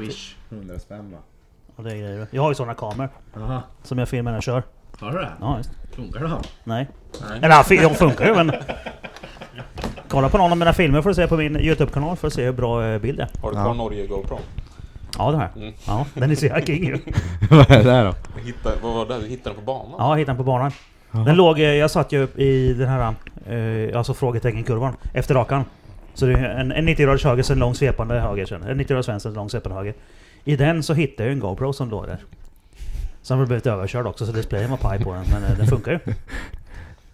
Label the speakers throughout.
Speaker 1: Wish.
Speaker 2: 100 spänn va?
Speaker 3: Och det är grejer. Jag har ju sådana kameror
Speaker 2: Jaha,
Speaker 3: som jag filmar när jag kör.
Speaker 2: har du det?
Speaker 3: Ja, just.
Speaker 2: Funkar det?
Speaker 3: Nej.
Speaker 2: Nej.
Speaker 3: Eller han fi- de funkar ju men... Kolla på någon av mina filmer får du se på min Youtube-kanal för att se hur bra eh, bild det är.
Speaker 1: Har du kvar Norge GoPro?
Speaker 3: Ja den här. Ja, den är så jävla king ju.
Speaker 2: Vad är det här då?
Speaker 1: Hitta, vad var det? Du hittade den på banan?
Speaker 3: Ja, jag hittade den på banan. Den låg, eh, jag satt ju i den här, eh, alltså frågeteckenkurvan, efter rakan. Så det är en, en 90-graders höger, sen lång svepande höger sen. En 90-graders vänster, sen lång svepande höger. I den så hittade jag en GoPro som låg där. Sen har jag blivit överkörd också så displayen var paj på den, men eh, den funkar ju.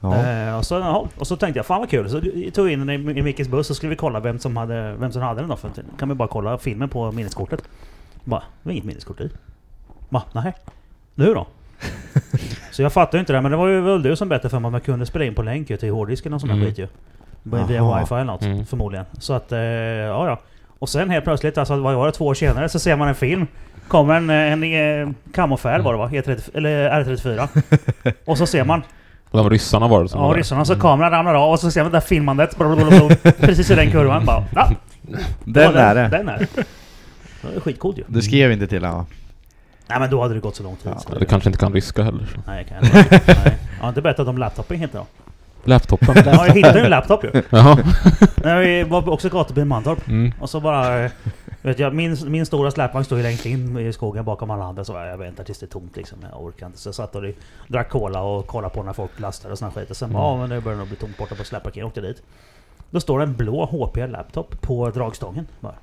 Speaker 4: Ja.
Speaker 3: Eh, och, så, ja, och så tänkte jag, fan vad kul. Så tog jag in den i, i Mickes buss och skulle vi kolla vem som hade, vem som hade den då. För att- kan vi bara kolla filmen på minneskortet. Bara, det var inget minneskort i. Va, nej. Nu då? så jag fattar ju inte det, men det var ju väl du som berättade för mig att man kunde spela in på länk ju till hårddisken och sån där
Speaker 1: Mm.
Speaker 3: skit ju. Bara Via
Speaker 4: Aha.
Speaker 3: wifi eller något,
Speaker 1: Mm.
Speaker 3: förmodligen. Så att, eh, ja ja. Och sen helt plötsligt, alltså vad var det, två år senare så ser man en film. Kommer en, eh, en, en kamoffär var det va? E30, eller R34. och så ser man
Speaker 1: De ryssarna var det som
Speaker 3: Ja,
Speaker 1: var där.
Speaker 3: ryssarna. Så kameran ramlar av och så ser man det där filmandet. blablabla, precis i den kurvan. Bara, ah,
Speaker 4: Den är det.
Speaker 3: Den är det. Det är skitcoolt ju.
Speaker 4: Du skrev inte till honom va?
Speaker 3: Nej men då hade det gått så lång tid.
Speaker 4: Ja.
Speaker 3: så
Speaker 1: Ja,
Speaker 3: det-
Speaker 1: Du kanske inte kan ryska heller. Så.
Speaker 3: Nej, jag kan inte. Nej. Jag har inte berättat om laptopen heter då.
Speaker 1: Laptopen.
Speaker 3: Ja, jag hittade ju en laptop ju.
Speaker 1: Jaha.
Speaker 3: När vi var också gatubil i Mantorp.
Speaker 1: Mm.
Speaker 3: Och så bara... eh, Vet jag, min, min stora släpvagn står ju längst in i skogen bakom alla andra. Så bara, jag väntar tills det är tomt liksom. Jag orkar inte. Så jag satt och drack cola och kollade på när folk lastade och sån här skit. Och sen
Speaker 5: Mm.
Speaker 3: bara, ja men det börjar nog bli tomt borta på släpparkeringen. Jag Åkte dit. Då står det en blå HP-laptop på dragstången. Bara.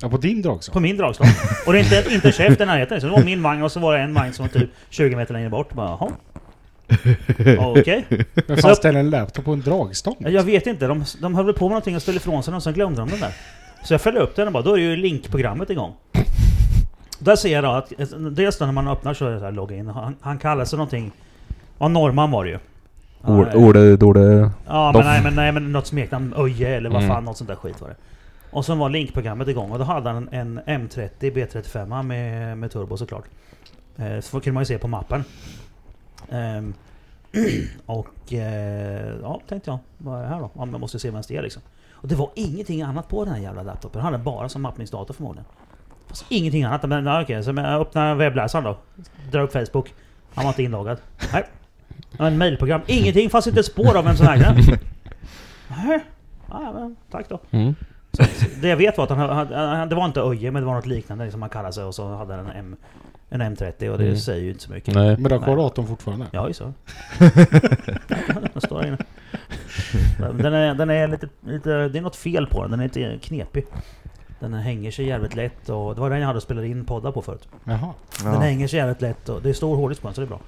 Speaker 5: Ja, på din drag
Speaker 3: På min dragstång. Och det är inte, inte chef i närheten. Så det var min vagn och så var det en vagn som var typ 20 meter längre bort. Bara, jaha. Okej.
Speaker 5: Vem
Speaker 3: Så-
Speaker 5: fan ställer en laptop på en dragstång?
Speaker 3: Ja, Jag vet inte, de, de höll väl på med någonting och ställde ifrån sig den och sen glömde de den där. Så jag följde upp den och bara, då är ju linkprogrammet igång. Där ser jag då att, dels då när man öppnar så är det så här logga in, han, han kallar sig någonting, ja norrman var det ju.
Speaker 1: Ord,
Speaker 3: Ja,
Speaker 1: orde, dorde.
Speaker 3: Ja
Speaker 1: Doff.
Speaker 3: men nej, men nej men något smeknamn, Öje eller vad fan,
Speaker 1: Mm.
Speaker 3: något sånt där skit var det. Och sen var linkprogrammet igång och då hade han en M30 B35 med, med turbo såklart. Eh, så kunde man ju se på mappen. Ehm, och eh, ja, tänkte jag, vad är det här då? Ja, men jag måste se vem det är liksom. Och det var ingenting annat på den här jävla laptopen, han hade den bara som mappningsdator förmodligen. Fast ingenting annat, men ja, okej, så men jag öppnar webbläsaren då. Drar upp Facebook. Han var inte inloggad. Nej. Det var en mailprogram. Ingenting, fanns inte ett spår av vem som ägde den. Nej. Ja, men tack då.
Speaker 1: Mm.
Speaker 3: Det jag vet var att han, han, han, det var inte Öje, men det var något liknande liksom han kallade sig och så hade han en, M, en M30 och det
Speaker 1: Mm.
Speaker 3: säger ju inte så mycket.
Speaker 1: Nej.
Speaker 5: Men du har kvar datorn fortfarande?
Speaker 3: Ja, ju så. den står där inne. Den är, den är lite, lite... Det är något fel på den. Den är lite knepig. Den hänger sig jävligt lätt och det var den jag hade spelat in poddar på förut.
Speaker 5: Jaha.
Speaker 4: Ja.
Speaker 3: Den hänger sig jävligt lätt och det är stor hårddisk på den så det är bra.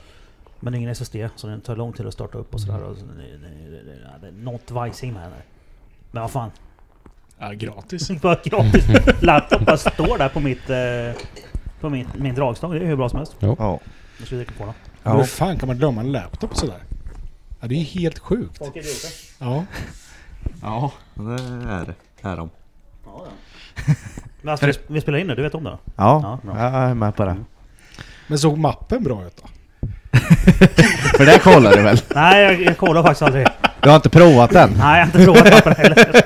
Speaker 3: Men ingen SSD så den tar lång tid att starta upp och sådär. Och, så- det- det- det- det- ja, det är något vajsing med den här. Men vad fan.
Speaker 5: Ja, gratis.
Speaker 3: Bara gratis laptop bara står där på mitt... eh, På min, min dragstång. Det är hur bra som helst.
Speaker 4: Ja.
Speaker 3: Nu ska vi dricka på den.
Speaker 5: Men
Speaker 4: Ja.
Speaker 5: Hur fan kan man glömma en laptop sådär? Ja, det är ju helt sjukt.
Speaker 3: Folk är idioter.
Speaker 5: Ja.
Speaker 4: Ja, det är det. Är de.
Speaker 3: Ja, ja. Men alltså, vi, vi spelar in nu, du vet om det?
Speaker 4: Ja,
Speaker 3: Ja, bra.
Speaker 4: jag är med på det.
Speaker 5: Men såg mappen bra ut då?
Speaker 4: För det kollar du väl?
Speaker 3: Nej, jag, jag kollar faktiskt aldrig.
Speaker 4: Du har inte provat den?
Speaker 3: Nej, jag har inte provat papper heller.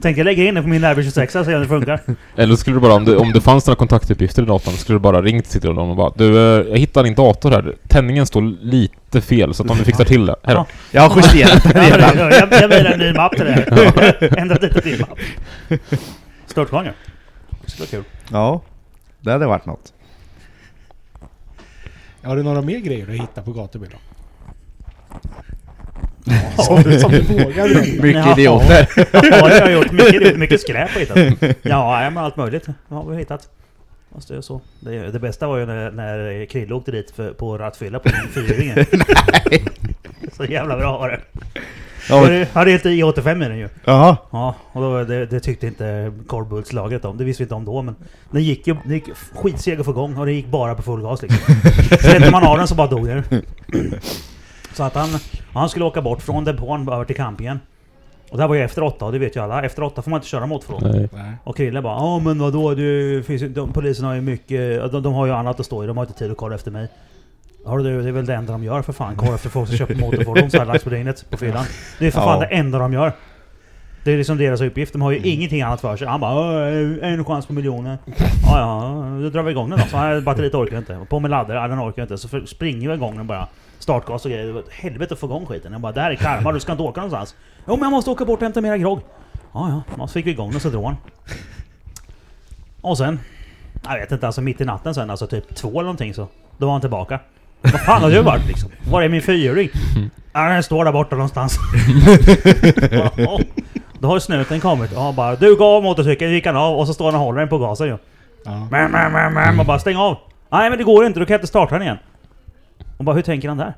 Speaker 3: Tänkte jag lägger in det på min Lärby 26 så ser om det funkar.
Speaker 1: Eller skulle du bara, om det, om det fanns några kontaktuppgifter i datorn, skulle du bara ringt till dem och bara Du, eh, jag hittar din dator här. Tändningen står lite fel, så att om du fixar till det. Här då.
Speaker 4: Jag har justerat den
Speaker 3: Ja, men
Speaker 4: redan.
Speaker 3: det- jag jag mejlar en ny mapp till det här. Ändrat lite till mapp. Störtgång ju. Det skulle vara kul.
Speaker 4: Ja, det hade varit något.
Speaker 5: Har du några mer grejer du hittar på gatubil då?
Speaker 3: Ja.
Speaker 5: Som du, som du vågar berätta?
Speaker 4: Mycket
Speaker 3: Ja.
Speaker 4: idioter.
Speaker 3: Ja, det har jag gjort. Mycket, idiot- mycket skräp har jag hittat. Ja, ja, men allt möjligt Det har vi hittat. Fast det är så. Det, det bästa var ju när, när Krille åkte dit för, på rattfylla på en fyrhjuling. Så jävla bra var det. Jag hade- jag hade helt i85 i den ju.
Speaker 4: Jaha.
Speaker 3: Ja, och då, det, det tyckte inte Carl Bulls lagret om. Det visste vi inte om då, men den gick ju den gick skitseg att få igång och det gick bara på full gas liksom. Släppte man av den så bara dog den. Så att han, ja, han skulle åka bort från depån över till campingen. Och det här var ju efter åtta, och det vet ju alla. Efter åtta får man inte köra motorfordon.
Speaker 1: Nej.
Speaker 5: Nej.
Speaker 3: Och Krille bara ja men vadå, du, finns, ju- de, polisen har ju mycket, ja, de, de har ju annat att stå i, de har inte tid att kolla efter mig. Har du, det är väl det enda de gör för fan, kolla efter folk som köper motorfordon så här dags på dygnet på fyllan. Det är för fan
Speaker 4: Ja.
Speaker 3: det enda de gör. Det är liksom deras uppgift, de har ju ingenting annat för sig. Han bara "Åh, en chans på miljoner. Ja ja, då drar vi igång den då. Så här, batteriet orkar inte. På med laddare, ja, den orkar inte. Så för, springer vi igång den bara. Startgas och grejer. Det var ett Helvete att få igång skiten. Jag bara det här är karma, du ska inte åka någonstans. Jo men jag måste åka bort och hämta mera grogg. Ja ja, så fick vi igång den så drog han. Och sen, jag vet inte, alltså mitt i natten sen, alltså typ två eller någonting så, då var han tillbaka. Vad fan har du varit liksom? Var är min fyrhjuling? Ja, den står där borta någonstans. Ja, då har snuten kommit och han bara Du gav av motorcykeln, gick han av och så står han och håller den på gasen ju.
Speaker 5: Ja.
Speaker 3: Mäm, mäm, mäm, mäm, och bara stäng av! Nej men det går inte, du kan jag inte starta den igen. Och bara hur tänker han där?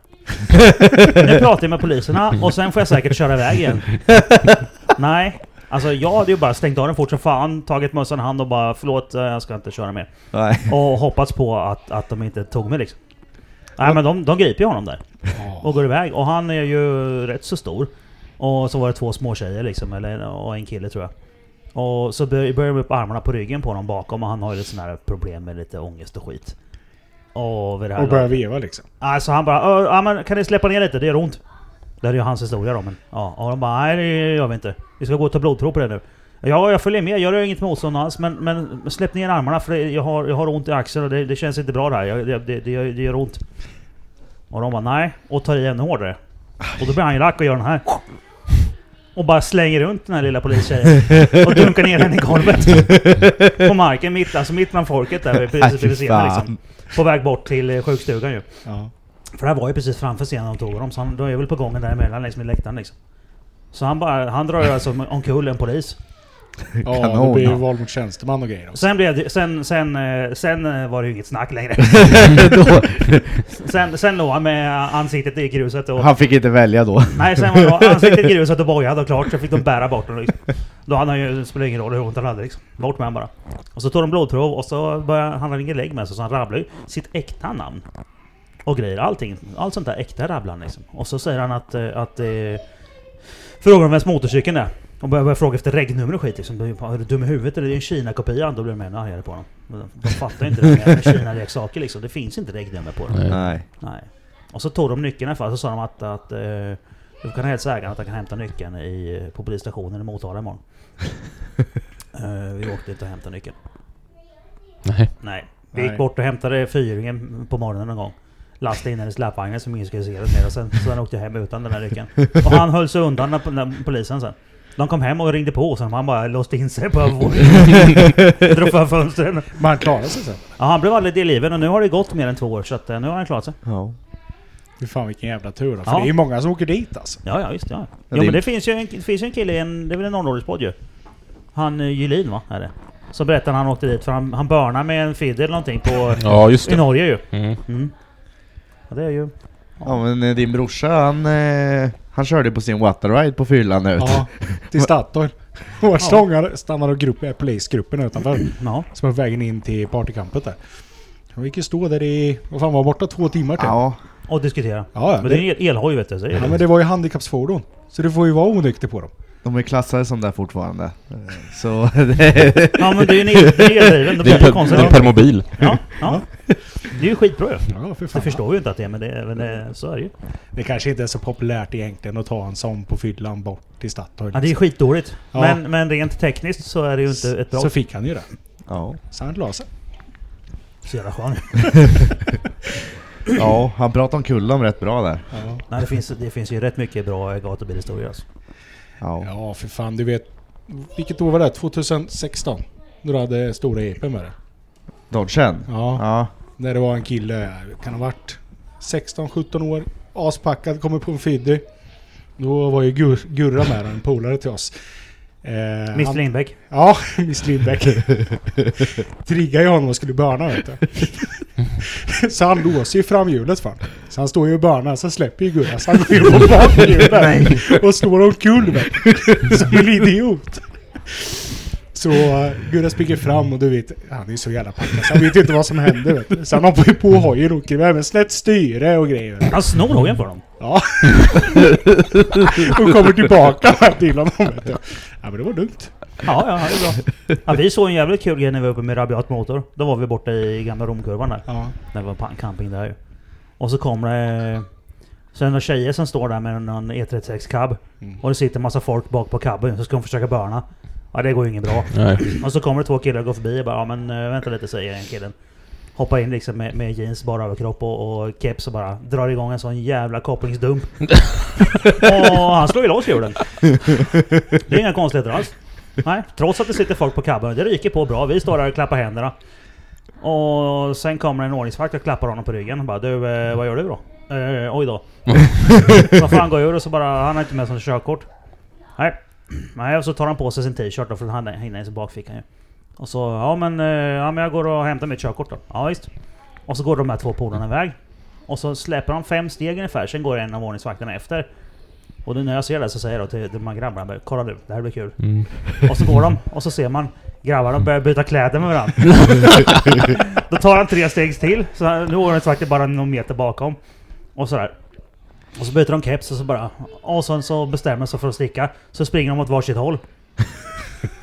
Speaker 3: nu pratar jag med poliserna och sen får jag säkert köra iväg igen. Nej. Alltså jag hade ju bara stängt av den fort som fan, tagit mössan i hand och bara förlåt, eh, jag ska inte köra mer.
Speaker 4: Nej.
Speaker 3: Och hoppats på att, att de inte tog mig liksom. Nej men de, de griper ju honom där.
Speaker 5: Ja.
Speaker 3: Och går iväg. Och han är ju rätt så stor. Och så var det två små tjejer liksom, eller, och en kille tror jag. Och så bör- börjar de upp armarna på ryggen på honom bakom och han har ju lite sådana här problem med lite ångest och skit. Och vid det här
Speaker 5: Och börjar veva liksom.
Speaker 3: Alltså han bara "Ö, ja, men kan ni släppa ner lite? Det gör ont. Det här är ju hans historia då men... Ja, och de bara nej det gör vi inte. Vi ska gå och ta blodprov på det nu. Ja, jag följer med. Jag gör inget motstånd alls men, men släpp ner armarna för det- jag har, jag har ont i axeln och det, det känns inte bra det här. Jag, det, det, det, gör, det gör ont. Och de bara nej. Och tar i ännu hårdare. Och då blir han ju lack och gör den här. Och bara slänger runt den här lilla polistjejen. Och dunkar ner henne i golvet. På marken mitt, alltså mitt bland folket där precis vid scenen liksom. På väg bort till eh, sjukstugan ju.
Speaker 5: Ja.
Speaker 3: För det här var ju precis framför scenen de tog honom, så han, de är väl på gången däremellan längs med läktaren liksom. Så han bara, han drar ju alltså omkull en polis.
Speaker 5: ja, det
Speaker 4: Kanon.
Speaker 5: blir ju våld mot tjänsteman och grejer också.
Speaker 3: Sen blev det, sen, sen, eh, sen eh, var det ju inget snack längre.
Speaker 4: då,
Speaker 3: Sen, sen låg han med ansiktet i gruset och...
Speaker 4: han fick inte välja då.
Speaker 3: Nej, sen var han ansiktet i gruset och bojade och klart, så fick de bära bort honom liksom. Då hade han ju, det spelade ingen roll hur ont han hade liksom. Bort med honom bara. Och så tog de blodprov och så började han, han hade ingen lägg med sig så han rabblade ju sitt äkta namn. Och grejer, allting. Allt sånt där äkta rabblar han liksom. Och så säger han att... eh, att eh, frågar om vems motorcykeln är. Och börjar, börjar fråga efter regnummer och skit liksom. Är du dum i huvudet eller? Det är ju en Kina-kopia. Då blir de ännu argare på honom. De fattar ju inte det här med Kina-leksaker liksom. Det finns inte regnummer på dem.
Speaker 1: Nej.
Speaker 4: Nej.
Speaker 3: Nej. Och så tog de nyckeln för så sa de att, att eh, du kan hälsa ägaren att han kan hämta nyckeln i, på polisstationen i Motala imorgon. eh, vi åkte inte och hämtade nyckeln.
Speaker 1: Nej.
Speaker 3: Nej. Vi gick
Speaker 5: Nej.
Speaker 3: bort och hämtade fyringen på morgonen någon gång. Lastade in den i släpvagnen som ingen skulle se den mer. och Sen, sen åkte jag hem utan den här nyckeln. Och han höll sig undan när, när polisen sen. De kom hem och ringde på och sen han bara låste in sig på övervåningen. Drog för fönstren.
Speaker 5: Men han klarar sig sen.
Speaker 3: Ja, han blev aldrig delgiven och nu har det gått mer än två år så att, eh, nu har han klarat sig.
Speaker 4: Ja.
Speaker 5: Fy fan vilken jävla tur då. För
Speaker 3: Ja.
Speaker 5: det är ju många som åker dit alltså.
Speaker 3: Ja, ja visst ja. Jo
Speaker 4: det-
Speaker 3: men det finns ju en, det finns ju en kille i en, det är väl en norrnorrspodd ju. Han eh, Julin va? Är det. Så berättar han han åkte dit för han, han börnade med en feeder eller någonting på,
Speaker 1: Ja, just
Speaker 3: i
Speaker 1: det.
Speaker 3: Norge ju.
Speaker 1: Mm.
Speaker 3: Mm. Ja, det är ju...
Speaker 4: Ja men eh, din brorsa han, eh, han körde på sin waterride på fyllan ut.
Speaker 5: Ja, till Statoil. Hårstångar stannar och grupp, eh, polisgruppen utanför.
Speaker 3: Ja.
Speaker 5: Som är på vägen in till partycampet där. Han gick ju stå där i, vad fan var borta två timmar typ. Ja,
Speaker 4: Ja.
Speaker 3: Och diskutera.
Speaker 5: ja,
Speaker 3: Men
Speaker 5: det,
Speaker 3: det är en el- elhoj vet du. Så är det.
Speaker 5: ja men det var ju handikappsfordon. Så du får ju vara onykter på dem.
Speaker 4: De är klassade som det fortfarande. Eh, Så det,
Speaker 3: ja men det är ju en el- det är ju eldriven. Det
Speaker 1: Det
Speaker 3: blir
Speaker 1: är
Speaker 3: ju
Speaker 1: per,
Speaker 3: konstigt.
Speaker 1: det är per mobil.
Speaker 3: Ja, ja. Det är ju skitbra ju.
Speaker 5: Ja, för
Speaker 3: Det
Speaker 5: fan.
Speaker 3: förstår ju inte att det är men det är, men det, så är det ju.
Speaker 5: Det kanske inte är så populärt egentligen att ta en sån på fyllan bort till Statoil.
Speaker 3: Ja, det är ju skitdåligt.
Speaker 5: Ja.
Speaker 3: Men, men rent tekniskt så är det ju inte ett bra...
Speaker 5: Så fick han ju det.
Speaker 4: ja.
Speaker 5: Så han la sig.
Speaker 3: Så jävla skönt.
Speaker 4: ja, han pratade om kullen rätt bra där.
Speaker 5: Ja.
Speaker 3: Nej det finns, det finns ju rätt mycket bra gatubilhistorier alltså.
Speaker 4: Ja.
Speaker 5: ja, för fan. Du vet. Vilket år var det? 2016? När du hade stora epen med det.
Speaker 4: Dodgen?
Speaker 5: Ja.
Speaker 4: Ja.
Speaker 5: När det var en kille, kan ha varit 16-17 år, aspackad, kommer på en fiddy. Då var ju Gur- Gurra med, en polare till oss. Eh,
Speaker 3: Mr
Speaker 5: han-
Speaker 3: Lindbäck.
Speaker 5: Ja, Miss Lindbäck. Triggade ju honom och skulle börna vet du. Så han låser ju framhjulet fan. Så han står ju och börnar, så släpper ju Gurra. Så han går ju på bakhjulet och slår omkull mig. Som en idiot. Så eh, Gurra springer fram och du vet, han är ju så jävla packad så han vet ju inte vad som händer. Vet du. Så han hoppar ju på hojen och åker iväg med snett styre och grejer.
Speaker 3: Han snor hojen för dem.
Speaker 5: Ja. och kommer tillbaka här till honom. Vet du. Ja men det var lugnt.
Speaker 3: Ja, ja, det är bra. Ja, vi såg en jävligt kul grej när vi var uppe med Rabiat Motor. Då var vi borta i gamla Romkurvan där.
Speaker 5: Ja.
Speaker 3: När vi var på en camping där ju. Och så kommer det... Så är det några tjejer som står där med någon E36 cab. Och det sitter en massa folk bak på cabben så ska de försöka börna. Ja det går ju inget bra.
Speaker 1: Nej.
Speaker 3: Och så kommer det två killar och går förbi och bara ja men eh, vänta lite säger den killen. Hoppar in liksom med, med jeans, bara överkropp och, och keps och bara drar igång en sån jävla kopplingsdump. och han slår ju loss hjulen. Det är inga konstigheter alls. Nej, trots att det sitter folk på cabben. Det ryker på bra. Vi står där och klappar händerna. Och sen kommer en ordningsvakt och klappar honom på ryggen. Och bara du, eh, vad gör du då? Eh, oj då. Så fan går ur och så bara, han har inte med sig något körkort. Nej. Nej, och så tar han på sig sin t-shirt då, för han hinner i sin bakficka ju. Och så, ja men, eh, ja men jag går och hämtar mitt körkort då. Ja visst. Och så går de här två polarna iväg. Och så släpper de fem steg ungefär, sen går en av ordningsvakterna efter. Och då när jag ser det så säger jag då till de här grabbarna, bara, kolla nu, det här blir kul.
Speaker 1: Mm.
Speaker 3: Och så går de, och så ser man grabbarna börjar byta kläder med varandra. Då tar han tre steg till, så han- nu är han bara någon meter bakom. Och sådär. Och så byter de keps och så bara... Och sen så bestämmer sig för att sticka. Så springer de åt varsitt håll.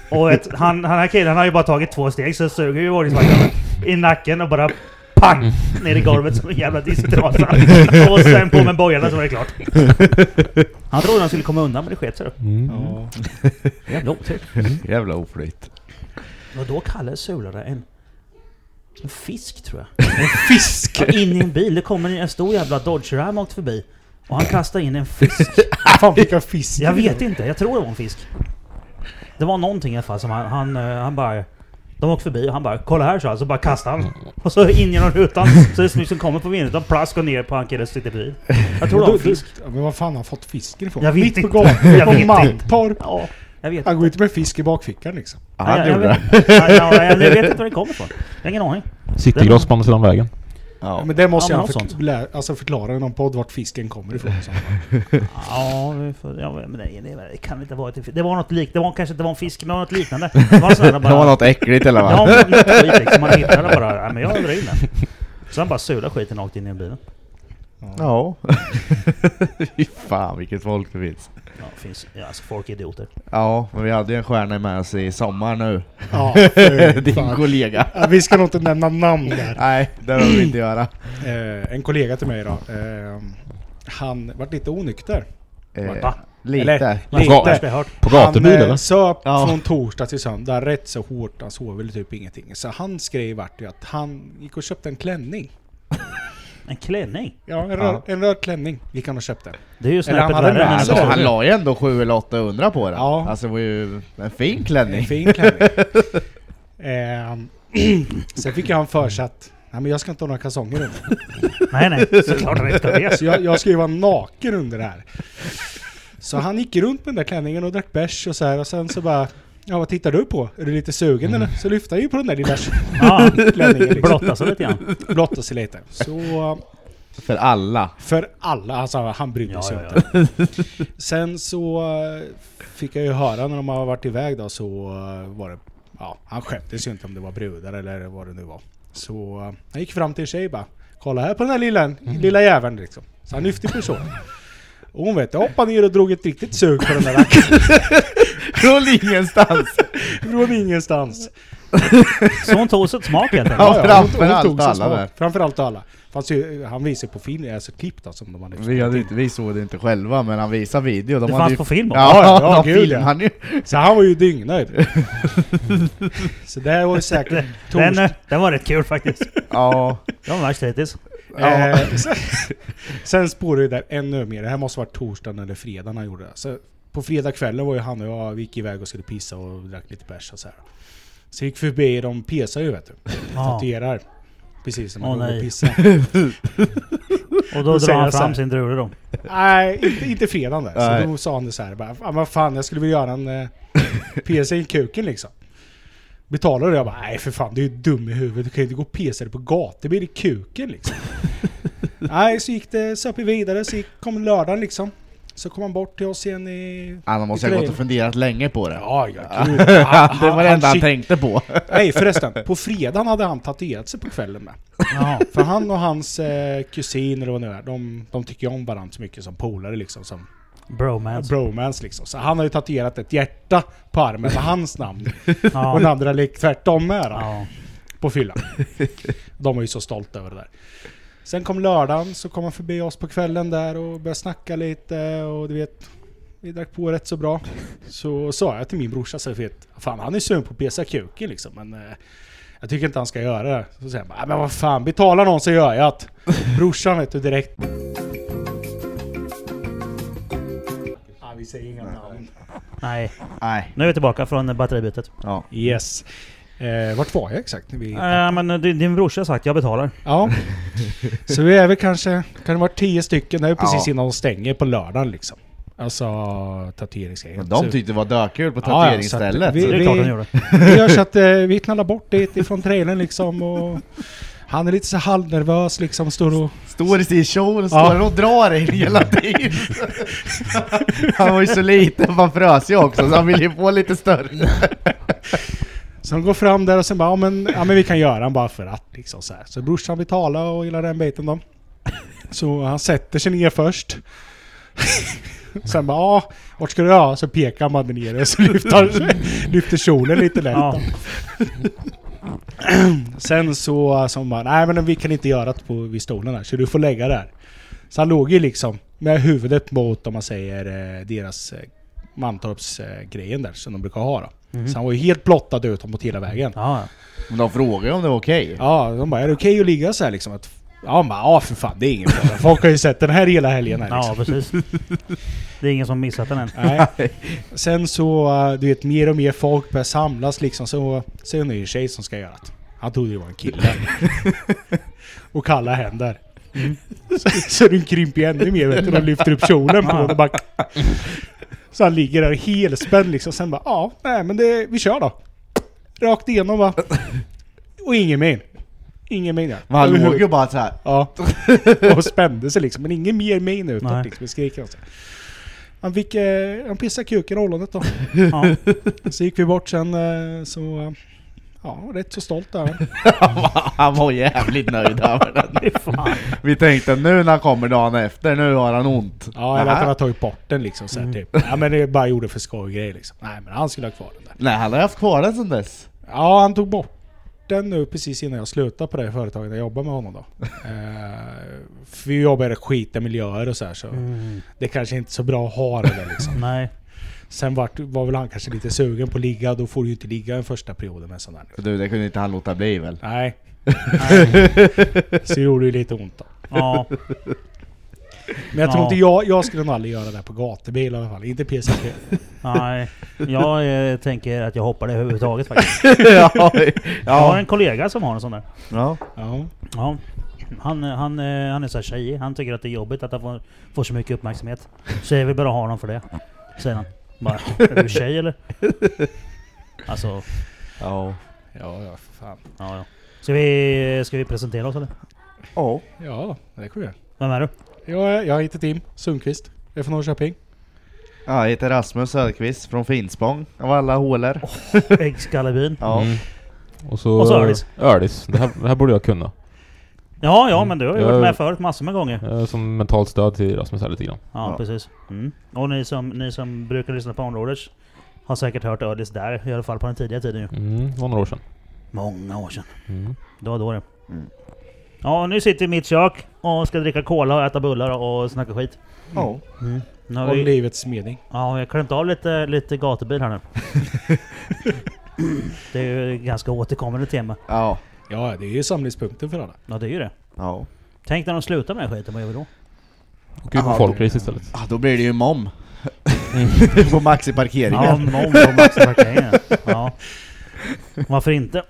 Speaker 3: Och ett, han, han här killen har ju bara tagit två steg, så suger ju ordningsvakten i nacken och bara pang! Ner i golvet som en jävla disktrasa. Och sen på med bojarna så var det klart. Han trodde han skulle komma undan men det sket sig. Mm.
Speaker 5: Ja.
Speaker 3: Jävla otur.
Speaker 4: Jävla oflyt.
Speaker 3: Och då Kalle sulade en... En fisk tror jag. En fisk? Ja, in i en bil. Det kommer en stor jävla Dodge Ram åkt förbi. Och han kastar in en fisk.
Speaker 5: Fan vilka fisk.
Speaker 3: Jag vet inte, jag tror det var en fisk. Det var någonting i alla fall som han, han, eh, han bara... De åkte förbi och han bara 'Kolla här' så han, så bara kastade han. Och så in genom rutan. Så det som kommer på vindrutan plask och ner på han killen som sitter bredvid. Jag tror det var en
Speaker 5: Du- du-
Speaker 3: fisk.
Speaker 5: Ja, men vad fan har han fått fisken ifrån?
Speaker 3: Jag vet
Speaker 5: Mitt
Speaker 3: inte.
Speaker 5: på gatan,
Speaker 3: Jag vet
Speaker 5: på
Speaker 3: inte.
Speaker 5: Mantorp.
Speaker 3: Ja, jag vet inte.
Speaker 5: Han går inte med fisk i bakfickan liksom.
Speaker 4: Ja,
Speaker 3: Nej,
Speaker 4: han
Speaker 3: jag,
Speaker 4: gjorde
Speaker 3: jag,
Speaker 4: det.
Speaker 3: vet, nej, nej, jag, jag vet inte var det kommer ifrån. Jag har ingen aning.
Speaker 1: Citygross på andra sidan vägen.
Speaker 5: Ja,
Speaker 4: Ja.
Speaker 5: men det måste
Speaker 3: Ja,
Speaker 5: jag
Speaker 3: men
Speaker 5: förk-
Speaker 3: något sånt.
Speaker 5: lä- alltså förklara i någon podd vart fisken kommer ifrån. liksom. och sånt.
Speaker 3: Ja, vi får, ja men nej, det, det kan inte vara ett, Det var något lik, det var kanske inte var en fisk, men det var något liknande. Det var, en sån här bara,
Speaker 4: Det var något äckligt eller
Speaker 3: Ja,
Speaker 4: vad?
Speaker 3: något skit liksom. Man hittade bara, nej men jag drar in den. Så han bara sulade skiten rakt in i bilen.
Speaker 4: Ja. Fy fan vilket folk det finns.
Speaker 3: Ja, finns, ja, alltså folk är idioter.
Speaker 4: Ja, men vi hade ju en stjärna med oss i sommar nu.
Speaker 5: Ja, för
Speaker 4: Din
Speaker 5: fan.
Speaker 4: kollega.
Speaker 5: Ja, Vi ska nog inte nämna namn där.
Speaker 4: Nej, det vill vi inte göra.
Speaker 5: Eh, en kollega till mig idag. Eh, han vart lite onykter.
Speaker 4: Eh,
Speaker 3: Va?
Speaker 4: lite.
Speaker 1: Ga-
Speaker 3: Värst jag hört.
Speaker 1: På gatubil
Speaker 5: han eh,
Speaker 1: eller?
Speaker 5: söp
Speaker 4: Ja.
Speaker 5: från torsdag till söndag rätt så hårt. Han sov väl typ ingenting. Så hans grej vart ju att han gick och köpte en klänning.
Speaker 3: En klänning?
Speaker 5: Ja, en,
Speaker 4: Ja.
Speaker 5: röd, en röd klänning gick han och köpte.
Speaker 3: Det är ju
Speaker 5: Eller han
Speaker 3: snäppet
Speaker 5: hade
Speaker 3: värre
Speaker 5: en
Speaker 3: än en
Speaker 4: Han,
Speaker 5: så-
Speaker 4: la-
Speaker 5: mössa.
Speaker 3: sån.
Speaker 4: Alltså, han la ju ändå 7 eller 800 på den.
Speaker 5: Ja.
Speaker 4: Alltså det var ju en fin
Speaker 5: En
Speaker 4: klänning.
Speaker 5: fin klänning. Ehm, sen fick jag han för sig att Nej men jag ska inte ha några kalsonger under.
Speaker 3: Nej nej, såklart han inte ska det.
Speaker 5: Så jag, jag ska ju vara naken under det här. Så han gick runt med den där klänningen och drack bärs och så här och sen så bara Ja vad tittar du på? Är du lite sugen eller? Så lyfte han ju på den där lilla
Speaker 3: Ja,
Speaker 5: klänningen
Speaker 3: Mm.
Speaker 5: liksom.
Speaker 3: blotta sig lite grann.
Speaker 5: Blottade sig lite. Så
Speaker 4: För alla.
Speaker 5: För alla, alltså han brydde
Speaker 3: Ja,
Speaker 5: sig
Speaker 3: ja,
Speaker 5: inte. Sen så eh, fick jag ju höra när de har varit iväg då så eh, var det, ja han skämdes ju inte om det var brudar eller vad det nu var. Så eh, han gick fram till en tjej bara, kolla här på den här lilla,
Speaker 4: Mm.
Speaker 5: lilla jäveln liksom. Så han lyfte på så. Och hon vet, jag hoppade ner och drog ett riktigt sug på den där rackaren
Speaker 4: Från ingenstans.
Speaker 5: från ingenstans.
Speaker 3: Så hon tog sig ett smak helt enkelt.
Speaker 4: Ja,
Speaker 5: hon-
Speaker 4: framför
Speaker 5: hon
Speaker 4: allt
Speaker 5: tog sig
Speaker 4: alla
Speaker 5: smak.
Speaker 4: där.
Speaker 5: Framförallt alla. Fanns ju, han visade på film, alltså klipp då som de hade
Speaker 4: Vi, hade inte, vi såg det inte själva, men han visade video. De
Speaker 3: Det
Speaker 4: hade
Speaker 3: fanns
Speaker 4: ju...
Speaker 3: på film också.
Speaker 4: Ja,
Speaker 5: Ja,
Speaker 4: ja,
Speaker 5: ja,
Speaker 4: de
Speaker 5: gud, ja.
Speaker 4: filmade ju.
Speaker 5: Så han var ju dyngnöjd. Så det här var ju säkert
Speaker 3: Den, eh,
Speaker 5: torsdag.
Speaker 3: den var rätt kul faktiskt.
Speaker 4: Ja.
Speaker 3: Det var värst hittills.
Speaker 4: ja.
Speaker 5: Eh, sen, sen spårade det där ännu mer. Det här måste ha varit torsdagen eller fredagen han gjorde det. Så på fredagskvällen var ju han och jag, vi gick iväg och skulle pissa och drack lite bärs och så här. Så gick förbi de pesar ju vet du.
Speaker 3: Ja.
Speaker 5: Tatuerar. Precis som
Speaker 3: Åh,
Speaker 5: man oh,
Speaker 3: nej.
Speaker 5: och pissar.
Speaker 3: Och då
Speaker 5: Hon
Speaker 3: drar
Speaker 5: säger
Speaker 3: han
Speaker 5: så här.
Speaker 3: fram sin drure då.
Speaker 5: nej, inte, inte fredagen där.
Speaker 4: Nej.
Speaker 5: Så då sa han det så här. Bara, "Fan, vad fan, jag skulle vilja göra en eh, piercing i kuken liksom. Betalade det. Jag bara, nej för fan du är ju dum i huvudet. Du kan ju inte gå och pesa dig på gatubil i kuken liksom. nej, så gick det, söp vi vidare. Så gick, kom lördagen liksom. Så kom han bort till oss igen i...
Speaker 4: Anna måste ju ha gått och
Speaker 5: Grejen.
Speaker 4: funderat länge på det.
Speaker 5: Ja, ja gud. Han-
Speaker 4: Det var det enda han
Speaker 5: shit-
Speaker 4: tänkte på.
Speaker 5: Nej förresten, på fredagen hade han tatuerat sig på kvällen med.
Speaker 3: Ja.
Speaker 5: För han och hans eh, kusin eller vad det nu är, de, de tycker ju om varandra så mycket som polare liksom. Som
Speaker 3: Bromance.
Speaker 5: bromance liksom. Så han har ju tatuerat ett hjärta på armen med hans namn. Och den
Speaker 3: Ja.
Speaker 5: andra lik tvärtom med då,
Speaker 3: ja.
Speaker 5: på fyllan. De var ju så stolta över det där. Sen kom lördagen, så kom han förbi oss på kvällen där och började snacka lite och du vet, vi drack på rätt så bra. Så sa jag till min brorsa, så jag vet, fan han är sugen på att pesa kuken liksom men eh, jag tycker inte han ska göra det. Så säger han bara, "Ah, men vad fan, betala någon så gör jag det. Brorsan vet du direkt. Ah, vi säger inga namn.
Speaker 3: Nej.
Speaker 4: Nej.
Speaker 3: Nu är vi tillbaka från batteribytet.
Speaker 4: Ja.
Speaker 5: Yes. Eh, vart var jag exakt? När vi...
Speaker 3: Äh, men eh, din din brorsa har sagt jag betalar.
Speaker 5: Ja. Så vi är väl kanske, kan det vara tio stycken? Det är ju precis
Speaker 4: Ja.
Speaker 5: innan de stänger på lördagen liksom. Alltså tatueringsgrejen.
Speaker 4: Men de
Speaker 5: Så-
Speaker 4: tyckte det var dökul på
Speaker 5: Ja, ja, så
Speaker 4: tatueringsstället.
Speaker 5: att vi-
Speaker 3: Det är
Speaker 5: vi-
Speaker 3: klart han gjorde.
Speaker 5: Det gör så att eh, vi knallar bort dit ifrån trailern liksom och han är lite så halvnervös liksom, står och...
Speaker 4: Står i sin kjol,
Speaker 5: Ja.
Speaker 4: står och drar i den hela tiden. han var ju så liten, man frös ju också, så han ville ju få lite större.
Speaker 5: Så de går fram där och sen bara, ja men, ja, men vi kan göra den bara för att liksom så här. Så brorsan betalar och gillar den biten då. Så han sätter sig ner först. Sen bara, ja, vart ska du ha? Så pekar man ner och så lyfter, lyfter kjolen lite lätt.
Speaker 3: Ja.
Speaker 5: Sen så sa hon bara, nej men vi kan inte göra det på vid stolen här, så du får lägga det här. Så han låg ju liksom med huvudet mot, om man säger, eh, deras eh, Mantorps eh, grejen där som de brukar ha då. Så han var ju helt blottad utåt hela vägen.
Speaker 3: Mhm. Ja, ja.
Speaker 4: Men de frågade ju om det var okej.
Speaker 5: Ja, de bara, är det okej att ligga så här liksom? Att, ja, han bara, ja för fan det är ingen fara. Folk har ju sett den här hela helgen här
Speaker 3: ja
Speaker 5: liksom.
Speaker 3: precis. Det är ingen som missat den än.
Speaker 5: Nej. Sen så, eh, du vet, mer och mer folk börjar samlas liksom. Så, så är det en tjej som ska göra det. Han trodde det var en kille. och kalla händer. Så, så den krymper ju ännu mer vet du. De lyfter upp kjolen på honom och bara... Så han ligger där helspänd liksom. Sen bara, ja, nej men det, vi kör då. Rakt igenom va. Och ingen min. Ingen min ja.
Speaker 4: Men han låg ju bara såhär.
Speaker 5: Ja. Och spände sig liksom. Men ingen mer min
Speaker 3: Nej.
Speaker 5: utåt liksom. Vi skrek alltså. Han fick... Eh, han pissade kuken i ollonet då.
Speaker 3: Ja.
Speaker 5: Så gick vi bort sen eh, så... eh, Ja, rätt så stolt där.
Speaker 4: Han var jävligt nöjd över den. Vi tänkte nu när han kommer dagen efter, nu har han ont.
Speaker 5: Ja, eller att
Speaker 4: Nähä.
Speaker 5: han har tagit bort den liksom så här, typ. Ja men det bara gjorde för skojgrej liksom. Nej men han skulle ha kvar den där.
Speaker 4: Nej, han har haft kvar den sedan dess.
Speaker 5: Ja, han tog bort den nu precis innan jag slutade på det företaget jag jobbar med honom då. Eh, för vi jobbar i skitiga miljöer och så här så
Speaker 3: Mm.
Speaker 5: det kanske inte är så bra att ha det där liksom.
Speaker 3: Nej.
Speaker 5: Sen var, var väl han kanske lite sugen på att ligga, då får du ju inte ligga den första perioden med sån där.
Speaker 4: Du, det kunde inte han låta bli väl?
Speaker 5: Nej. Så det gjorde ju lite ont då.
Speaker 3: Ja.
Speaker 5: Men jag
Speaker 3: Ja.
Speaker 5: tror inte jag, jag skulle nog aldrig göra det här på gatubil i alla fall. Inte PCP.
Speaker 3: Nej. Jag eh, tänker att jag hoppar det överhuvudtaget faktiskt.
Speaker 4: ja.
Speaker 3: Jag har
Speaker 4: Ja.
Speaker 3: en kollega som har en sån där.
Speaker 4: ja.
Speaker 5: Ja.
Speaker 3: Ja. Han, eh, han, eh, han är så här tjejig. Han tycker att det är jobbigt att han får, får så mycket uppmärksamhet. Så jag vill bara ha honom för det. Säger han. Bara, är du tjej eller? Alltså,
Speaker 4: Ja.
Speaker 5: Ja, ja för fan.
Speaker 3: ja, ja. Ska vi, ska vi presentera oss eller?
Speaker 4: Ja.
Speaker 5: Ja, det kommer jag.
Speaker 3: Vem är du?
Speaker 5: Jag, jag heter Tim Sundqvist. Jag är från Norrköping.
Speaker 4: Jag heter Rasmus Söderqvist från Finspång, av alla hålor.
Speaker 3: Äggskallebyn?
Speaker 4: Ja.
Speaker 1: Mm. Och så...
Speaker 3: Och så Ördis.
Speaker 1: Ördis. Det här, det här borde jag kunna.
Speaker 3: Ja, ja men du har ju varit
Speaker 1: Jag-
Speaker 3: med förut massor med gånger.
Speaker 1: Eh, Som mentalt stöd till Rasmus här lite grann.
Speaker 3: Ja,
Speaker 4: Ja.
Speaker 3: precis. Mm. Och ni som, ni som brukar lyssna på Onroaders har säkert hört Ördis där, i alla fall på den tidiga tiden ju.
Speaker 1: Mm, det var några år sedan.
Speaker 3: Många år sedan.
Speaker 1: Mm.
Speaker 3: Det var då det.
Speaker 4: Mm.
Speaker 3: Ja, nu sitter vi i mitt kök och ska dricka cola och äta bullar och snacka skit.
Speaker 4: Ja.
Speaker 3: Nu har
Speaker 5: Och
Speaker 3: vi,
Speaker 5: livets mening.
Speaker 3: ja, vi har klämt av lite, lite gatubil här nu. det är ju ett ganska återkommande tema.
Speaker 4: Ja.
Speaker 5: Ja, det är ju samlingspunkten för alla.
Speaker 3: Ja, det är ju det.
Speaker 4: ja.
Speaker 3: Tänk när de slutar med den skiten, vad gör vi då?
Speaker 1: Och ut på
Speaker 4: Aha,
Speaker 1: folkrace istället.
Speaker 4: Ah, då blir det ju mom. på Maxi-parkeringen.
Speaker 3: Ja, någon på Maxparkeringen. Ja. Varför inte?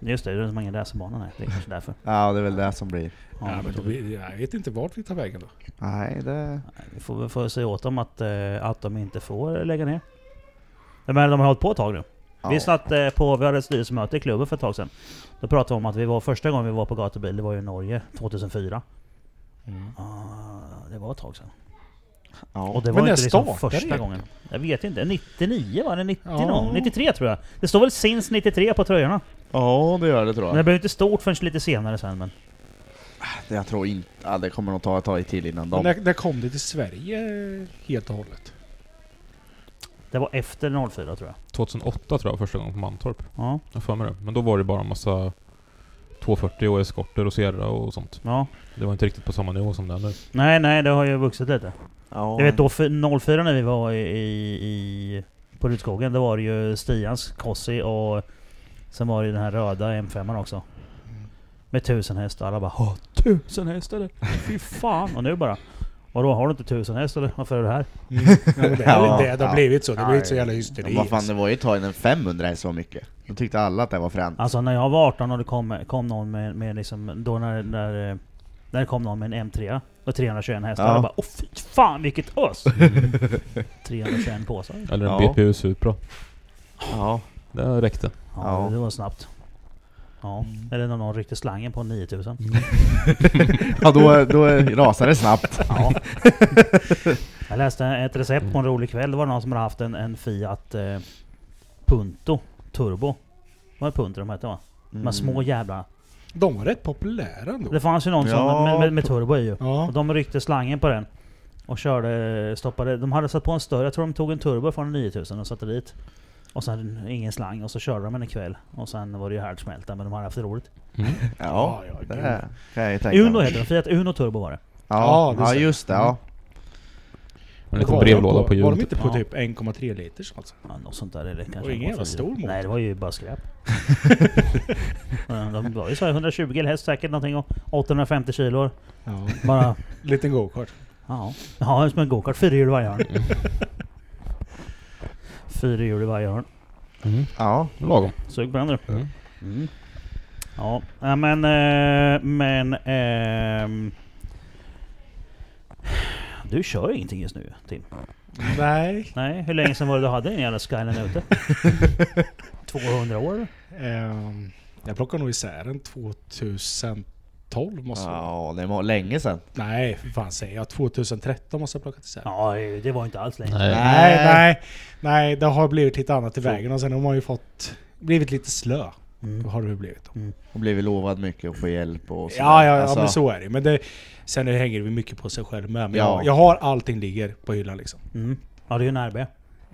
Speaker 3: Just det, det är så många racerbana här. Det är kanske därför.
Speaker 4: Ja, det är väl det som blir.
Speaker 3: Ja,
Speaker 5: Ja, men då, vi- jag vet inte vart vi tar vägen då.
Speaker 4: Nej, det...
Speaker 3: Vi får väl få säga åt dem att, eh, att de inte får lägga ner. Men de har hållit på ett tag nu.
Speaker 4: Ja.
Speaker 3: Vi satt eh, på, vi hade ett styrelsemöte i klubben för ett tag sedan. Då pratade vi om att vi var, första gången vi var på gatubil, det var ju i Norge 2004.
Speaker 5: Mm.
Speaker 3: Ah, det var ett tag sedan.
Speaker 4: Ja.
Speaker 3: Och det
Speaker 5: Men
Speaker 3: var
Speaker 5: när
Speaker 3: inte liksom
Speaker 5: startade
Speaker 3: första
Speaker 5: det?
Speaker 3: gången. Jag vet inte, 99 var det? 90
Speaker 5: Ja.
Speaker 3: någon? 93 tror jag. Det står väl Sins 93 på tröjorna?
Speaker 4: ja, det gör det
Speaker 3: Men
Speaker 4: tror
Speaker 3: det
Speaker 4: jag.
Speaker 3: blev inte stort förrän lite senare sen men...
Speaker 4: Jag tror inte... Ja, det kommer nog ta ett tag till innan
Speaker 5: Men
Speaker 4: de...
Speaker 5: när, när kom det till Sverige helt och hållet?
Speaker 3: Det var efter 04 tror jag.
Speaker 1: 2008 tror jag första gången på Mantorp.
Speaker 3: Ja,
Speaker 1: Jag har för mig det. Men då var det bara en massa 240 och eskorter och Sierra och sånt.
Speaker 3: ja.
Speaker 1: Det var inte riktigt på samma nivå som det är nu.
Speaker 3: Nej, nej, det har ju vuxit lite.
Speaker 4: Ja.
Speaker 3: Jag vet då för 04 när vi var i, i, i på Rudskogen, då var det ju Stians Kossi och sen var det den här röda M5 också.
Speaker 4: Mm.
Speaker 3: Med tusen häst och alla bara "Ha, tusen häst eller? Fy fan! Och nu bara Vadå, har du inte tusen häst eller? Varför är du här?
Speaker 5: Ja, men det
Speaker 4: Ja,
Speaker 5: är väl det det
Speaker 4: ja.
Speaker 5: har blivit så. Det
Speaker 4: Ja,
Speaker 5: har blivit så
Speaker 4: ja.
Speaker 5: jävla
Speaker 4: Men
Speaker 5: hysteri.
Speaker 4: vad fan, det var ju ett tag innan 500 är så mycket. Då tyckte alla att det var fränt.
Speaker 3: Alltså när jag var 18 och det kom, kom någon med, med liksom, då när, när, eh, när det kom någon med en M3 och 321 hästar,
Speaker 4: Ja.
Speaker 3: jag bara åh fy fan vilket ös! 321 påsar.
Speaker 1: Eller en
Speaker 4: Ja.
Speaker 1: BPU Supra.
Speaker 4: Ja.
Speaker 1: Det räckte.
Speaker 3: Ja,
Speaker 4: Ja. Mm.
Speaker 3: det var snabbt. Ja, eller när någon ryckte slangen på 9000.
Speaker 1: Mm.
Speaker 4: Ja, då, då rasade det snabbt.
Speaker 3: Ja. jag läste ett recept på en rolig kväll. Det var någon som hade haft en, en Fiat eh, Punto Turbo. Var det Punto de hette va?
Speaker 5: Mm.
Speaker 3: De här
Speaker 2: Mm.
Speaker 3: små jävlarna.
Speaker 5: De var rätt populära ändå.
Speaker 3: Det fanns ju någon
Speaker 4: Ja,
Speaker 3: som, med, med, med turbo i ju.
Speaker 5: Ja.
Speaker 3: Och de ryckte slangen på den. Och körde, stoppade. De hade satt på en större, jag tror de tog en turbo från 9000 och satte dit. Och sen ingen slang och så körde de den en kväll. Och sen var det ju härdsmälta men de hade haft det roligt.
Speaker 1: Mm.
Speaker 4: Ja, det är- kan jag ju tänka
Speaker 3: Uno
Speaker 4: mig.
Speaker 3: heter den, Fiat Uno Turbo var det.
Speaker 4: Ja,
Speaker 5: Ja, det
Speaker 4: ja
Speaker 5: ser-
Speaker 4: just det. Mm. Ja.
Speaker 1: En liten
Speaker 5: Var de
Speaker 1: brevlåda på
Speaker 5: Var de
Speaker 1: hjulet.
Speaker 5: inte på
Speaker 3: Ja.
Speaker 5: typ 1,3 liters alltså?
Speaker 3: Ja, något sånt där eller kanske...
Speaker 5: Och ingen jävla
Speaker 3: 1,4.
Speaker 5: stor motor.
Speaker 3: Nej, det var ju bara skräp. Ja, de var ju så här 120 häst säkert någonting och 850 kilo.
Speaker 5: Ja.
Speaker 3: Bara...
Speaker 5: Liten go-kart.
Speaker 3: Ja. Ja, som en gokart. Fyra hjul i varje
Speaker 5: Mm.
Speaker 3: hörn. Fyra hjul i varje hörn.
Speaker 1: Mm.
Speaker 4: Ja.
Speaker 1: Lagom.
Speaker 3: Sug på den du.
Speaker 1: Mm.
Speaker 3: Mm. Ja, ja, men... eh, men ehm, du kör ju ingenting just nu Tim.
Speaker 5: Nej.
Speaker 3: Nej, hur länge sedan var det du hade den jävla skyline ute? 200 år?
Speaker 5: ehm, jag plockade nog isär den 2012 måste jag.
Speaker 4: ja, det var länge sedan.
Speaker 5: Nej, för fan säger jag. 2013 måste jag plocka isär.
Speaker 3: Ja, det var inte alls länge sedan.
Speaker 1: Nej.
Speaker 5: Nej, nej. Nej, det har blivit lite annat i vägen och sen har man ju fått... Blivit lite slö.
Speaker 3: Mm.
Speaker 5: Har det ju blivit.
Speaker 4: Och blivit lovad mycket och få hjälp och så.
Speaker 5: Ja, ja,
Speaker 4: Alltså,
Speaker 5: ja men så är det Men det, sen det hänger det mycket på sig själv med. Men
Speaker 4: Ja.
Speaker 5: jag, jag har allting ligger på hyllan liksom.
Speaker 3: Mm. Ja, det är ju en RB.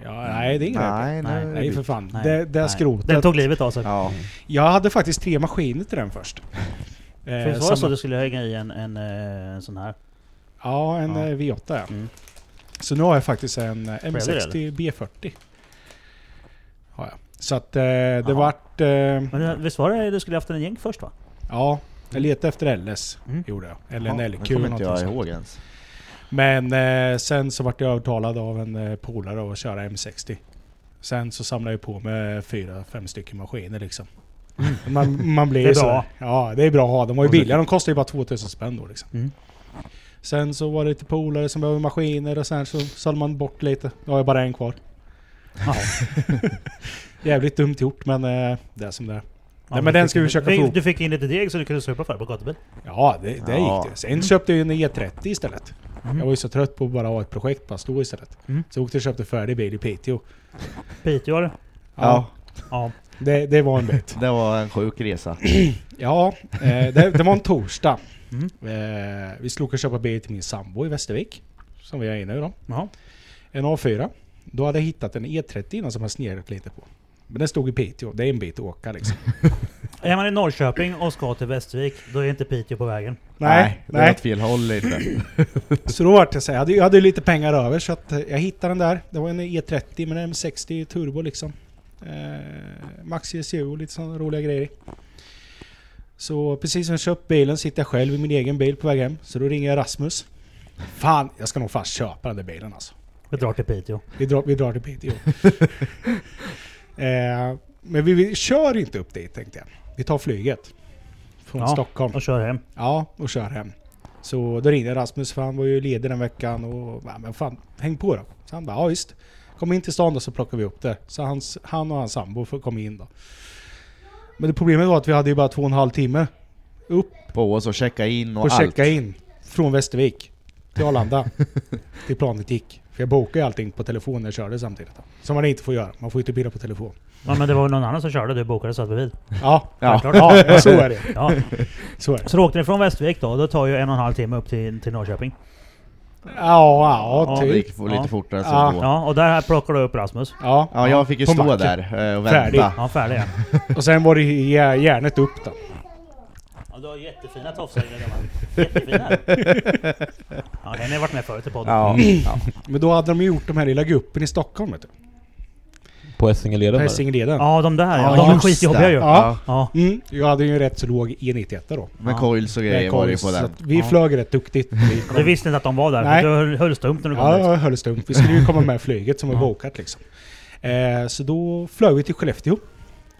Speaker 5: Ja, nej, det är inget öppet.
Speaker 4: Mm. Nej, nej,
Speaker 3: Nej,
Speaker 5: Nej för fan. det det
Speaker 3: nej.
Speaker 5: skrotet.
Speaker 3: Den tog livet av sig.
Speaker 4: Ja.
Speaker 5: Jag hade faktiskt tre maskiner till den först. Eh,
Speaker 3: För det var så
Speaker 5: samma-
Speaker 3: du skulle hänga i en, en, eh, en sån här?
Speaker 5: Ja, en
Speaker 3: Ja.
Speaker 5: eh, V8 ja.
Speaker 3: Mm.
Speaker 5: Så nu har jag faktiskt en eh,
Speaker 3: Breddar
Speaker 5: M60 B40. Har jag. Så att eh, det
Speaker 3: Jaha.
Speaker 5: vart... Eh,
Speaker 3: Men eh, visst var det du skulle haft en gäng först va?
Speaker 5: ja, jag letade efter LS.
Speaker 3: Mm.
Speaker 5: Gjorde jag. Eller
Speaker 4: Ja,
Speaker 5: en
Speaker 4: det
Speaker 5: LQ.
Speaker 4: kommer inte
Speaker 5: någonting
Speaker 4: jag
Speaker 5: sånt.
Speaker 4: ihåg ens.
Speaker 5: Men eh, sen så vart jag övertalad av en eh, polare att köra M60. Sen så samlade jag på med fyra, fem stycken maskiner liksom. Man, man blir
Speaker 3: Mm. Det är
Speaker 5: ju så-
Speaker 3: bra.
Speaker 5: Ja, det är bra att ha. De var ju
Speaker 1: Och så-
Speaker 5: billiga. De kostade ju bara 2000 spänn då liksom.
Speaker 3: Mm.
Speaker 5: Sen så var det lite polare som behövde maskiner och sen så sålde man bort lite. Då har jag bara en kvar.
Speaker 3: Ja.
Speaker 5: Jävligt dumt gjort men eh, det är som det är.
Speaker 3: du
Speaker 5: Nej, men den
Speaker 3: fick
Speaker 5: ska vi
Speaker 3: in-
Speaker 5: försöka
Speaker 3: du-
Speaker 5: få ihop.
Speaker 3: Du fick in lite deg så du kunde supa för på gatubil?
Speaker 5: Ja, det, det
Speaker 4: Ja.
Speaker 5: gick det. Sen köpte jag ju en E30 istället.
Speaker 3: Mm.
Speaker 5: Jag var ju så trött på att bara ha ett projekt, bara stå istället.
Speaker 3: Mm.
Speaker 5: Så jag åkte och köpte färdig bil i Piteå.
Speaker 3: Piteå eller?
Speaker 4: Ja,
Speaker 3: Ja.
Speaker 5: Det, det var en bit.
Speaker 4: det var en sjuk resa.
Speaker 5: Ja, eh, det, det var en torsdag.
Speaker 3: Mm.
Speaker 5: Eh, vi slog och köpa bil till min sambo i Västervik. Som vi är inne i då.
Speaker 3: Jaha.
Speaker 5: En A4. Då hade jag hittat en E30 innan som jag snerat lite på. Men den stod i Piteå. Det är en bit att åka liksom.
Speaker 3: Är man i Norrköping och ska till Västervik, då är inte Piteå på vägen.
Speaker 5: Nej,
Speaker 4: Det var
Speaker 5: nej.
Speaker 4: åt fel håll lite.
Speaker 5: Så då vart jag så här, jag hade, jag hade ju lite pengar över så att eh, jag hittade den där. Det var en E30 med en M60 turbo liksom. Eh, Max CSU och lite sådana roliga grejer. Så precis som jag köpt bilen sitter jag själv i min egen bil på väg hem. Så då ringer jag Rasmus. Fan, jag ska nog fan köpa den där bilen alltså.
Speaker 3: Vi drar till Piteå.
Speaker 5: Vi drar, vi drar till Piteå. eh, men vi, vi kör inte upp dit tänkte jag. Vi tar flyget. Från
Speaker 3: Ja,
Speaker 5: Stockholm.
Speaker 3: Och kör hem.
Speaker 5: Ja, och kör hem. Så då ringde Rasmus för han var ju ledig den veckan och ja, men fan, häng på då. Så han bara, ja visst. Kom in till stan då så plockar vi upp det. Så hans, han och hans sambo får komma in då. Men det problemet var att vi hade ju bara två och en halv timme upp
Speaker 4: På oss och checka in och,
Speaker 5: på att
Speaker 4: allt.
Speaker 5: checka in. Från Västervik till Arlanda. till planet gick. För jag bokade ju allting på telefon när jag körde samtidigt. Då. Som man inte får göra. Man får ju inte pilla på telefon.
Speaker 3: Ja, men det var ju någon annan som körde, du bokade så att vi vid.
Speaker 5: Ja,
Speaker 4: Ja.
Speaker 3: Självklart.
Speaker 5: ja, så är det.
Speaker 3: Ja.
Speaker 5: Så är det.
Speaker 3: Så då åkte ni från Västervik då, och det tar ju en och en halv timme upp till, till Norrköping.
Speaker 5: Ja, ja,
Speaker 3: Ja,
Speaker 4: Det
Speaker 5: typ.
Speaker 4: gick lite
Speaker 3: Ja.
Speaker 4: fortare så
Speaker 5: Ja.
Speaker 4: då.
Speaker 3: Ja, och där plockade du upp Rasmus.
Speaker 5: Ja,
Speaker 4: Ja, jag fick ju
Speaker 5: På
Speaker 4: stå
Speaker 5: macken.
Speaker 4: där eh, och
Speaker 5: Färdig.
Speaker 4: vänta.
Speaker 3: Ja, färdig ja.
Speaker 5: Och sen var det ju jär- järnet upp då.
Speaker 3: ja du har jättefina tofsar i Jättefina. Ja, den har varit med förut i podden. Mm.
Speaker 4: Ja. Mm.
Speaker 5: Men då hade de ju gjort de här lilla gruppen i Stockholm vet du.
Speaker 1: På Essingeleden där.
Speaker 5: Essingeleden.
Speaker 3: Ja, de där
Speaker 4: Ja,
Speaker 3: ja. De är
Speaker 4: just
Speaker 3: skitjobbiga
Speaker 4: det.
Speaker 3: ju.
Speaker 5: Ja.
Speaker 3: Ja.
Speaker 5: Mm, jag hade ju en rätt så låg E91 då.
Speaker 4: Med
Speaker 3: Ja.
Speaker 4: coils och grejer var det ju på
Speaker 5: Så
Speaker 4: den.
Speaker 5: att vi
Speaker 3: Ja.
Speaker 5: flög rätt duktigt. Vi
Speaker 3: Du
Speaker 5: kom-
Speaker 3: visste inte att de var där?
Speaker 5: Nej.
Speaker 3: Nej. Du höll- höll stumt när du kom
Speaker 5: Ja,
Speaker 3: dit.
Speaker 5: jag höll stumt. Vi skulle ju komma med flyget som var
Speaker 3: Ja.
Speaker 5: bokat liksom. Eh, så då flög vi till Skellefteå.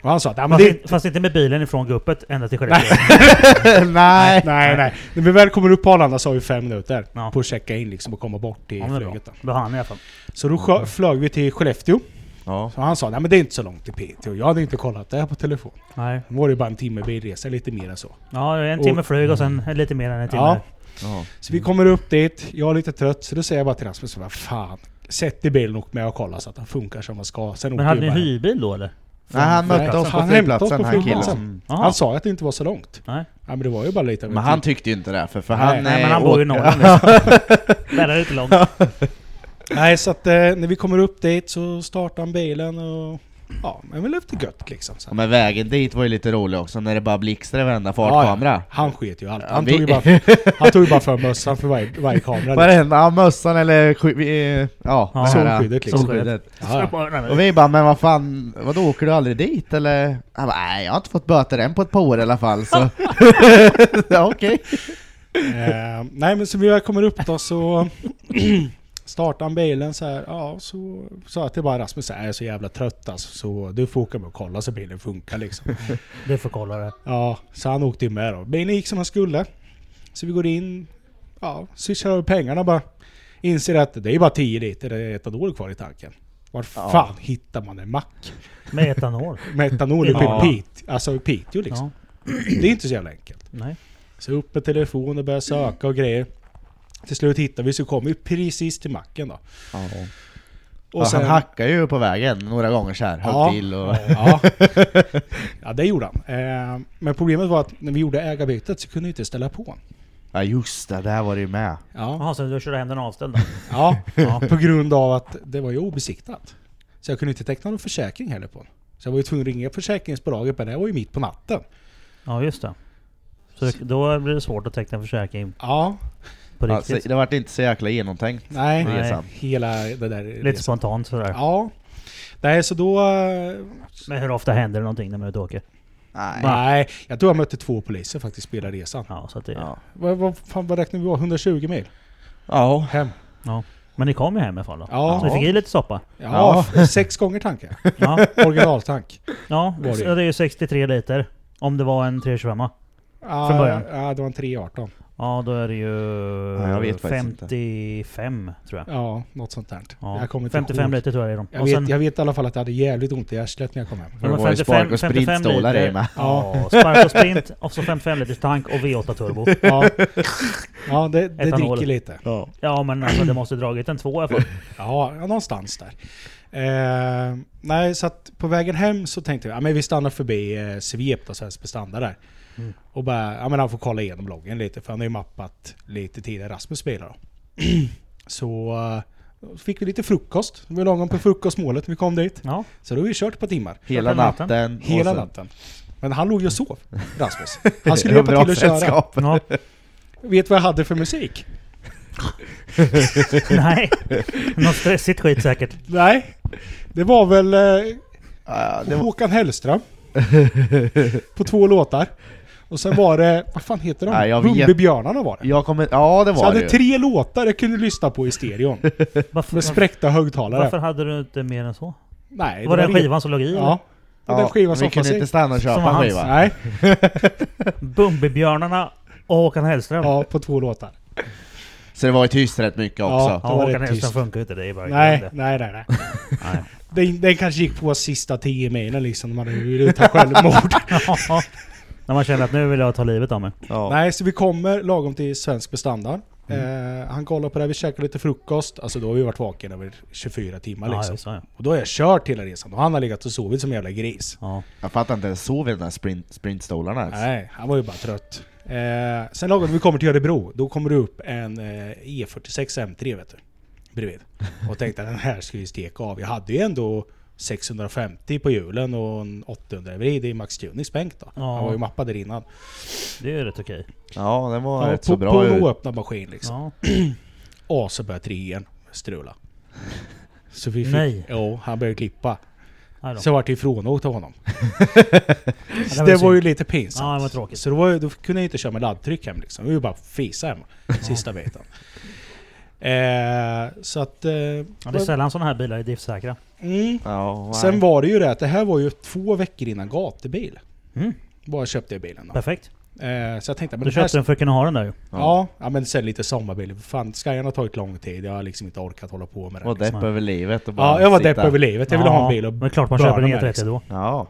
Speaker 5: Och han sa att "Ja, men
Speaker 3: Fast,
Speaker 5: det...
Speaker 3: inte, fast inte med bilen ifrån guppet ända till Skellefteå.
Speaker 4: Nej!
Speaker 5: Nej, nej. När vi väl kommer upp på Arlanda så har vi fem minuter
Speaker 3: Ja.
Speaker 5: på att checka in liksom och komma bort till
Speaker 3: Ja, men det är bra.
Speaker 5: flyget. Då.
Speaker 3: Då hann i alla fall.
Speaker 5: Så då sjö- flög vi till Skellefteå.
Speaker 4: Ja.
Speaker 5: Så han sa att det är inte så långt till Piteå. Jag hade inte kollat det här på telefon.
Speaker 3: Nej.
Speaker 5: Det var det bara en timme bilresa, lite mer än så.
Speaker 3: Ja, det är en timme flyg och sen lite mer än en timme.
Speaker 5: Ja.
Speaker 4: Ja.
Speaker 5: Så vi kommer upp dit, jag är lite trött, så då säger jag bara till Rasmus, vad fan. Sätt i bilen och åk med och kolla så att den funkar som den ska. Sen åker
Speaker 3: Men hade
Speaker 5: vi
Speaker 3: ni
Speaker 5: bara hem.
Speaker 3: hyrbil då eller?
Speaker 4: Nej, han mötte oss på
Speaker 5: Han hämtade oss på
Speaker 4: flygplatsen, han
Speaker 5: flygplatsen.
Speaker 4: killen.
Speaker 3: Jaha.
Speaker 5: Han sa ju att det inte var så långt.
Speaker 3: Nej.
Speaker 5: Ja, men det var ju bara lite av en
Speaker 4: Men han tyckte ju inte det, för, för
Speaker 5: Nej,
Speaker 4: han...
Speaker 3: Nej,
Speaker 4: eh,
Speaker 3: men han bor ju i
Speaker 4: åkte-
Speaker 3: Norrland. Där är det inte långt.
Speaker 5: tid. Nej, så att eh, när vi kommer upp dit så startar han bilen och... Ja, men väl efter gött liksom. Så
Speaker 4: Ja,
Speaker 5: att,
Speaker 4: men vägen dit var ju lite rolig också, när det bara blixtrade i varenda fartkamera.
Speaker 5: han sket ju allt.
Speaker 4: Ja,
Speaker 5: Han
Speaker 4: vi-
Speaker 5: tog ju bara, han tog ju bara för mössan för varje, varje kamera. liksom.
Speaker 4: Varenda, ja, mössan eller sky- vi- eh, ja,
Speaker 3: Ja.
Speaker 4: det här,
Speaker 5: Solskyddet liksom.
Speaker 4: solskyddet.
Speaker 5: Ja, ja.
Speaker 4: Och vi bara, men vad fan, vadå åker du aldrig dit eller? Han bara, nej jag har inte fått böter än på ett par år i alla fall så... ja, okej.
Speaker 5: Eh, nej men så vi väl kommer upp då så startar han bilen så här. Ja, så sa jag till bara Rasmus så här, jag är så jävla trött alltså, så du får åka med och kolla så bilen funkar liksom.
Speaker 3: Du får kolla det.
Speaker 5: Ja, så han åkte ju med då. Bilen gick som han skulle. Så vi går in, ja, swishar över pengarna bara. Inser att det är bara 10 liter etanol kvar i tanken. Var
Speaker 4: Ja.
Speaker 5: fan hittar man en mack
Speaker 3: Med etanol.
Speaker 5: med etanol i
Speaker 4: Ja.
Speaker 5: Pite- alltså i Piteå liksom?
Speaker 3: Ja.
Speaker 5: Det är inte så jävla enkelt.
Speaker 3: Nej.
Speaker 5: Så upp med telefonen och började söka och grejer. Till slut hittade vi så kom vi precis till macken då.
Speaker 4: Och sen, han hackar ju på vägen några gånger så här, höll
Speaker 5: Ja.
Speaker 4: till och...
Speaker 5: Ja. ja, det gjorde han. Eh, Men problemet var att när vi gjorde ägarbytet så kunde vi inte ställa på honom.
Speaker 4: Ja just det, där var det ju med.
Speaker 5: Ja.
Speaker 3: Jaha, så du körde hem den avställd då?
Speaker 5: Ja.
Speaker 3: Ja.
Speaker 5: På grund av att det var ju obesiktat. Så jag kunde inte teckna någon försäkring heller på honom. Så jag var ju tvungen att ringa försäkringsbolaget men det var ju mitt på natten.
Speaker 3: Ja, just det. Så det- då blir det svårt att teckna försäkring
Speaker 5: Ja,
Speaker 4: Ja,
Speaker 3: på
Speaker 4: så,
Speaker 3: riktigt.
Speaker 4: Alltså, det vart inte så jäkla genomtänkt.
Speaker 5: nej.
Speaker 3: Nej.
Speaker 4: Resan.
Speaker 5: Hela det där...
Speaker 3: Lite spontant sådär.
Speaker 5: Ja. Nej, så då... eh,
Speaker 3: Men hur ofta händer det någonting när man är ute och åker?
Speaker 4: Nej.
Speaker 5: Nej, jag tror jag mötte två poliser faktiskt på hela resan.
Speaker 3: Ja, så att det,
Speaker 4: Ja.
Speaker 5: Vad, vad, fan, vad räknar vi var? 120 mil?
Speaker 4: Ja.
Speaker 5: Hem?
Speaker 3: Men ni kom ju hem i alla fall då?
Speaker 5: Ja.
Speaker 3: Så ni fick i lite soppa?
Speaker 5: Ja, sex gånger tanken.
Speaker 3: Ja,
Speaker 5: Originaltank.
Speaker 3: ja
Speaker 5: Var det?
Speaker 3: så det är ju 63 liter. Om det var en 325
Speaker 5: Ja,
Speaker 3: Från början.
Speaker 5: Ja, det var en 318.
Speaker 3: Ja, då är det ju
Speaker 4: Ja, jag vet faktiskt inte.
Speaker 3: 55 tror jag.
Speaker 5: Ja, något sånt där.
Speaker 3: Ja.
Speaker 5: Jag kommer inte
Speaker 3: 55
Speaker 5: ihåg.
Speaker 3: liter tror jag det är de.
Speaker 5: Jag
Speaker 3: Och
Speaker 5: vet,
Speaker 3: sen-
Speaker 5: jag vet i alla fall att jag hade jävligt ont i arslet när jag kom hem.
Speaker 4: För det var ju spark och
Speaker 3: 55
Speaker 4: sprintstålar
Speaker 3: liter.
Speaker 4: i med.
Speaker 5: Ja.
Speaker 3: Ja, spark och sprint, och så 55 liters tank och V8 turbo.
Speaker 5: Ja, ja det, det
Speaker 3: Etanol.
Speaker 5: dricker lite.
Speaker 4: Ja.
Speaker 3: Ja men alltså det måste dragit en två i alla fall.
Speaker 5: Ja, ja, någonstans där. Eh, nej, så att på vägen hem så tänkte jag, ja, men vi stannar förbi eh, Svep då, Svensk Bestanda där.
Speaker 3: Mm.
Speaker 5: Och bara, ja men han får kolla igenom loggen lite, för han har ju mappat lite tidigare Rasmus bilar då. så eh, fick vi lite frukost, vi var lagom på frukostmålet när vi kom dit.
Speaker 3: Ja,
Speaker 5: Så då har vi kört på timmar.
Speaker 4: Hela
Speaker 3: Hela natten.
Speaker 4: natten. och
Speaker 5: Hela
Speaker 4: sen-
Speaker 5: natten. Men han låg ju och sov, Rasmus. Han skulle
Speaker 4: Bra
Speaker 5: hjälpa till att köra.
Speaker 4: sällskap.
Speaker 3: ja.
Speaker 5: Vet vad jag hade för musik?
Speaker 3: Nej. Något stressigt skit säkert.
Speaker 5: Nej, det var väl eh,
Speaker 4: Ja, det
Speaker 5: det
Speaker 4: var-
Speaker 5: Håkan Hellström. på två låtar. Och sen var det, vad fan heter de?
Speaker 4: Nej, jag vet.
Speaker 5: Bumbibjörnarna var det.
Speaker 4: Jag kommer... Ja det
Speaker 5: Så jag
Speaker 4: var det
Speaker 5: hade
Speaker 4: ju.
Speaker 5: tre låtar jag kunde lyssna på i stereon.
Speaker 3: Varför,
Speaker 5: Med spräckta högtalare.
Speaker 3: varför hade du inte mer än så?
Speaker 5: Nej,
Speaker 3: var det
Speaker 5: var
Speaker 3: den skivan som låg i?
Speaker 5: Ja. Det var den
Speaker 4: Ja,
Speaker 5: skivan som
Speaker 4: vi kunde
Speaker 5: fanns
Speaker 4: inte
Speaker 5: i.
Speaker 4: stanna och
Speaker 3: Som
Speaker 4: köpa
Speaker 3: var
Speaker 4: en
Speaker 3: hans.
Speaker 4: skiva.
Speaker 5: Nej,
Speaker 3: Bumbibjörnarna och Håkan Hellström.
Speaker 5: ja, på två låtar.
Speaker 4: Så det var ju tyst rätt mycket
Speaker 5: Ja.
Speaker 4: också.
Speaker 3: Ja,
Speaker 5: då var det
Speaker 3: Håkan Hellström
Speaker 5: tyst.
Speaker 3: funkar ju inte, det är bara
Speaker 5: Nej,
Speaker 3: det.
Speaker 5: nej, nej, nej.
Speaker 3: Nej.
Speaker 5: Den, den kanske gick på sista 10 milen liksom, när man ville ta självmord.
Speaker 3: Ja. När man känner att nu vill jag ta livet av mig.
Speaker 4: Ja.
Speaker 5: Nej, så vi kommer lagom till svensk bestandard.
Speaker 4: Mm.
Speaker 5: Eh, han kollar på det, här, vi käkar lite frukost. Alltså då har vi varit vaken över 24 timmar
Speaker 3: Ja,
Speaker 5: liksom.
Speaker 3: just det, ja.
Speaker 5: Och då har jag kört hela resan och han har legat och sovit som en jävla gris.
Speaker 3: Ja.
Speaker 4: Jag fattar inte, jag sov i de där sprint, sprintstolarna
Speaker 2: Alltså.
Speaker 4: ens.
Speaker 5: Nej, han var ju bara trött. Eh, sen lagom när vi kommer till Örebro, då kommer det upp en eh, E46 M3 vet du. Bredvid. Och tänkte den här ska vi steka av. Jag hade ju ändå 650 på hjulen och en 800 vrid i Max Tuning spänkt då.
Speaker 3: Ja.
Speaker 5: Han var ju mappad där innan.
Speaker 3: Det är ju rätt okej.
Speaker 4: Ja, den var
Speaker 5: Ja,
Speaker 4: rätt
Speaker 5: på,
Speaker 4: så
Speaker 5: på
Speaker 4: bra
Speaker 5: en
Speaker 4: ut.
Speaker 5: oöppnad maskin liksom.
Speaker 3: Ja.
Speaker 5: Och så började trean strula. Så vi fick...
Speaker 3: Nej.
Speaker 5: Jo, han började klippa.
Speaker 3: Nej då.
Speaker 5: Så jag vart ju ifrånåkt av honom.
Speaker 3: Ja,
Speaker 5: Så det var ju
Speaker 3: synd.
Speaker 5: lite pinsamt.
Speaker 3: Ja, det var tråkigt.
Speaker 5: Så då, var, ju- då kunde jag inte köra med laddtryck hem liksom. Vi var ju bara fisa hemma. Sista biten. Eh, så att... Eh,
Speaker 3: Ja, det är sällan sådana här bilar är driftsäkra.
Speaker 5: mm.
Speaker 4: Ja, nej.
Speaker 5: Sen var det ju det att det här var ju två veckor innan gatubil.
Speaker 3: Mm.
Speaker 5: Bara köpte jag bilen då.
Speaker 3: Perfekt.
Speaker 5: Eh, så jag tänkte... Men
Speaker 3: Du
Speaker 5: den här-
Speaker 3: köpte den för att kunna ha den där ju.
Speaker 5: Ja. ja, men sen lite sommarbil. Fan, Skyan har tagit lång tid. Jag har liksom inte orkat hålla på med den.
Speaker 4: var depp
Speaker 3: liksom.
Speaker 4: över livet och bara
Speaker 5: Ja, jag var
Speaker 4: sitta.
Speaker 5: depp över livet. Jag ville ha en bil och
Speaker 3: Men klart man
Speaker 5: börna
Speaker 3: köper en
Speaker 5: med,
Speaker 3: E30
Speaker 5: liksom.
Speaker 3: då.
Speaker 4: Ja.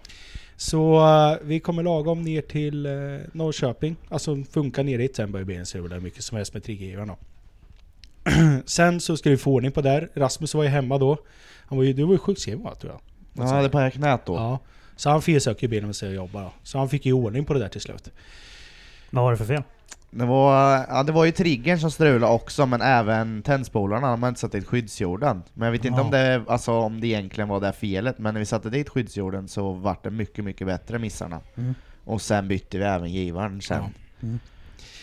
Speaker 5: Så eh, vi kommer lagom ner till eh, Norrköping. Alltså funkar ner dit, sen börjar bilen strula hur mycket som helst med triggergivaren då. Sen så ska vi få ordning på där. Rasmus var ju hemma då. Han var ju, du var ju sjukskriven va, tror jag?
Speaker 4: Han hade pajat knät då.
Speaker 5: Ja. Så han felsöker ju bilen och säger jobba då. Så han fick ju ordning på det där till slut.
Speaker 3: Vad var det för fel?
Speaker 4: Det, var, ja, det var ju triggern som strulade också, men även tändspolarna. De hade inte satt dit skyddsjorden. Men jag vet inte
Speaker 3: Ja.
Speaker 4: om, det, alltså, om det egentligen var det felet, men när vi satte dit skyddsjorden så vart det mycket, mycket bättre missarna.
Speaker 3: Mm.
Speaker 4: Och sen bytte vi även givaren sen.
Speaker 3: Ja. Mm.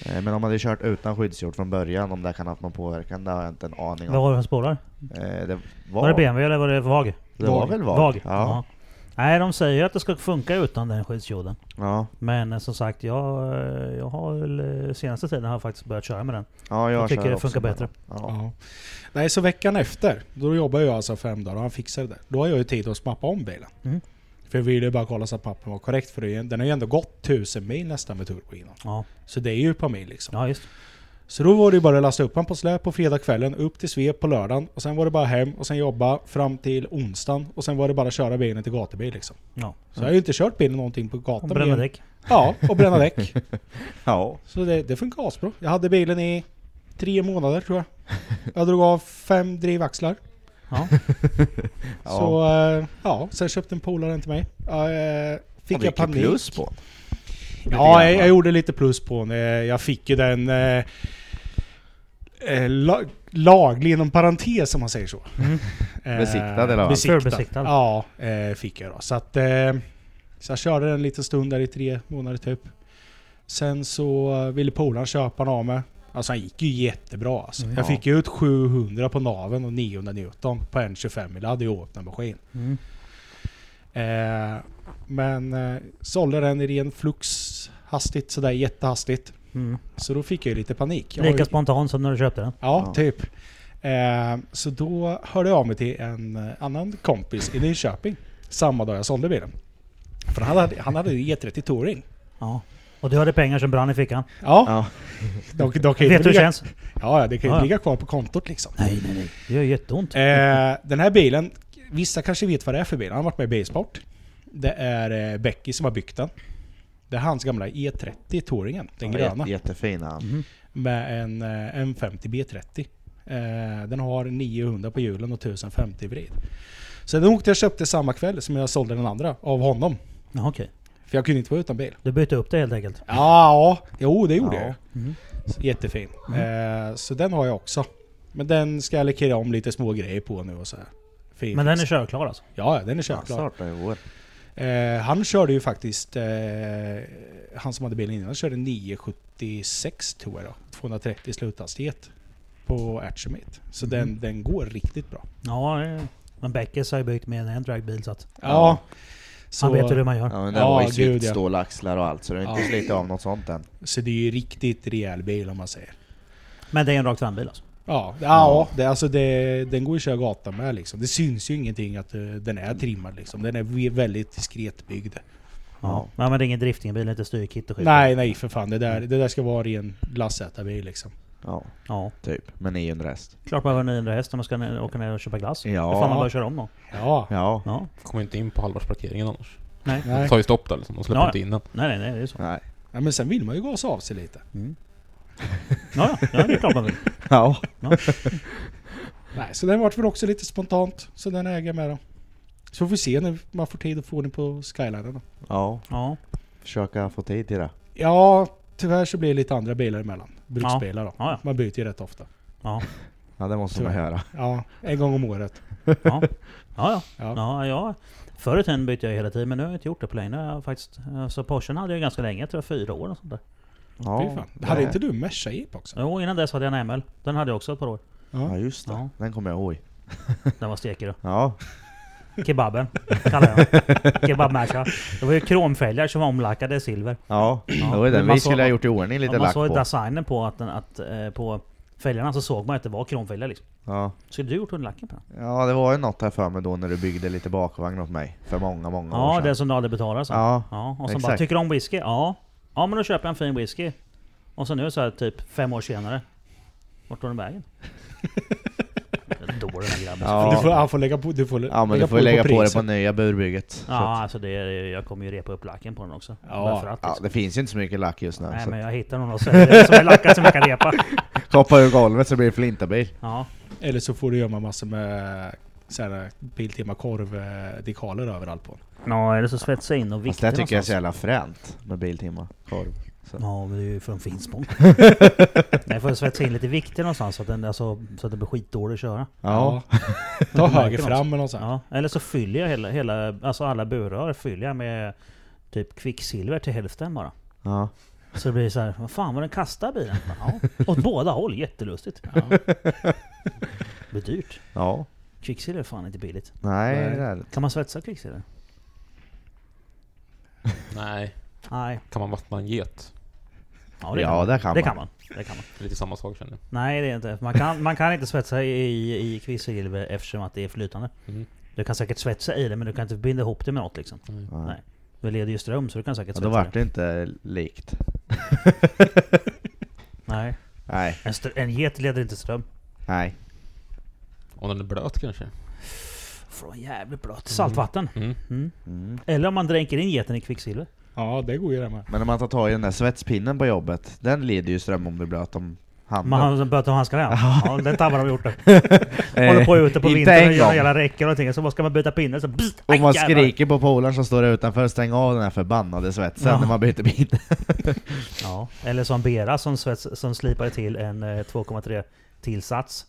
Speaker 4: Eh, Men om man hade kört utan skyddsjord från början, om det kan ha haft någon påverkan, det har jag inte en aning om.
Speaker 3: Vad var det för spårar?
Speaker 4: Eh, Det var,
Speaker 3: Var det BMW eller var det VAG?
Speaker 4: Det var väl VAG?
Speaker 3: VAG.
Speaker 4: Ja.
Speaker 3: Ja. Nej, de säger ju att det ska funka utan den skyddsjorden.
Speaker 4: Ja,
Speaker 3: Men eh, som sagt, jag, eh, jag har väl, eh, senaste tiden har jag faktiskt börjat köra med den.
Speaker 4: ja jag,
Speaker 3: Jag tycker
Speaker 4: kör
Speaker 3: det
Speaker 4: också
Speaker 3: funkar
Speaker 4: med
Speaker 3: bättre.
Speaker 4: den. Ja.
Speaker 5: Ja. Nej, så veckan efter, då jobbar jag alltså fem dagar och han fixar det där. Då har jag ju tid att mappa om bilen.
Speaker 3: Mm.
Speaker 5: För jag ville ju bara kolla så att pappen var korrekt för det är ju- den har ju ändå gått 1000 mil nästan med turbo innan.
Speaker 3: Ja,
Speaker 5: Så det är ju ett par mil liksom.
Speaker 3: ja just
Speaker 5: Så då var det ju bara att lasta upp han på släp på fredagskvällen, upp till svep på lördagen och sen var det bara hem och sen jobba fram till onsdagen och sen var det bara att köra bilen till gatubil liksom.
Speaker 3: ja.
Speaker 5: Så jag har ju inte kört bilen någonting på
Speaker 3: Och
Speaker 5: gatan.
Speaker 3: bränna
Speaker 5: mer-
Speaker 3: däck.
Speaker 5: Ja, och bränna däck.
Speaker 4: Ja.
Speaker 5: Så det, det funkar asbra. Jag hade bilen i tre månader tror jag. Jag drog av fem drivaxlar.
Speaker 3: Ja.
Speaker 5: Så eh, ja, sen köpte en polare den till mig. Eh,
Speaker 4: Och
Speaker 5: Fick
Speaker 4: det gick
Speaker 5: jag
Speaker 4: ju
Speaker 5: panik.
Speaker 4: plus på.
Speaker 5: Ja, jag,
Speaker 4: grann, va?
Speaker 5: jag gjorde lite plus på den. Eh, Jag fick ju den eh, eh, la, laglig inom parentes om man säger så.
Speaker 4: Mm.
Speaker 5: Eh,
Speaker 4: Besiktad eller vad?
Speaker 5: Besiktad.
Speaker 3: Förbesiktad.
Speaker 5: Ja, eh, fick jag då. Så, att, eh, så jag körde den en liten stund där i tre månader typ. Sen så eh, ville polaren köpa en av mig. Alltså han gick ju jättebra alltså.
Speaker 3: Mm.
Speaker 5: Jag
Speaker 4: Ja.
Speaker 5: fick ju ut 700 på naven och 900 Newton på en 25 mil. Jag hade ju åkt en maskin.
Speaker 3: Mm.
Speaker 5: Eh, men eh, sålde den i ren flux hastigt sådär jättehastigt.
Speaker 3: Mm.
Speaker 5: Så då fick jag ju lite panik. Jag var
Speaker 3: Lika
Speaker 5: ju,
Speaker 3: spontan som när du köpte den.
Speaker 5: ja,
Speaker 4: Ja.
Speaker 5: typ. Eh, så då hörde jag av mig till en eh, annan kompis i Nyköping. Samma dag jag sålde bilen. För han hade, han hade ju E30 Touring.
Speaker 3: Ja. Och du hade pengar som brann i fickan.
Speaker 5: Ja,
Speaker 4: Ja.
Speaker 5: de, de kan ju
Speaker 3: Vet du
Speaker 5: inte
Speaker 3: hur det
Speaker 5: ligga,
Speaker 3: känns?
Speaker 5: ja, ja, det kan ju
Speaker 3: Ja, ja.
Speaker 5: inte ligga kvar på kontot liksom.
Speaker 3: Nej, nej, nej. Det gör jätteont.
Speaker 5: Eh, den här bilen, vissa kanske vet vad det är för bil. Han har varit med i Bilsport. Det är eh, Becky som har byggt den. Det är hans gamla E30 Touringen, den
Speaker 4: Ja,
Speaker 5: gröna.
Speaker 4: jätte- Jättefina.
Speaker 3: Mhm.
Speaker 5: Med en eh, M50 B30. Eh, den har 900 på hjulen och 1050 i vrid. Sen åkte jag och köpte samma kväll som jag sålde den andra av honom.
Speaker 3: Ja, okej.
Speaker 5: För jag kunde inte vara utan bil.
Speaker 3: Du bytte upp det helt enkelt. Mm.
Speaker 5: Ja, ja. jo det gjorde
Speaker 4: Ja.
Speaker 5: jag ju. Så Jättefin. Eh, så den har jag också. Men den ska jag lackera om lite små grejer på nu och så här. Fin
Speaker 3: Men den är
Speaker 5: fix.
Speaker 3: körklar alltså?
Speaker 5: Ja, ja, den är
Speaker 4: Ja,
Speaker 5: köpklar.
Speaker 4: snart är det vår.
Speaker 5: Eh, han körde ju faktiskt, eh, han som hade bilen innan, han körde 976 tror jag då. 230 sluthastighet på Ertsumit. Så den, den går riktigt bra.
Speaker 3: Ja, eh, men Beckes har ju byggt med en dragbil så att
Speaker 5: Ja.
Speaker 4: Ja.
Speaker 5: Så,
Speaker 3: han vet hur man gör.
Speaker 4: Ja, men det
Speaker 5: Ja,
Speaker 4: var ju
Speaker 5: gud, ja.
Speaker 4: sittstålaxlar och allt, så det är inte
Speaker 5: Ja.
Speaker 4: slitit av något sånt än.
Speaker 5: så det är ju riktigt rejäl bil om man säger.
Speaker 3: Men det är en rakt frambil alltså?
Speaker 5: Ja, ja,
Speaker 4: Ja.
Speaker 5: Det, alltså det, den går ju att köra gatan med liksom. Det syns ju ingenting att eh, den är trimmad liksom. Den är vi- väldigt diskret byggd.
Speaker 3: Ja. ja men det är ingen driftingbil, inte styrkit och skit?
Speaker 5: Nej, nej för fan. Det där, det där ska vara en ren glassätarbil liksom.
Speaker 2: Ja,
Speaker 3: Ja,
Speaker 2: typ. Med 900 häst.
Speaker 3: klart man behöver 900 häst om man ska ner- åka ner och köpa glass.
Speaker 2: Ja.
Speaker 3: Då får man bara köra om då.
Speaker 5: Ja.
Speaker 2: Ja.
Speaker 3: Ja.
Speaker 1: Kommer inte in på Hallbergsparkeringen annars.
Speaker 3: Nej.
Speaker 5: Nej.
Speaker 1: Det tar ju stopp där liksom. De släpper
Speaker 3: Ja,
Speaker 1: inte in den.
Speaker 3: nej, nej, nej, det är så.
Speaker 2: Nej.
Speaker 5: Ja, men sen vill man ju gasa av sig lite.
Speaker 3: Mm. Ja, ja, ja, det är klart man vill.
Speaker 2: Ja.
Speaker 5: Nej, så den vart väl också lite spontant. Så den äger jag med då. Så får vi se när man får tid att få den på skylinen då.
Speaker 2: Ja.
Speaker 3: Ja.
Speaker 2: Försöka få tid till det.
Speaker 5: Ja, tyvärr så blir det lite andra bilar emellan. Bruksbilar då.
Speaker 3: Ja, ja.
Speaker 5: Man byter ju rätt ofta.
Speaker 3: Ja,
Speaker 2: Ja, det måste man göra.
Speaker 5: Ja, en gång om året.
Speaker 3: ja. ja, ja.
Speaker 5: Ja.
Speaker 3: ja, ja. Förr i tiden bytte jag hela tiden, men nu har jag inte gjort det på länge. Jag har faktiskt, alltså Porschen hade jag ganska länge, jag tror jag fyra år och sånt där.
Speaker 5: Fy
Speaker 2: Ja.
Speaker 5: fan. Hade
Speaker 2: det-
Speaker 5: inte du Merca Jeep också?
Speaker 3: Jo, innan dess hade jag en ML. Den hade jag också ett par år.
Speaker 2: Ja, just det.
Speaker 3: Ja.
Speaker 2: Den kommer jag ihåg.
Speaker 3: Den var stekig då.
Speaker 2: Ja.
Speaker 3: Kebaben, kallar jag den. Kebabmärsha. Det var ju kromfälgar som var omlackade i silver.
Speaker 2: Ja.
Speaker 3: Ja,
Speaker 2: Det var ju den.
Speaker 3: men man
Speaker 2: Vi
Speaker 3: såg-
Speaker 2: skulle ha gjort i ordning lite
Speaker 3: Om man
Speaker 2: lack
Speaker 3: såg
Speaker 2: på.
Speaker 3: designen på, att den, att, eh, på fälgarna så såg man att det var kromfälgar liksom.
Speaker 2: Ja.
Speaker 3: Skulle du gjort under lacken på den?
Speaker 2: ja, det var ju något här för mig då när du byggde lite bakvagn åt mig. För många, många år
Speaker 3: Ja,
Speaker 2: sedan.
Speaker 3: den som du aldrig betalar så.
Speaker 2: Ja.
Speaker 3: Ja, och sen
Speaker 2: Exakt.
Speaker 3: bara, tycker du om whisky? Ja. Ja men då köper jag en fin whisky. Och så nu så här typ fem år senare. Vart tog den vägen? Då den här grabben.
Speaker 2: Ja.
Speaker 5: Du får, han får lägga på, du får
Speaker 2: Ja, men du får ju lägga på det på
Speaker 5: priset.
Speaker 2: nya burbygget. Så
Speaker 3: ja
Speaker 2: att-
Speaker 3: alltså det, jag kommer ju repa upp lacken på den också.
Speaker 5: Ja.
Speaker 3: Därför att,
Speaker 2: Ja,
Speaker 3: liksom.
Speaker 2: det finns ju inte så mycket lack just nu.
Speaker 3: Nej
Speaker 2: så
Speaker 3: men jag hittar någon och säljer som är lackad som jag kan repa.
Speaker 2: att- Hoppa ur golvet så blir det flintabil.
Speaker 3: Ja.
Speaker 5: Eller så får du gömma massor med såhär, Biltema korv-dekaler överallt på.
Speaker 3: Nå, eller så svetsar jag in och
Speaker 2: Fast
Speaker 3: viktar
Speaker 2: det tycker jag är
Speaker 3: någonstans.
Speaker 2: så jävla fränt med Biltema. Korv.
Speaker 3: Ja, men det är ju från Finspång. Nej, får jag svetsa in lite vikter någonstans så att, den, alltså, så att det blir skitdålig att köra.
Speaker 2: Ja.
Speaker 5: Ta
Speaker 3: märker
Speaker 5: höger
Speaker 3: något.
Speaker 5: fram eller något sånt.
Speaker 3: Ja, eller så fyller jag hela, hela alltså alla burrör fyller jag med typ kvicksilver till hälften bara.
Speaker 2: ja.
Speaker 3: Så det blir så här, vad fan var den kastar bilen? Ja, åt båda håll, jättelustigt.
Speaker 5: Ja.
Speaker 3: Det blir dyrt.
Speaker 2: Ja.
Speaker 3: Kvicksilver är fan inte billigt.
Speaker 2: Nej,
Speaker 5: Nej.
Speaker 2: det är det.
Speaker 3: Kan man svetsa kvicksilver?
Speaker 1: Nej.
Speaker 3: Nej.
Speaker 1: Kan man vattna en get?
Speaker 3: Ja, det,
Speaker 2: Ja,
Speaker 3: kan, man.
Speaker 2: det kan
Speaker 3: det
Speaker 2: man.
Speaker 3: kan man. Det kan man.
Speaker 1: Det är lite samma sak känner jag.
Speaker 3: Nej, det är inte. Man kan, man kan inte svetsa i, i kvicksilver eftersom att det är flytande.
Speaker 1: Mm.
Speaker 3: Du kan säkert svetsa i det, men du kan inte binda ihop det med något liksom.
Speaker 1: Mm.
Speaker 2: Nej.
Speaker 3: Nej. Det leder ju ström, så du kan säkert
Speaker 2: Ja,
Speaker 3: svetsa
Speaker 2: då vart
Speaker 3: det.
Speaker 2: det inte likt.
Speaker 3: Nej.
Speaker 2: Nej.
Speaker 3: En, str- en get leder inte ström.
Speaker 2: Nej.
Speaker 1: Om den är blöt kanske?
Speaker 3: Från jävligt blött saltvatten.
Speaker 1: Mm.
Speaker 3: Mm.
Speaker 2: Mm.
Speaker 3: Eller om man dränker in geten i kvicksilver.
Speaker 5: ja, det går ju det med.
Speaker 2: Men om man tar tag i den där svetspinnen på jobbet, den leder ju ström om du blöt om handen.
Speaker 3: Man har böter och handskar igen. Ja, den tabbar har vi gjort det. Håller på ute på
Speaker 2: Eh, inte
Speaker 3: vintern och
Speaker 2: en
Speaker 3: gör
Speaker 2: gång.
Speaker 3: hela räcken och ting. Så bara ska man byta pinne så bzzzt,
Speaker 2: Om
Speaker 3: aj,
Speaker 2: man
Speaker 3: jävlar.
Speaker 2: skriker på polaren som står utanför, stäng av den här förbannade svetsen
Speaker 3: Ja.
Speaker 2: när man byter bil.
Speaker 3: Ja. Eller som Bera som, svets, som slipade till en eh, 2,3 tillsats.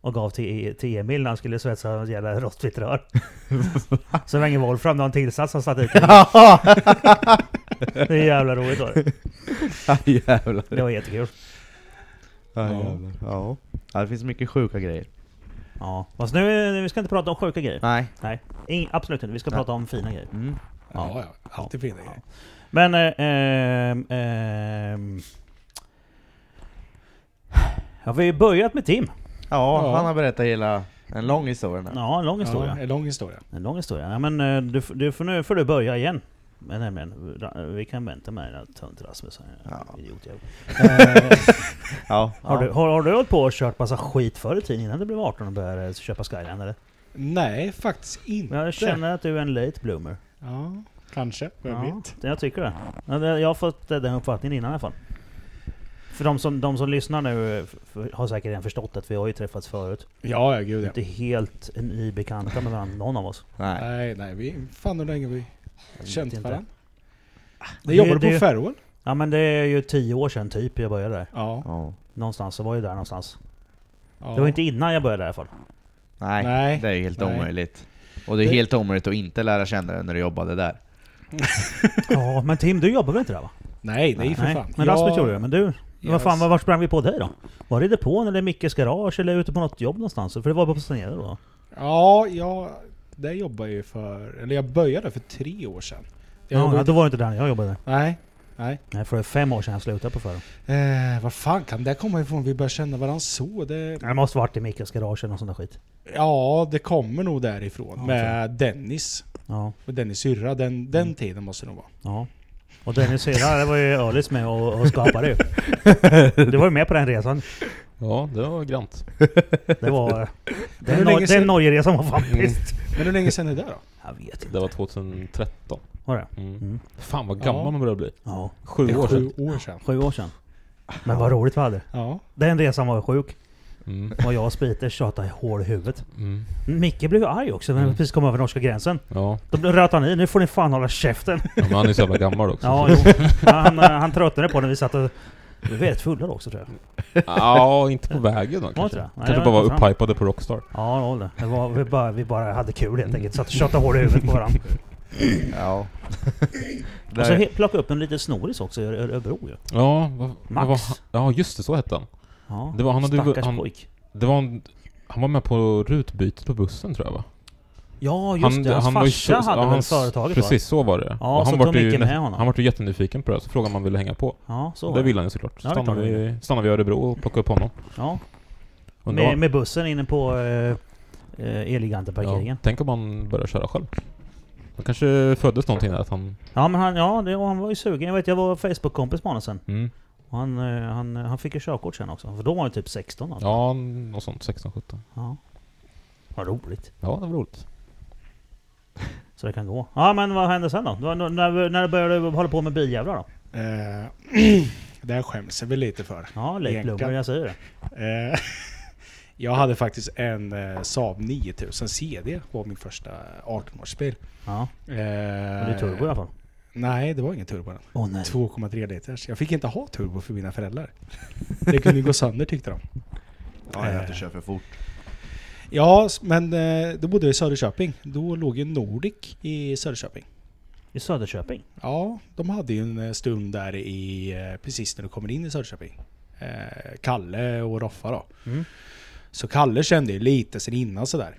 Speaker 3: Och gav till, till Emil när han skulle svetsa ett jävla rostfritt rör. så det var ingen Wolfram, det var en tillsats som satt i. Det är jävla roligt var det.
Speaker 2: Jävlar.
Speaker 3: Det var jättekul.
Speaker 2: Ja, jävlar. Ja. ja, det finns mycket sjuka grejer.
Speaker 3: Ja. Fast nu, vi ska inte prata om sjuka grejer.
Speaker 2: Nej.
Speaker 3: Nej, ing, absolut inte. Vi ska
Speaker 2: Nej.
Speaker 3: prata om fina grejer.
Speaker 2: Mm.
Speaker 5: Ja, ja. Alltid fina grejer.
Speaker 3: Men... Eh, ehm, ehm. ja, vi har ju börjat med Tim.
Speaker 2: Ja,
Speaker 5: Ja.
Speaker 2: han har berättat hela en lång historia nu.
Speaker 3: Ja, en lång historia.
Speaker 5: Ja, en lång historia.
Speaker 3: En lång historia. Ja, men eh, du, f- du får, nu får du börja igen. Men nämligen, ra- vi kan vänta med den här tönt Rasmus. Ja.
Speaker 2: Ja.
Speaker 3: Idiot jag.
Speaker 2: Ja.
Speaker 3: Har, du, har, har du hållit på och kört massa skit förr i tiden innan du blev 18 och började eh, köpa Skyline eller?
Speaker 5: Nej, faktiskt inte.
Speaker 3: Men jag känner att du är en late bloomer.
Speaker 5: Ja, kanske. Vem
Speaker 3: Ja,
Speaker 5: vet?
Speaker 3: det- jag tycker det. Ja, det- Jag har fått eh, den uppfattningen innan i alla fall. För de som, de som lyssnar nu eh, f- f- har säkert redan förstått att vi har ju träffats förut.
Speaker 5: Ja, ja gud ja.
Speaker 3: Inte helt nybekanta med varandra, någon av oss.
Speaker 2: Nej.
Speaker 5: Nej, nej. Vi, fan hur länge vi
Speaker 3: Jag
Speaker 5: känt
Speaker 3: vet inte.
Speaker 5: varandra.
Speaker 3: Det-
Speaker 5: Jag jobbade
Speaker 3: det-
Speaker 5: på Ferroel.
Speaker 3: Ja men det är ju tio år sedan typ jag började där.
Speaker 5: Ja.
Speaker 2: Ja.
Speaker 3: Någonstans, så var jag där någonstans.
Speaker 5: ja.
Speaker 3: Det var inte innan jag började i alla fall.
Speaker 2: Nej.
Speaker 5: Nej.
Speaker 2: det är ju helt
Speaker 5: Nej.
Speaker 2: omöjligt. Och det är
Speaker 5: Det-
Speaker 2: helt omöjligt att inte lära känna dig när du jobbade där.
Speaker 3: Ja men Tim, du jobbar väl inte där va?
Speaker 5: Nej, nej för fan.
Speaker 3: Men
Speaker 5: Jag-
Speaker 3: Rasmus gjorde det. Men du, vad
Speaker 5: Yes.
Speaker 3: fan, var, var sprang vi på dig då? Var det i depån eller i Mickes garage eller ute på något jobb någonstans? För det var bara på Stenede då?
Speaker 5: Ja, jag... Det jobbar jag ju för... Eller jag började för tre år sedan. Jag
Speaker 3: Ja,
Speaker 5: jobbade-
Speaker 3: ja, då var det inte där när jag jobbade.
Speaker 5: Nej. Nej.
Speaker 3: Nej, för det är fem år sedan jag slutade på förra.
Speaker 5: Eh, vad fan kan det komma ifrån? Vi börjar känna varandra så. Det,
Speaker 3: Det måste varit i Mickes garage eller någon sån där skit.
Speaker 5: ja, det kommer nog därifrån.
Speaker 3: Ja,
Speaker 5: med Dennis.
Speaker 3: Ja.
Speaker 5: Och Dennis syrra. Den, den
Speaker 3: Mm.
Speaker 5: tiden måste det nog vara.
Speaker 3: ja. Och Dennis syrra, det var ju Ölis med och, och skapade ju. Du var ju med på den resan.
Speaker 1: Ja, det var grant.
Speaker 3: Det var...
Speaker 5: hur
Speaker 3: Den,
Speaker 5: länge
Speaker 3: Nor- den
Speaker 5: sedan-
Speaker 3: Norgeresan var
Speaker 1: Mm.
Speaker 3: fan bäst.
Speaker 5: Men hur länge sedan är det då?
Speaker 3: Jag vet inte.
Speaker 1: Det var 2013.
Speaker 3: Var det?
Speaker 1: Mm.
Speaker 3: Mm.
Speaker 1: Fan vad gammal
Speaker 5: Ja.
Speaker 1: man börjar bli.
Speaker 3: Ja.
Speaker 1: Sju
Speaker 5: Det är
Speaker 1: år
Speaker 5: sju
Speaker 1: sedan.
Speaker 5: år sedan.
Speaker 3: Sju år sedan. Men vad roligt vi hade.
Speaker 5: Ja.
Speaker 3: Den resan var sjuk.
Speaker 1: Mm.
Speaker 3: Var jag och Spiter tjatade hål i huvudet.
Speaker 1: Mm.
Speaker 3: Micke blev arg också när vi
Speaker 1: Mm.
Speaker 3: precis kom över norska gränsen.
Speaker 1: Ja.
Speaker 3: Då blev- röt han i. Nu får ni fan hålla käften.
Speaker 1: ja, men han är ju så jävla gammal också.
Speaker 3: Ja, jo. Han, eh, han tröttnade på när vi satt och... Vi var rätt fulla då också tror jag.
Speaker 1: ja inte på vägen då kanske.
Speaker 3: det? Nej, jag
Speaker 1: kanske
Speaker 3: vet
Speaker 1: bara var
Speaker 3: inte fram.
Speaker 1: upphypade på Rockstar.
Speaker 3: Ja, det var det. det var, vi, bara, vi bara hade kul helt enkelt. Satt och tjatade hål i huvudet på varandra.
Speaker 4: Ja.
Speaker 3: Och så
Speaker 4: Där-
Speaker 3: he- plockade upp en liten snoris också i Ö- Örebro ju.
Speaker 1: Ja, vad,
Speaker 3: Max.
Speaker 1: vad var han? Ja, just det. Så hette han.
Speaker 3: Ja.
Speaker 1: Det var- han hade ju-
Speaker 3: Stackars
Speaker 1: han-
Speaker 3: pojk.
Speaker 1: Det var en, han var med på rutbytet på bussen tror jag va?
Speaker 3: Ja, just det. Hans
Speaker 1: var ju
Speaker 3: farsa
Speaker 1: så-
Speaker 3: hade
Speaker 1: ja,
Speaker 3: väl
Speaker 1: hans-
Speaker 3: företaget va?
Speaker 1: Precis, så var det.
Speaker 3: Ja,
Speaker 1: Och
Speaker 3: så
Speaker 1: vart
Speaker 3: tog
Speaker 1: ju
Speaker 3: Micke med
Speaker 1: nä-
Speaker 3: honom.
Speaker 1: Han var ju jättenyfiken på det, så frågade om han ville hänga på.
Speaker 3: Ja, så var
Speaker 1: det ville han ju såklart.
Speaker 3: Ja, det
Speaker 1: Så
Speaker 3: är klart
Speaker 1: stannade,
Speaker 3: han
Speaker 1: vi, stannade vi i Örebro och plockade upp honom.
Speaker 3: Ja,
Speaker 1: Undrar
Speaker 3: med,
Speaker 1: om-
Speaker 3: med bussen inne på eh, eh, Eleganten-parkeringen.
Speaker 1: tänk om han börjar köra själv. Han kanske föddes någonting där att han...
Speaker 3: Ja. men han, ja, det, och han var ju sugen. Jag vet, jag var Facebook-kompis med honom sen.
Speaker 1: Mm.
Speaker 3: Och han, eh, han, han fick ju körkort sen också. För då var han ju typ 16 alltså.
Speaker 1: Ja, något sånt. 16-17.
Speaker 3: ja. Vad roligt.
Speaker 1: Ja, det var roligt.
Speaker 3: Så det kan gå. Ja, men vad hände sen då? Det var n- När, när började du hålla på med biljävlar då?
Speaker 5: Eh, det här skäms jag väl lite för.
Speaker 3: Ja, Leif
Speaker 5: Egentligen.
Speaker 3: Blomberg, jag säger det.
Speaker 5: Eh, jag hade faktiskt en eh, Saab 9000 CD. var min första 18-årsbil.
Speaker 3: Ja,
Speaker 5: Eh,
Speaker 3: men det är turbo i alla fall.
Speaker 5: Nej, det var ingen turbo. den.
Speaker 3: Åh nej.
Speaker 5: 2,3 liters. Jag fick inte ha turbo för mina föräldrar. Det kunde ju gå sönder tyckte de.
Speaker 2: Ja, jag inte kör för fort.
Speaker 5: Ja, s- men eh, då bodde jag i Söderköping. Då låg ju Nordic i Söderköping.
Speaker 3: I Söderköping?
Speaker 5: Ja, de hade ju en eh, stund där i eh, precis när du kommer in i Söderköping. Eh, Kalle och Roffa då.
Speaker 3: Mm.
Speaker 5: Så Kalle kände ju lite sen innan sådär.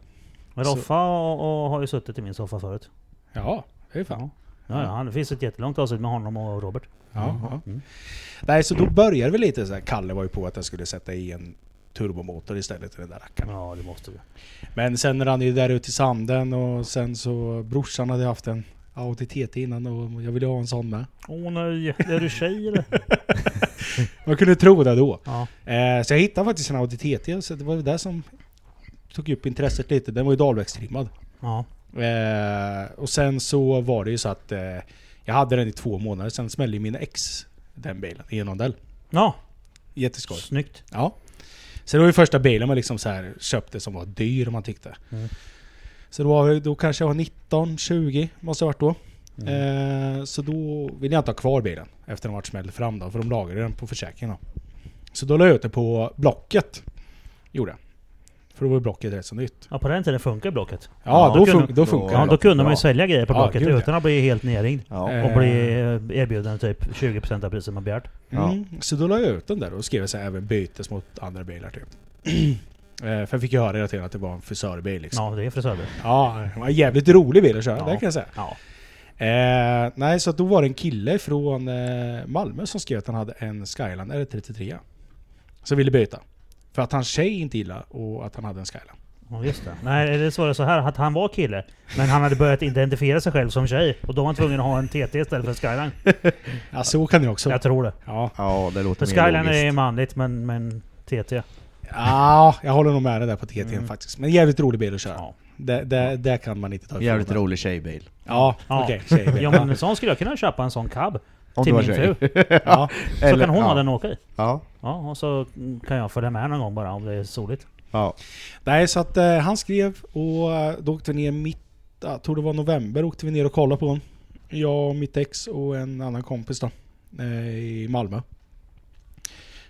Speaker 3: Men
Speaker 5: Så-
Speaker 3: Roffa och, och har ju suttit i min soffa förut.
Speaker 5: Ja, det är fan.
Speaker 3: Ja, ja, han, det finns ett jättelångt avsnitt med honom och Robert.
Speaker 5: Ja, ja.
Speaker 3: Mm.
Speaker 5: Nej, så då började vi lite sådär. Kalle var ju på att jag skulle sätta i en turbomotor istället i den där rackaren.
Speaker 3: Ja, det måste vi.
Speaker 5: Men sen rann ju där ute i sanden och sen så brorsan hade haft en Audi TT innan och jag ville ha en sån med.
Speaker 3: Åh nej, är du tjej eller?
Speaker 5: Man kunde tro det då.
Speaker 3: Ja.
Speaker 5: Eh, så jag hittade faktiskt en Audi TT, så det var väl det som tog upp intresset lite. Den var ju dalvägstrimmad.
Speaker 3: ja.
Speaker 5: Eh, och sen så var det ju så att eh, jag hade den i två månader, sen smällde ju min ex den bilen i en rondell.
Speaker 3: Ja,
Speaker 5: Jätteskoj.
Speaker 3: snyggt.
Speaker 5: Ja. Så det var ju första bilen man liksom så här köpte som var dyr man tyckte.
Speaker 3: Mm.
Speaker 5: Så då, var, jag- då kanske jag var 19, 20 måste jag ha varit då.
Speaker 3: Mm.
Speaker 5: Eh, så då ville jag inte ha kvar bilen efter den varit smälld fram då, för de lagrade den på försäkringen då. Så då la jag ut det på Blocket. Gjorde jag. För då var ju Blocket rätt så nytt.
Speaker 3: Ja, på den tiden funkar Blocket.
Speaker 5: Ja,
Speaker 3: Ja,
Speaker 5: då,
Speaker 3: det kunde-
Speaker 5: fun- då funkar
Speaker 3: Ja,
Speaker 5: det.
Speaker 3: då kunde man ju
Speaker 4: bra.
Speaker 3: sälja grejer på
Speaker 5: Ja,
Speaker 3: Blocket
Speaker 5: gud, ja.
Speaker 3: utan att bli helt nerringd.
Speaker 4: Ja.
Speaker 5: Eh,
Speaker 3: Och bli eh, erbjuden typ 20% av priset man begärt.
Speaker 5: Mm, så då la jag ut den där och skrev jag så här, även bytes mot andra bilar typ. eh, för jag fick ju höra hela tiden att det var en frisörbil liksom.
Speaker 3: Ja, det är frisörbil.
Speaker 5: Ja, det var en jävligt rolig bil att köra,
Speaker 3: Ja.
Speaker 5: det kan jag säga.
Speaker 3: Ja.
Speaker 5: Eh, nej, så att då var det en kille från eh, Malmö som skrev att han hade en Skyline R33. Som ville byta. För att hans tjej inte gillade och att han hade en Skyline.
Speaker 3: ja, just det. Nej, det var det så här att han var kille, men han hade börjat identifiera sig själv som tjej. Och då var han tvungen att ha en TT istället för en Skyline.
Speaker 5: Ja, så kan det också.
Speaker 3: Jag tror det.
Speaker 5: Ja,
Speaker 4: Ja, det
Speaker 3: För
Speaker 4: låter
Speaker 3: Skyline är manligt, men, men TT.
Speaker 5: ja jag håller nog med dig där på TT
Speaker 3: Mm.
Speaker 5: faktiskt. Men jävligt rolig bil att köra.
Speaker 3: Ja.
Speaker 5: Det, det, det kan man inte ta ifrån
Speaker 4: Jävligt
Speaker 5: den.
Speaker 4: rolig tjejbil.
Speaker 5: Ja,
Speaker 3: Ja.
Speaker 5: okej.
Speaker 3: Ja,
Speaker 5: tjejbil.
Speaker 3: men en sån skulle jag kunna köpa, en sån cab. Till min fru.
Speaker 5: ja.
Speaker 3: Så kan hon ha den och åka i.
Speaker 4: Ja.
Speaker 3: Ja, och så mm, kan jag följa med någon gång bara om det är soligt.
Speaker 4: ja.
Speaker 5: Nej, så att eh, han skrev och eh, då åkte vi ner mitt, jag tror det var november, åkte vi ner och kollade på honom. Jag och mitt ex och en annan kompis då, eh, i Malmö.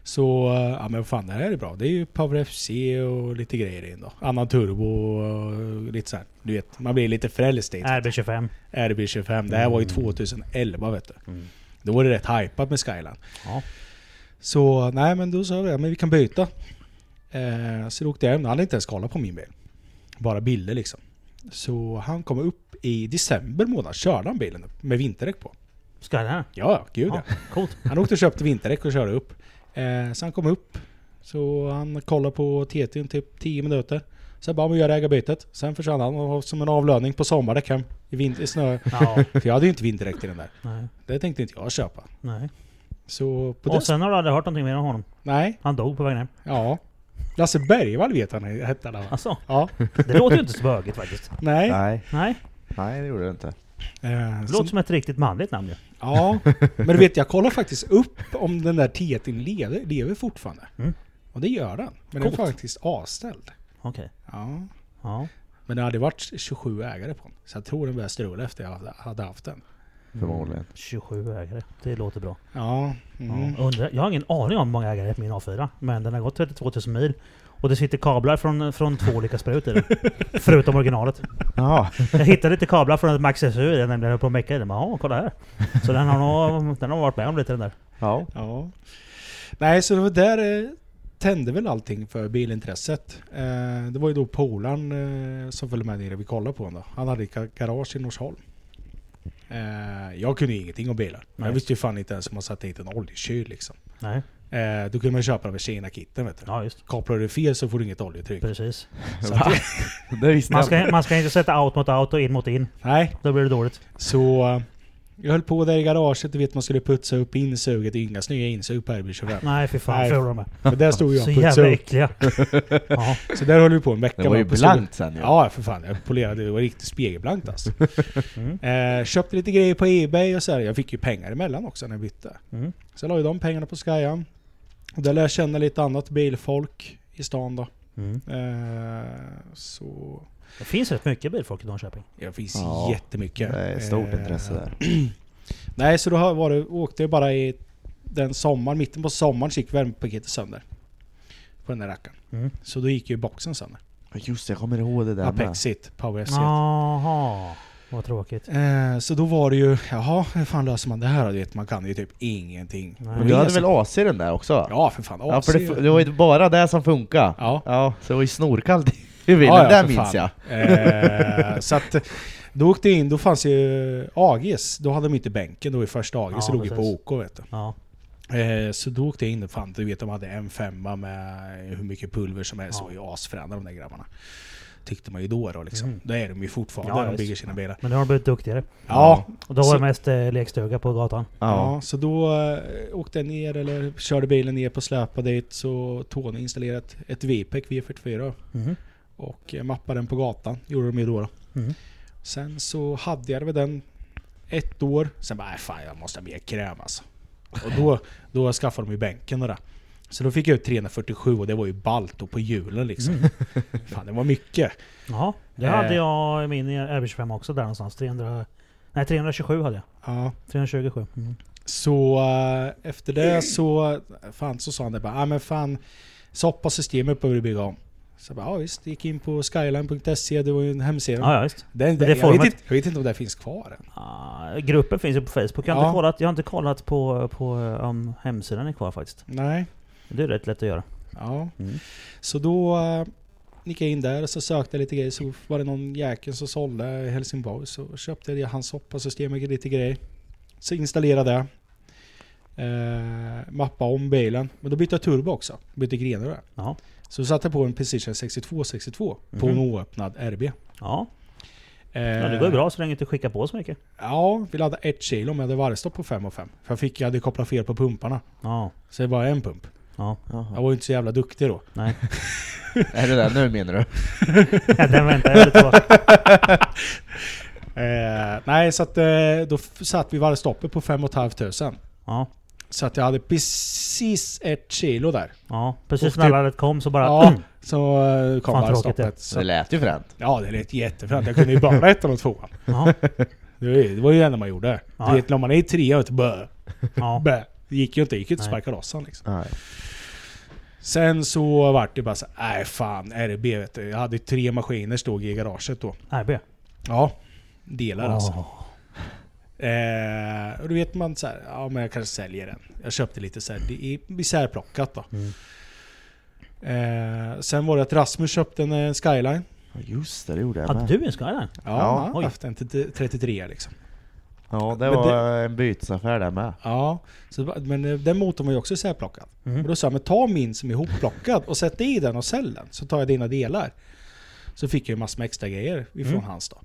Speaker 5: Så, eh, ja men vad fan det här är bra. Det är ju Power FC och lite grejer in då. Annan turbo och eh, lite så här. Du vet, man blir lite frälst i
Speaker 3: RB25.
Speaker 5: RB25. Det här var ju 2011 vet du.
Speaker 3: Mm.
Speaker 5: Då var det rätt hypat med Skyline.
Speaker 3: Ja.
Speaker 5: Så nej men då sa vi men vi kan byta. Eh, så då åkte jag hem. Han hade inte ens kollat på min bil. Bara bilder liksom. Så han kom upp i december månad. Körde han bilen upp med vinterdäck på.
Speaker 3: Skyline.
Speaker 5: Ja, ja, gud ja.
Speaker 3: Ja, coolt.
Speaker 5: Han åkte och köpte vinterdäck och körde upp. Eh, så han kom upp. Så han kollade på TT i typ 10 minuter. Sen bara man göra ägarbytet. Sen försvann han och var som en avlöning på sommardäck hem. I, vinter, i snö.
Speaker 3: Ja,
Speaker 5: För jag hade ju inte vinterdäck till den där.
Speaker 3: nej,
Speaker 5: Det tänkte inte jag köpa.
Speaker 3: nej.
Speaker 5: Så på det...
Speaker 3: Och sen har du aldrig hört någonting mer om honom.
Speaker 5: Nej,
Speaker 3: Han dog på vägen hem.
Speaker 5: ja. Lasse Bergvall vet han hette han. va?
Speaker 3: Alltså,
Speaker 5: Ja,
Speaker 3: det låter ju inte så bögigt faktiskt.
Speaker 5: nej.
Speaker 2: Nej,
Speaker 3: Nej,
Speaker 2: nej det gjorde det inte.
Speaker 5: Eh,
Speaker 3: det
Speaker 5: så-
Speaker 3: låter som ett riktigt manligt namn ju.
Speaker 5: Ja, men du vet jag kollar faktiskt upp om den där Tietin lever, lever fortfarande.
Speaker 3: Mm.
Speaker 5: Och det gör den. Men den är
Speaker 3: Coolt.
Speaker 5: faktiskt avställd.
Speaker 3: Okej.
Speaker 5: Ja.
Speaker 3: Ja.
Speaker 5: Men det hade varit 27 ägare på den. Så jag tror den började strula efter jag hade- hade haft den.
Speaker 3: Mm.
Speaker 2: Förmodligen.
Speaker 3: 27 ägare. Det låter bra.
Speaker 5: Ja. Mm.
Speaker 3: Ja, undrar, jag har ingen aning om hur många ägare det är på min A4. Men den har gått 32 000 mil. Och det sitter kablar från, från två olika sprut i den. Förutom originalet.
Speaker 2: Jaha.
Speaker 3: Jag hittade lite kablar från ett Max SU i den nämligen jag höll på att mecka i den. Jaha, kolla här. Så den har nog den har varit med om lite den där.
Speaker 2: Ja.
Speaker 5: ja. Nej, så det var där eh, tände väl allting för bilintresset. Eh, det var ju då polaren eh, som följde med nere vi kollade på honom då. Han hade ga- garage i Norsholm. Eh, jag kunde ju ingenting om bilar.
Speaker 3: Nej.
Speaker 5: Jag visste ju fan inte ens om man satte hit en oljekyl liksom.
Speaker 3: Nej,
Speaker 5: Eh, då kunde man köpa dem i Kina-kitten vet du.
Speaker 3: ja just.
Speaker 5: Kopplar du fel så får du inget oljetryck.
Speaker 3: Precis.
Speaker 5: Så att,
Speaker 4: Det visste
Speaker 3: Man
Speaker 4: jag.
Speaker 3: ska, man ska inte sätta out mot out och in mot in.
Speaker 5: nej,
Speaker 3: Då blir det dåligt.
Speaker 5: så eh, jag höll på där i garaget. Du vet man skulle putsa upp insuget. Det är inga snygga insug på RB25.
Speaker 3: Nej fy fan,
Speaker 5: Nej.
Speaker 3: förlorar de med.
Speaker 5: Men där stod jag
Speaker 3: Så
Speaker 5: och putsade
Speaker 3: jävla
Speaker 5: upp.
Speaker 3: äckliga. Ja,
Speaker 5: Så där höll vi på en vecka.
Speaker 2: Det var
Speaker 5: med
Speaker 2: ju
Speaker 5: att pussa upp.
Speaker 2: blankt sen ju.
Speaker 5: Ja, för fan. Jag polerade. Det var riktigt spegelblankt alltså.
Speaker 3: Mm.
Speaker 5: Eh, köpte lite grejer på Ebay och så här. Jag fick ju pengar emellan också när jag bytte.
Speaker 3: Mm.
Speaker 5: Så jag la ju de pengarna på Skyan. Och där lär jag känna lite annat bilfolk i stan då.
Speaker 3: mm.
Speaker 5: Eh, så...
Speaker 3: Det finns rätt mycket bilfolk i Norrköping.
Speaker 5: Det finns
Speaker 2: Ja,
Speaker 5: jättemycket.
Speaker 2: Det är stort
Speaker 5: Eh,
Speaker 2: intresse där.
Speaker 5: Nej, så då har- var det, åkte jag bara i den sommaren, mitten på sommaren så gick värmepaketet sönder. På den där rackaren.
Speaker 3: Mm.
Speaker 5: Så då gick ju boxen sönder.
Speaker 2: Ja, Just det, jag kommer ihåg det där med.
Speaker 5: Apexit, Power E. F-set.
Speaker 3: Jaha, vad tråkigt.
Speaker 5: Eh, så då var det ju, jaha, hur fan löser man det här då? Du vet, man kan ju typ ingenting.
Speaker 3: Nej.
Speaker 2: Men du hade väl AC i den där också?
Speaker 5: Ja, för fan.
Speaker 2: Ja,
Speaker 5: AC.
Speaker 2: för det, fu- det var ju bara det som funkade.
Speaker 5: Ja.
Speaker 2: Ja, så det var ju snorkallt i bilen,
Speaker 5: Ja, ja,
Speaker 2: det
Speaker 5: för
Speaker 2: minns
Speaker 5: fan.
Speaker 2: jag.
Speaker 5: Eh, så att, då åkte jag in, då fanns ju AGs. Då hade de inte bänken, då var ju första AGs,
Speaker 3: Ja,
Speaker 5: så låg ju på
Speaker 3: precis.
Speaker 5: OK vet du.
Speaker 3: Ja,
Speaker 5: Eh, så då åkte jag in och fan, du vet de hade en femma med hur mycket pulver som helst.
Speaker 3: Ja.
Speaker 5: Ja. Det var ju asfräna de där grabbarna. Tyckte man ju då då liksom.
Speaker 3: Mm.
Speaker 5: Det är de ju fortfarande
Speaker 3: Ja,
Speaker 5: när de
Speaker 3: visst.
Speaker 5: bygger sina bilar.
Speaker 3: men nu har de blivit duktigare.
Speaker 5: Ja,
Speaker 3: Och då var
Speaker 5: Så-
Speaker 3: det mest eh, lekstuga på gatan.
Speaker 2: Ja.
Speaker 5: ja. så då eh, åkte jag ner eller körde bilen ner på släpa dit. Så Tony installerade ett, ett VPEC V44
Speaker 3: Mhm.
Speaker 5: och eh, mappade den på gatan. Gjorde de ju då. då.
Speaker 3: Mm.
Speaker 5: Sen så hade jag det med den ett år. Sen bara, "Äh, fan jag måste ha mer kräm alltså. Och då, då skaffade de ju bänken och det. Så då fick jag ut 347 och det var ju ballt och på hjulen liksom. Fan det var mycket.
Speaker 3: Jaha, det
Speaker 5: Eh.
Speaker 3: hade jag i min eh, RB25 också där någonstans. 300, nej, 327 hade jag.
Speaker 5: Ja.
Speaker 3: 327. Mm.
Speaker 5: Så eh, efter det så, fan så sa han det bara, ah, men fan så hoppa systemet behöver du bygga om. Så jag bara, ja visst, gick in på skyline.se, det var ju en hemsida.
Speaker 3: Ja, ja, visst.
Speaker 5: Den,
Speaker 3: det är
Speaker 5: den, jag,
Speaker 3: format.
Speaker 5: vet inte, jag vet inte om det finns kvar än.
Speaker 3: Ah, gruppen finns ju på Facebook. Jag har,
Speaker 5: Ja.
Speaker 3: inte, kollat, jag har inte kollat på, på eh, om hemsidan är kvar faktiskt.
Speaker 5: Nej.
Speaker 3: Det är rätt lätt att göra.
Speaker 5: Ja.
Speaker 3: Mm.
Speaker 5: Så då eh, gick jag in där och så sökte jag lite grejer. Så var det någon jäkel som sålde i Helsingborg. Så köpte jag det, hans hoppasystem och lite grejer. Så installerade jag. Eh, mappa om bilen. Men då bytte jag turbo också. Bytte grenar där.
Speaker 3: Ja.
Speaker 5: Så satte jag på en Precision 6262 på
Speaker 3: Mhm.
Speaker 5: en oöppnad RB. Eh,
Speaker 3: Ja, ja det går ju bra så länge du inte skickar på så mycket.
Speaker 5: Eh, Ja, vi laddade ett kilo men jag hade varvstopp på 5 och 5. För jag, fick, jag hade kopplat fel på pumparna.
Speaker 3: Ja,
Speaker 5: Så det var bara en pump.
Speaker 3: ja.
Speaker 5: Jag var ju inte så jävla duktig då.
Speaker 3: Nej.
Speaker 2: Är det där nu menar du?
Speaker 3: Den väntar jag lite på.
Speaker 5: Eh, nej, så att, eh, då f- satt vi varvstoppet på 5 500.
Speaker 3: Ja,
Speaker 5: Så att jag hade precis ett kilo där.
Speaker 3: ja. precis
Speaker 5: Och
Speaker 3: när
Speaker 5: typ-
Speaker 3: alla kom så bara... Mm.
Speaker 5: Ja, så eh, kom
Speaker 3: Fan, tråkigt
Speaker 5: varvstoppet.
Speaker 2: Så det
Speaker 5: Så,
Speaker 2: lät ju fränt.
Speaker 5: ja, det lät jättefränt. Jag kunde ju bara ettan och tvåan.
Speaker 3: Ja,
Speaker 5: Det var ju det var ju det enda man gjorde.
Speaker 3: Ja.
Speaker 5: Du vet, när man är i trean, vet du, bö,
Speaker 3: ja.
Speaker 5: bö. Det gick ju inte. Det gick ju inte att
Speaker 3: Nej.
Speaker 5: sparka loss han, liksom.
Speaker 2: Nej.
Speaker 5: Sen så vart det bara så här, nej fan, RB vet du. Jag hade ju tre maskiner stod i garaget då.
Speaker 3: RB.
Speaker 5: Ja, delar alltså.
Speaker 3: Åh.
Speaker 5: Eh, och då vet man så här, ja men jag kanske säljer den. Jag köpte lite så här, det är isärplockat då.
Speaker 3: Mm.
Speaker 5: Eh, sen var det att Rasmus köpte en eh, Skyline.
Speaker 2: Ja, Just det, det gjorde jag
Speaker 3: Hade
Speaker 2: med.
Speaker 3: du en Skyline?
Speaker 5: Ja,
Speaker 2: Ja,
Speaker 5: han har
Speaker 3: oj.
Speaker 5: haft en till 33 liksom.
Speaker 2: Ja, det
Speaker 5: Men
Speaker 2: var en bytesaffär där med.
Speaker 5: Ja, så, det var- men eh, den motorn var ju också isärplockad.
Speaker 3: Mm.
Speaker 5: Och då sa jag, men ta min som är hopplockad och sätt i den och sälj den. Så tar jag dina delar. Så fick jag ju massor med extra grejer ifrån
Speaker 3: Mm.
Speaker 5: hans då.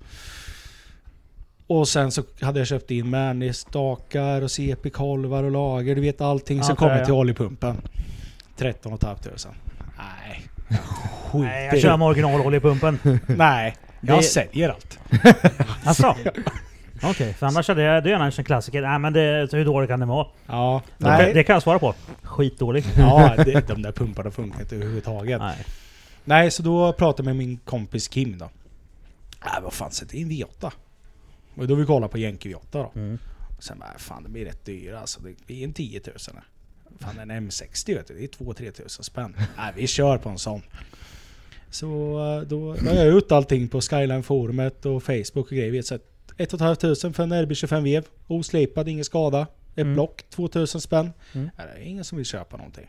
Speaker 5: Och sen så hade jag köpt in Märnistakar och CP-kolvar och lager. Du vet allting som
Speaker 3: Allt det där,
Speaker 5: kommer till
Speaker 3: ja.
Speaker 5: oljepumpen. 13 tusen. Nej. Skit
Speaker 3: Nej, jag kör med originaloljepumpen.
Speaker 5: Nej. Jag
Speaker 3: Det-
Speaker 5: säljer allt.
Speaker 3: Alltså. Okej, för annars hade jag, det är annars en klassiker. Nej men det, hur dålig kan den vara?
Speaker 5: Ja.
Speaker 3: Nej.
Speaker 5: Nej.
Speaker 3: Det kan jag svara på. Skitdålig.
Speaker 5: Ja, det, de där pumparna funkar inte överhuvudtaget.
Speaker 3: Nej.
Speaker 5: Nej, så då pratade jag med min kompis Kim då. Nej, vad fan, sätt in V8. Och då vi kollar på Yankee V8 då.
Speaker 3: Mm.
Speaker 5: Och sen bara, fan de blir rätt dyra alltså. Det blir en 10 000. Fan en M60 vet du, det är 2-3 tusen spänn. Nej, vi kör på en sån. Så eh, då la jag ut allting på Skyline-forumet och Facebook och grejer. Vi har sett 1 500 för en RB25 vev. Oslipad, ingen skada. Ett
Speaker 3: Mm.
Speaker 5: block, 2000 spänn.
Speaker 3: Mm.
Speaker 5: Nej, det är ingen som vill köpa någonting.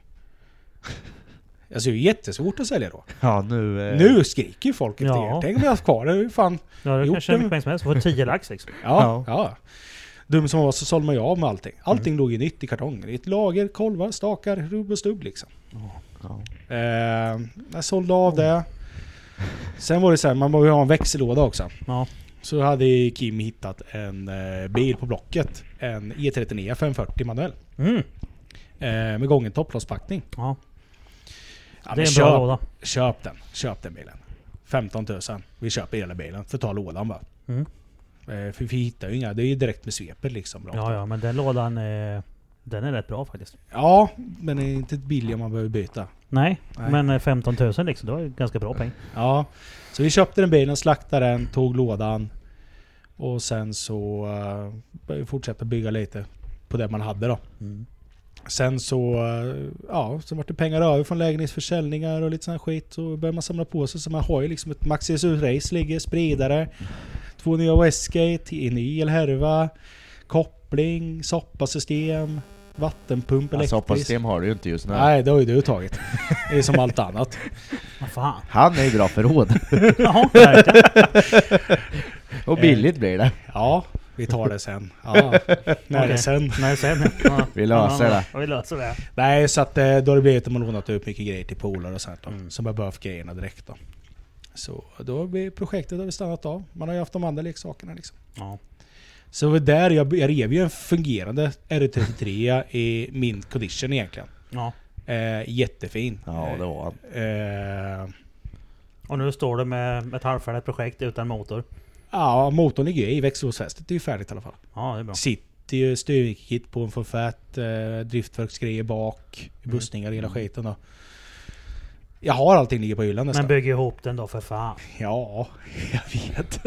Speaker 5: Alltså det är ju jättesvårt att sälja då.
Speaker 2: Ja nu... eh,
Speaker 5: Nu skriker ju folk efter
Speaker 3: Ja.
Speaker 5: er. Tänk om jag har haft kvar det. Hur fan?
Speaker 3: Ja, du
Speaker 5: Jo,
Speaker 3: kan tjäna
Speaker 5: det-
Speaker 3: mycket pengar som helst. Får 10 lax liksom.
Speaker 5: Ja, ja. Dum som jag var så sålde man ju av med allting. Allting låg ju nytt i kartonger. I ett lager, kolvar, stakar, rubb och stubb liksom.
Speaker 2: Ja.
Speaker 5: Eh, jag sålde av det. Sen var det så här, man behöver ha en växellåda också.
Speaker 3: Ja.
Speaker 5: Så hade Kim hittat en eh, bil på Blocket. En E E39 540 manuell.
Speaker 3: Mm.
Speaker 5: Eh, med gången topplåspackning.
Speaker 3: Ja,
Speaker 5: Ja,
Speaker 3: det
Speaker 5: men
Speaker 3: är en
Speaker 5: köp,
Speaker 3: bra låda.
Speaker 5: köp den. Köp den bilen. 15 000. Vi köper hela bilen. Får ta lådan bara.
Speaker 3: Mm.
Speaker 5: Eh, för vi hittar ju inga. Det är ju direkt med svepet liksom. rakt
Speaker 3: Ja, ja, men den lådan eh, den är rätt bra faktiskt.
Speaker 5: Ja, men det är inte billig om man behöver byta.
Speaker 3: Nej,
Speaker 5: Nej.
Speaker 3: men eh, 15 000 liksom, det var ju ganska bra peng.
Speaker 5: Ja, så vi köpte den bilen, slaktade den, tog lådan. Och sen så eh, började vi fortsätta bygga lite på det man hade då.
Speaker 3: Mm.
Speaker 5: Sen så, eh, ja, så vart det pengar över från lägenhetsförsäljningar och lite sån här skit. Så började man samla på sig. Så man har ju liksom ett Maxi SU-race ligger, spridare. Två nya Westgate, en ny elhärva. Koppling, soppasystem, vattenpump
Speaker 2: Alltså
Speaker 5: elektrisk.
Speaker 2: hoppasystem har du ju inte just nu.
Speaker 5: Nej, det har ju du tagit. Det är som allt annat.
Speaker 3: Vad fan.
Speaker 2: Han är ju bra förråd.
Speaker 3: Ja, verkligen.
Speaker 2: Och billigt blir det.
Speaker 5: Ja, vi tar det sen. Ja, när det
Speaker 3: Okej.
Speaker 5: är sen.
Speaker 3: Nej, sen. Ja.
Speaker 2: Vi löser
Speaker 3: Ja,
Speaker 2: det.
Speaker 3: ja, Vi löser det.
Speaker 5: Nej, så att eh, då har det blivit att man lånat ut mycket grejer till polare och sånt då.
Speaker 3: Mm.
Speaker 5: Som har behövt grejerna direkt då. Så då blir projektet har vi stannat av. Man har ju haft de andra leksakerna liksom.
Speaker 3: Ja.
Speaker 5: Så det var där jag, jag rev ju en fungerande R33 i min condition egentligen.
Speaker 3: ja.
Speaker 5: Eh, jättefin.
Speaker 2: Ja det var han.
Speaker 5: Eh,
Speaker 3: Och nu står du med ett halvfärdigt projekt utan motor.
Speaker 5: ja, motorn ligger ju i. Växellåsfästet är ju färdigt i alla fall.
Speaker 3: Ja, det är bra.
Speaker 5: Sitter ju styrkit på en forfett, eh, driftverksgrejer bak, bussningar och hela skiten då. Jag har allting ligger på hyllan nästan.
Speaker 3: Men bygg ihop den då för fan.
Speaker 5: ja, jag vet.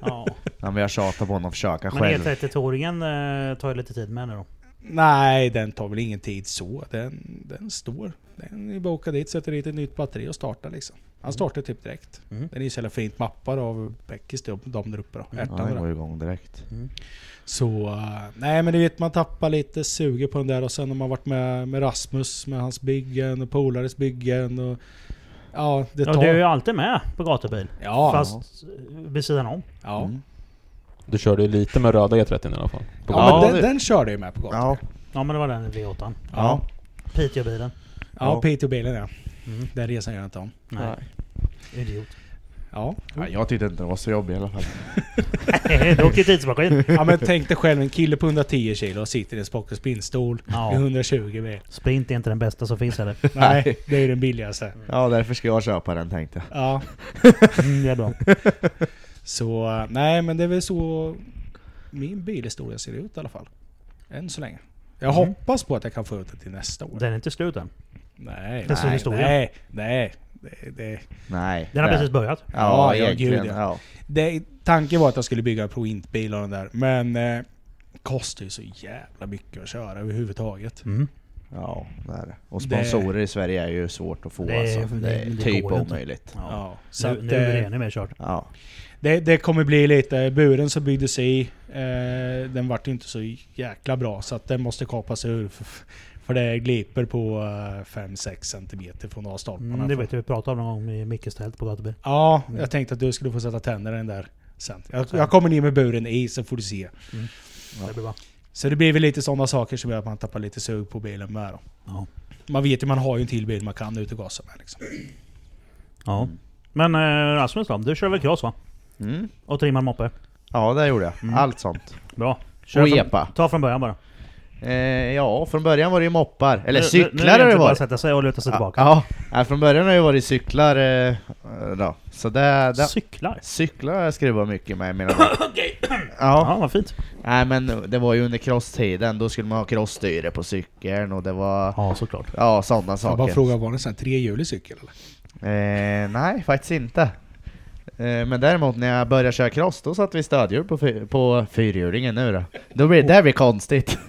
Speaker 3: Ja.
Speaker 2: Ja, men jag tjatar på honom att försöka
Speaker 3: Men
Speaker 2: själv.
Speaker 3: E32-ringen eh, tar ju lite tid med nu då.
Speaker 5: Nej, den tar väl ingen tid så. Den, den står. Den är bara att åka dit, sätter dit ett nytt batteri och starta liksom. Han startar typ direkt.
Speaker 3: Mm.
Speaker 5: Den är ju så jävla fint mappad av Beckis, de de där uppe då.
Speaker 2: Ja,
Speaker 5: Ärtan
Speaker 2: han
Speaker 5: där.
Speaker 2: går igång direkt.
Speaker 5: Så eh, nej men du vet man tappar lite suger på den där och sen har man varit med, med Rasmus med hans byggen och polares byggen och ja det
Speaker 3: Ja,
Speaker 5: tar.
Speaker 3: du är ju
Speaker 5: Ja,
Speaker 3: alltid med på gatubil.
Speaker 5: ja,
Speaker 3: Fast eh, vid sidan om.
Speaker 5: ja.
Speaker 2: Mm.
Speaker 1: Du körde ju lite med röda E30 i alla fall. På
Speaker 3: Ja,
Speaker 5: men
Speaker 2: det-
Speaker 5: den, den körde ju med på gatan. Ja,
Speaker 2: Ja.
Speaker 3: Ja men det var den V8.
Speaker 5: ja.
Speaker 3: Piteåbilen.
Speaker 5: ja P2-bilen ja.
Speaker 3: Mm.
Speaker 5: Den resan gör jag inte om.
Speaker 3: Nej. Idiot.
Speaker 5: Ja.
Speaker 2: ja. Jag tyckte inte det var så jobbigt i alla fall.
Speaker 3: du åker ju tidsmaskin.
Speaker 5: ja men tänk dig själv en kille på 110 kilo och sitter i en spock och spinnstol i
Speaker 3: Ja.
Speaker 5: 120 bil.
Speaker 3: Sprint är inte den bästa som finns heller.
Speaker 5: Nej, det är ju den billigaste.
Speaker 2: Ja därför ska jag köpa den tänkte jag.
Speaker 5: Ja.
Speaker 3: Mm, det är bra.
Speaker 5: Så eh, nej men det är väl så min bilhistoria ser ut i alla fall. Än så länge. Jag
Speaker 3: Mm.
Speaker 5: hoppas på att jag kan få ut det till nästa år.
Speaker 3: Den är inte slut än.
Speaker 5: Nej,
Speaker 3: Det är så
Speaker 5: nej,
Speaker 3: historia.
Speaker 5: nej, nej. Det, det,
Speaker 2: Nej.
Speaker 3: Den har
Speaker 2: det-
Speaker 3: precis börjat.
Speaker 5: Ja,
Speaker 2: Ja,
Speaker 5: ja,
Speaker 2: egentligen.
Speaker 5: gud,
Speaker 2: ja.
Speaker 5: det, tanken var att jag skulle bygga en Proint-bil och den där, men eh, kostar ju så jävla mycket att köra överhuvudtaget.
Speaker 3: Mm.
Speaker 2: Ja, det är det. Och sponsorer i Sverige är ju svårt att få
Speaker 3: Det-
Speaker 2: alltså.
Speaker 3: det-
Speaker 2: Det är
Speaker 3: det
Speaker 2: typ
Speaker 3: går ju inte.
Speaker 2: omöjligt.
Speaker 3: Ja.
Speaker 5: Ja, så
Speaker 3: Så nu,
Speaker 5: att,
Speaker 3: nu är det
Speaker 5: eh,
Speaker 3: ännu mer kört.
Speaker 2: Ja.
Speaker 5: det, det kommer bli lite, buren som byggdes i, eh, den vart ju inte så jäkla bra så att den måste kapas ur. För, för det gliper på eh, 5-6 cm från A-stolparna.
Speaker 3: Mm, det vet jag vi pratade om någon gång i Mickes tält på gatubil.
Speaker 5: Ja,
Speaker 3: Mm.
Speaker 5: jag tänkte att du skulle få sätta tänderna i den där sen. Jag,
Speaker 3: Sen.
Speaker 5: jag kommer ner med buren i så får du se.
Speaker 3: Ja. Det blir bra.
Speaker 5: Så det blir väl lite sådana saker som gör att man tappar lite sug på bilen med då.
Speaker 3: Ja.
Speaker 5: Man vet ju, man har ju en till bil man kan ut och gasa med liksom.
Speaker 3: Ja. Men eh, Mm. Rasmus då? Du kör väl cross va?
Speaker 2: Mm.
Speaker 3: Och trimmar moppe?
Speaker 2: Ja, det gjorde jag.
Speaker 3: Mm.
Speaker 2: Allt sånt.
Speaker 3: Bra.
Speaker 2: Och
Speaker 3: från,
Speaker 2: epa.
Speaker 3: ta från början bara.
Speaker 2: Eh, ja, från början var det ju moppar. Eller
Speaker 3: Nu- nu-
Speaker 2: cyklar
Speaker 3: Nu är
Speaker 2: har det
Speaker 3: inte bara
Speaker 2: varit.
Speaker 3: att sätta sig och luta sig tillbaka.
Speaker 2: Ja, nej, från början har det ju varit cyklar eh, då. Så det, det,
Speaker 3: Cyklar?
Speaker 2: cyklar har jag skruvat mycket med mina dagar.
Speaker 3: Okej.
Speaker 2: Ja,
Speaker 3: Ja, vad fint.
Speaker 2: nej men det var ju under crosstiden, då skulle man ha crossstyre på cykeln och det var...
Speaker 3: Ja, såklart.
Speaker 2: Ja, sådana
Speaker 5: Jag bara
Speaker 2: saker.
Speaker 5: frågar, var det en sån här trehjulig cykel eller?
Speaker 2: Eh, nej, faktiskt inte. Eh, men däremot när jag började köra cross, då satte vi stödhjul på, fy- på fyrhjulingen nu då. Då blir det där blir konstigt.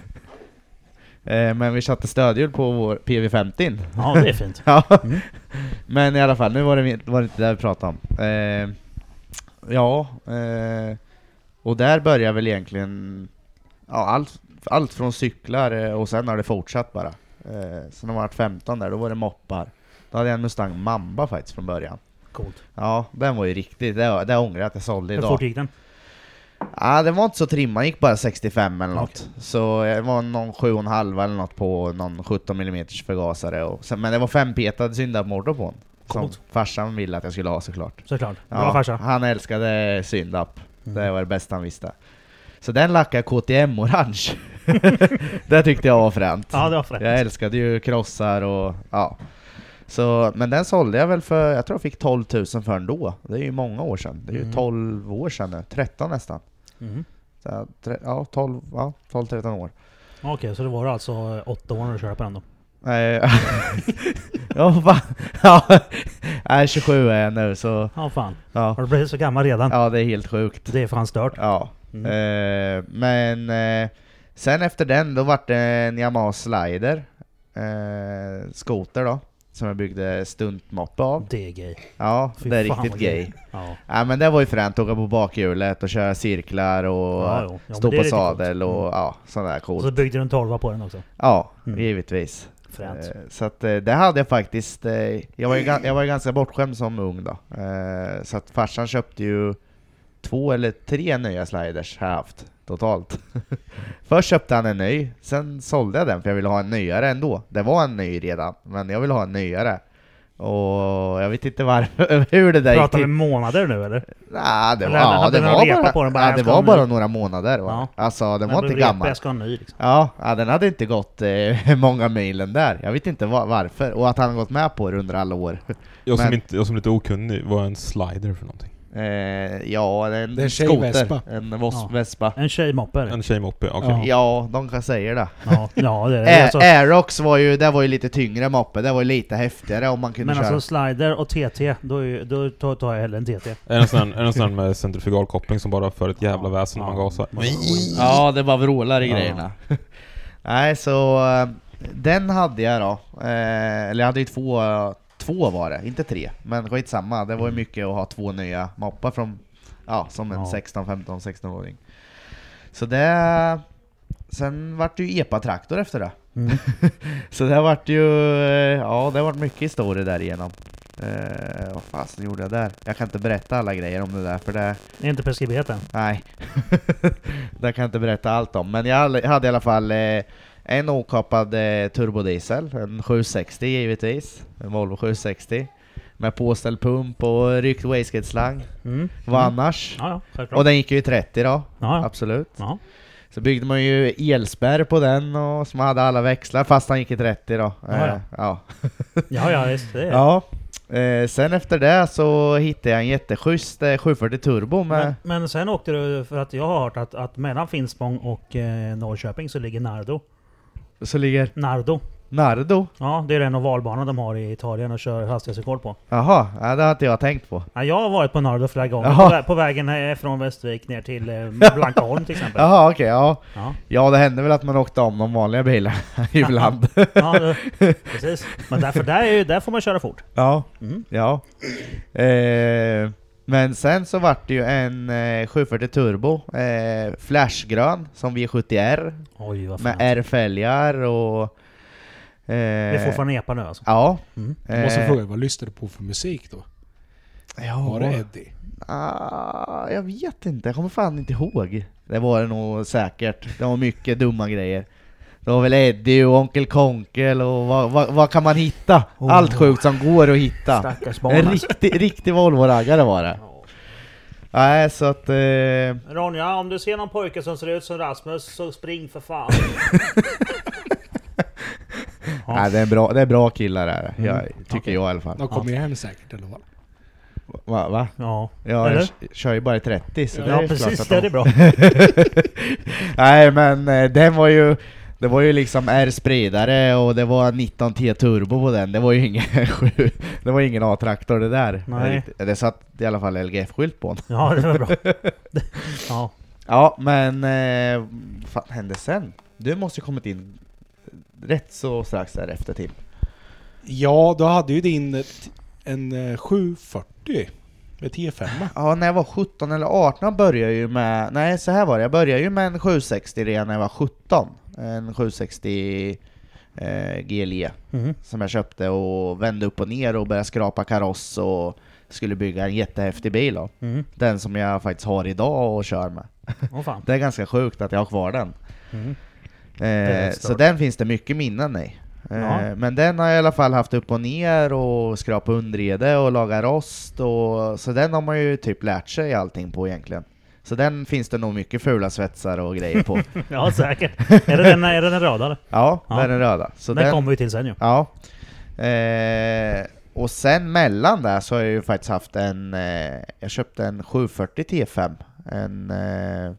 Speaker 2: eh, men vi satte stödhjul på vår PV50.
Speaker 3: Ja, det är fint.
Speaker 2: Ja.
Speaker 3: Mm.
Speaker 2: Men i alla fall, nu var det, min- var det inte det vi pratade om. Eh, ja, eh, och där börjar väl egentligen ja, allt, allt från cyklar eh, och sen har det fortsatt bara. Eh, sen när man var 15 där, då var det moppar. Då hade jag en Mustang Mamba faktiskt från början.
Speaker 3: Coolt.
Speaker 2: Ja, den var ju riktigt, det, det ångrar jag att jag sålde
Speaker 3: Hur
Speaker 2: idag.
Speaker 3: fort gick den?
Speaker 2: Ja, den var inte så trimmad, gick bara 65 eller
Speaker 3: Okej.
Speaker 2: något. Så det var någon 7,5 eller något på någon 17 mm förgasare. Och sen, men det var fempetad syndamotor på den. Som
Speaker 3: Coolt.
Speaker 2: farsan ville att jag skulle ha såklart.
Speaker 3: Såklart. Bra farsa.
Speaker 2: han älskade syndapp.
Speaker 3: Mm.
Speaker 2: Det var det bästa han visste. Så den lackade jag KTM-orange. det tyckte jag var fränt.
Speaker 3: Ja, det var fränt.
Speaker 2: Jag älskade ju krossar och ja. Så, men den sålde jag väl för, jag tror jag fick 12 000 för den då. Det är ju många år sedan. Det är ju
Speaker 3: Mm.
Speaker 2: 12 år sedan nu, 13 nästan.
Speaker 3: Mhm.
Speaker 2: Så jag- tre- Ja, 12, ja, 12-13 år.
Speaker 3: Okej, så det var alltså eh, åtta år när du körde på den då?
Speaker 2: Eh, ja, va? ja, nej, 27 är jag nu så
Speaker 3: Ja, fan.
Speaker 2: ja.
Speaker 3: Har du blivit så gammal redan?
Speaker 2: ja, det är helt sjukt.
Speaker 3: Det är fan stört.
Speaker 2: Ja.
Speaker 3: Mm.
Speaker 2: Eh, men eh, sen efter den då vart det en Yamaha Slider, eh, skoter då, som jag byggde stuntmoppe av.
Speaker 3: Det är gay.
Speaker 2: Ja,
Speaker 3: Fy
Speaker 2: det är
Speaker 3: fan
Speaker 2: riktigt
Speaker 3: vad
Speaker 2: gay.
Speaker 3: Ja.
Speaker 2: Ja men det var ju fränt, åka på bakhjulet och köra cirklar och
Speaker 3: Ja, jo. Ja, men
Speaker 2: stå
Speaker 3: det är
Speaker 2: på
Speaker 3: lite
Speaker 2: sadel
Speaker 3: coolt.
Speaker 2: och
Speaker 3: Mm.
Speaker 2: ja, sånt där coolt.
Speaker 3: Och så byggde du en tolva på den också.
Speaker 2: ja,
Speaker 3: Mm.
Speaker 2: givetvis.
Speaker 3: Fränt.
Speaker 2: Eh, Så att eh, det hade jag faktiskt, eh, jag var ju, gan- jag var ju ganska bortskämd som ung då. Eh, Så att farsan köpte ju två eller tre nya sliders har jag haft totalt. Först köpte han en ny, sen sålde jag den för jag ville ha en nyare ändå. Det var en ny redan, men jag ville ha en nyare. Och jag vet inte varför, hur det där gick
Speaker 3: Pratar
Speaker 2: till.
Speaker 3: vi månader nu eller?
Speaker 2: Nej, det var,
Speaker 3: Eller hade-
Speaker 2: ja,
Speaker 3: hade
Speaker 2: det
Speaker 3: den
Speaker 2: var,
Speaker 3: repa
Speaker 2: bara,
Speaker 3: på den? Bara,
Speaker 2: ja,
Speaker 3: jag
Speaker 2: det
Speaker 3: ska
Speaker 2: var
Speaker 3: ha
Speaker 2: bara några månader. Va?
Speaker 3: Ja.
Speaker 2: Alltså, den
Speaker 3: Men
Speaker 2: var
Speaker 3: du
Speaker 2: inte
Speaker 3: repa,
Speaker 2: gammal.
Speaker 3: Jag ska ha en ny liksom.
Speaker 2: Ja, ja, den hade inte gått eh, många milen där. Jag vet inte va- varför. Och att han har gått med på det under alla år.
Speaker 1: Jag som,
Speaker 2: Men-
Speaker 1: inte, jag som är lite okunnig, vad är en slider för någonting?
Speaker 2: Eh, ja, en,
Speaker 5: Det är en tjej Vespa.
Speaker 2: skoter. En vos-
Speaker 3: Ja.
Speaker 2: Vespa.
Speaker 3: En tjejmoppe är det.
Speaker 1: En tjejmoppe? Okej.
Speaker 2: Ja,
Speaker 5: Ja.
Speaker 2: de säger det.
Speaker 3: Ja, ja det är det.
Speaker 2: Ä-
Speaker 3: Alltså,
Speaker 2: Aerox var ju, det var ju lite tyngre moppe. Det var ju lite häftigare om man kunde
Speaker 3: men
Speaker 2: köra.
Speaker 3: alltså slider och TT, då, är, ju- då tar- tar jag hellre en TT.
Speaker 1: Är det en sån här- är det en sån här med centrifugalkoppling som bara för ett jävla väsen när man gasar?
Speaker 2: Ja, det bara vrålar i
Speaker 1: Ja.
Speaker 2: grejerna. Nej, så eh, den hade jag då. Eh, Eller jag hade ju två, två var det, inte tre. Men skitsamma, det var ju mycket att ha två nya moppar från, Mm. ja, som en
Speaker 3: Ja.
Speaker 2: 16, 15, 16-åring. Så det... Sen vart det ju epa-traktor efter det.
Speaker 3: Mm.
Speaker 2: Så det vart ju, eh, ja det vart mycket historier därigenom. Eh, vad fasen gjorde jag där? Jag kan inte berätta alla grejer om det där för det...
Speaker 3: Det är inte preskriberat än.
Speaker 2: Nej, det kan jag inte berätta allt om. Men jag hade- hade i alla fall eh, en okapad eh, turbodiesel, en 760 givetvis, en Volvo 760. Med påställd pump och ryckt wastegate-slang.
Speaker 3: Mm.
Speaker 2: Vad
Speaker 3: Mm.
Speaker 2: annars?
Speaker 3: Ja, ja, självklart.
Speaker 2: Och den gick ju i 30 då,
Speaker 3: ja, ja.
Speaker 2: absolut.
Speaker 3: ja.
Speaker 2: Så byggde man ju elspärr på den och som hade alla växlar fast han gick i 30 då.
Speaker 3: Ja, ja.
Speaker 2: Eh, ja.
Speaker 3: ja, ja visst. Det är.
Speaker 2: ja. Eh, sen efter det så hittade jag en jätteschysst eh, 740 turbo med...
Speaker 3: Men, men sen åkte du, för att jag har hört att, att mellan Finspång och eh, Norrköping så ligger Nardo.
Speaker 2: Så ligger
Speaker 3: Nardo.
Speaker 2: Nardo.
Speaker 3: Ja, det är den ovalbanan de har i Italien och kör hastighetsrekord på.
Speaker 2: Jaha, ja, det har inte jag tänkt på.
Speaker 3: Ja, jag har varit på Nardo flera gånger.
Speaker 2: Jaha.
Speaker 3: På, vä- på vägen här från Västervik ner till eh, Blankaholm till exempel.
Speaker 2: Jaha okej, ja.
Speaker 3: Ja,
Speaker 2: Ja det hände väl att man åkte om de vanliga bilarna ibland.
Speaker 3: ja det, precis. Men därför där, är ju, där får man köra fort.
Speaker 2: ja.
Speaker 3: Mm.
Speaker 2: ja. Eh, men sen så vart det ju en eh, 740 turbo, eh, flashgrön som V70R
Speaker 3: Oj, vad
Speaker 2: med
Speaker 3: fan.
Speaker 2: R-fälgar och... Eh,
Speaker 3: Det är fortfarande epa nu alltså.
Speaker 2: Ja.
Speaker 3: Mm.
Speaker 5: Jag måste
Speaker 2: eh,
Speaker 5: fråga, vad lyssnade du på för musik då?
Speaker 2: Ja,
Speaker 5: Var det Eddie?
Speaker 2: ah, jag vet inte, jag kommer fan inte ihåg. Det var det nog säkert. Det var mycket dumma grejer. Det var väl Eddie och Onkel Konkel och vad, vad, vad kan man hitta?
Speaker 3: Oh.
Speaker 2: Allt sjukt som går att hitta.
Speaker 3: Stackars barn
Speaker 2: En
Speaker 3: alltså.
Speaker 2: riktig, riktig Volvo-raggare var det. Nej, så att... Eh,
Speaker 3: Ronja, om du ser någon pojke som ser ut som Rasmus så spring för fan. Ja.
Speaker 2: nej, det, är bra, det är bra killar det här. Jag,
Speaker 3: Mm,
Speaker 2: tycker
Speaker 3: okej.
Speaker 2: jag i alla fall.
Speaker 5: De kommer ju hem säkert eller vad?
Speaker 2: Va? va?
Speaker 3: Ja,
Speaker 2: Ja,
Speaker 3: Eller?
Speaker 2: jag k- kör ju bara i 30 så det
Speaker 3: ja
Speaker 2: är klart
Speaker 3: precis.
Speaker 2: att
Speaker 3: Det
Speaker 2: de...
Speaker 3: är bra.
Speaker 2: Nej men eh, den var ju Det var ju liksom R-spridare och det var 19T turbo på den Det var ju ingen sju- Det var ingen A-traktor det där
Speaker 3: Nej.
Speaker 2: Riktigt. Det satt i alla fall LGF-skylt på den
Speaker 3: Ja, det var bra. Ja.
Speaker 2: Ja men eh, vad fan hände sen? Du måste ju kommit in Rätt så strax typ. därefter Tim
Speaker 5: Ja, då hade ju din ett- en eh, 740 med T5.
Speaker 2: Ja när jag var 17 eller 18 började jag ju med Nej så här var det, jag började ju med en 760 redan när jag var 17 En 760 eh, GLE
Speaker 3: Mhm.
Speaker 2: som jag köpte och vände upp och ner och började skrapa kaross och skulle bygga en jättehäftig bil då.
Speaker 3: Mhm.
Speaker 2: Den som jag faktiskt har idag och kör med.
Speaker 3: Åh fan.
Speaker 2: Det är ganska sjukt att jag har kvar den.
Speaker 3: Mm.
Speaker 2: Eh,
Speaker 3: är
Speaker 2: så
Speaker 3: stört.
Speaker 2: den finns det mycket minnen i. Eh,
Speaker 3: Ja.
Speaker 2: Men den har jag i alla fall haft upp och ner och skrapat underrede och lagat rost och så den har man ju typ lärt sig allting på egentligen. Så den finns det nog mycket fula svetsar och grejer på.
Speaker 3: Ja, säkert. Är det den, är det den röda? eller?
Speaker 2: ja,
Speaker 3: Ja.
Speaker 2: det är den röda. Så
Speaker 3: Den kommer vi till sen ju.
Speaker 2: Ja. Eh, och sen mellan där så har jag ju faktiskt haft en... Eh, jag köpte en 740 T5. En... Eh,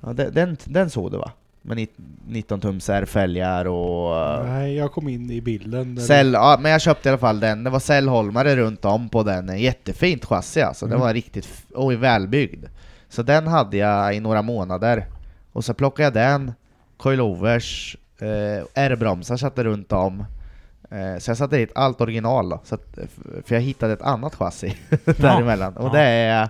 Speaker 2: ja, den, den, den såg du va? Med nit- 19 tums R-fälgar och... eh,
Speaker 5: Nej, jag kom in i bilden. där-
Speaker 2: Cell, ja, men jag köpte i alla fall den. Det var cellholmare runt om på den. En Jättefint chassi alltså.
Speaker 3: Mm.
Speaker 2: Den var riktigt f- oj, välbyggd. Så den hade jag i några månader. Och så plockade jag den, coilovers, eh, R-bromsar satte runt om. Eh, så jag satte dit allt original då, så att, eh, f- för jag hittade ett annat chassi däremellan. Och
Speaker 3: Ja.
Speaker 2: det är...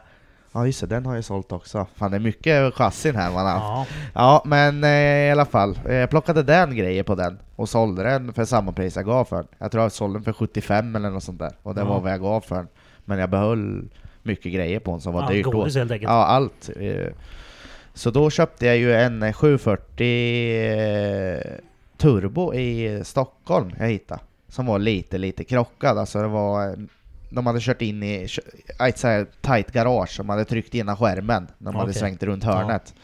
Speaker 2: Ja just det, den har jag sålt också. Fan det är mycket chassin här man har haft.
Speaker 3: Ja.
Speaker 2: Ja, men eh, i alla fall. Eh, Jag plockade den grejer på den och sålde den för samma pris jag gav för den. Jag tror jag sålde den för 75 eller något sånt där. Och det
Speaker 3: Ja.
Speaker 2: var vad jag gav för den. Men jag behöll mycket grejer på den som var
Speaker 3: Ja,
Speaker 2: dyrt då.
Speaker 3: godis helt enkelt.
Speaker 2: Ja, allt. eh. Så då köpte jag ju en eh, 740 eh, Turbo i Stockholm jag hittade. Som var lite, lite krockad. Alltså det var... eh, De hade kört in i kö- ett så här tight garage, de hade tryckt ena skärmen när de hade
Speaker 3: Okej.
Speaker 2: svängt runt hörnet.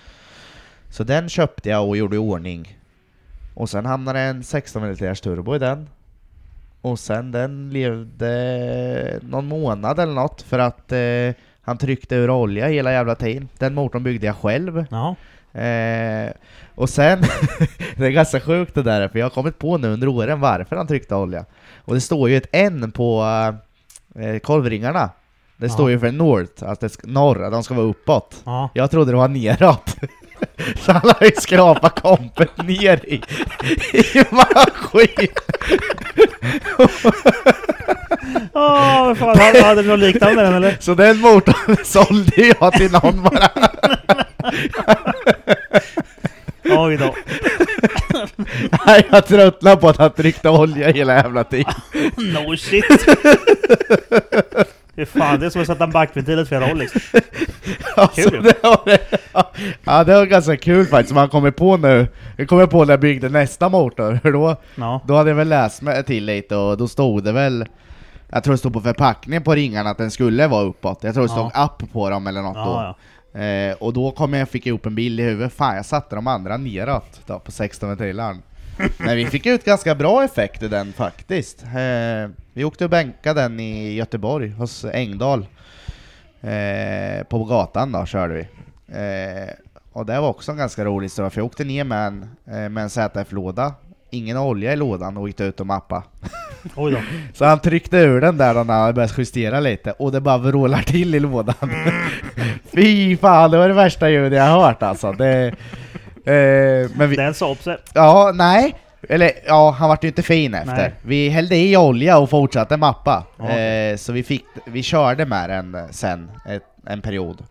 Speaker 2: Så den köpte jag och gjorde i ordning. Och sen hamnade en 16 liters turbo i den. Och sen den levde någon månad eller något för att eh, han tryckte ur olja hela jävla tiden. Den motorn byggde jag själv.
Speaker 3: Ja.
Speaker 2: Eh, och sen, det är ganska sjukt det där, för jag har kommit på nu under åren varför han tryckte olja. Och det står ju ett N på eh, kolvringarna. Det står ju för North, alltså det ska, norra, de ska vara uppåt.
Speaker 3: Ja.
Speaker 2: Jag trodde det var neråt. Så han har ju skrapat kompet ner i, i maskin.
Speaker 3: Åh, vad fan. Hade- Hade du något liknande den eller?
Speaker 2: Så den motorn sålde jag till någon bara.
Speaker 3: Oj då.
Speaker 2: Nej, jag tröttnade på att han tryckte olja hela jävla tiden.
Speaker 3: No shit. Fy fan, det är som att sätta en backventil åt fel håll liksom.
Speaker 2: Alltså,
Speaker 3: Kul.
Speaker 2: det var, ja, det var ganska kul faktiskt, som han kommer på nu. Jag kommer på när jag byggde nästa motor, hur då?
Speaker 3: Ja.
Speaker 2: Då hade jag väl läst mig till lite och då stod det väl Jag tror det stod på förpackningen på ringarna att den skulle vara uppåt Jag tror det stod upp på dem eller något
Speaker 3: Ja,
Speaker 2: då eh, Och då kom jag, fick jag upp en bild i huvudet Fan jag satte de andra neråt då, på 16 ventilaren Men vi fick ut ganska bra effekt i den faktiskt eh, Vi åkte och bänkade den i Göteborg hos Engdahl eh, På gatan då körde vi eh, Och det var också en ganska rolig historia för jag åkte ner med en, eh, med en ZF-låda Ingen olja i lådan och gick ut och mappa.
Speaker 3: Oj då.
Speaker 2: Så han tryckte ur den där då när han började justera lite och det bara vrålar till i lådan.
Speaker 3: Mm.
Speaker 2: Fy fan, det var det värsta ljudet jag har hört alltså. Det, eh, men vi,
Speaker 3: Den sa upp sig.
Speaker 2: ja, nej. Eller ja, han vart ju inte fin efter.
Speaker 3: Nej.
Speaker 2: Vi hällde i olja och fortsatte mappa.
Speaker 3: Ja, okej.
Speaker 2: Eh, så vi, fick, vi körde med den sen, ett, en period.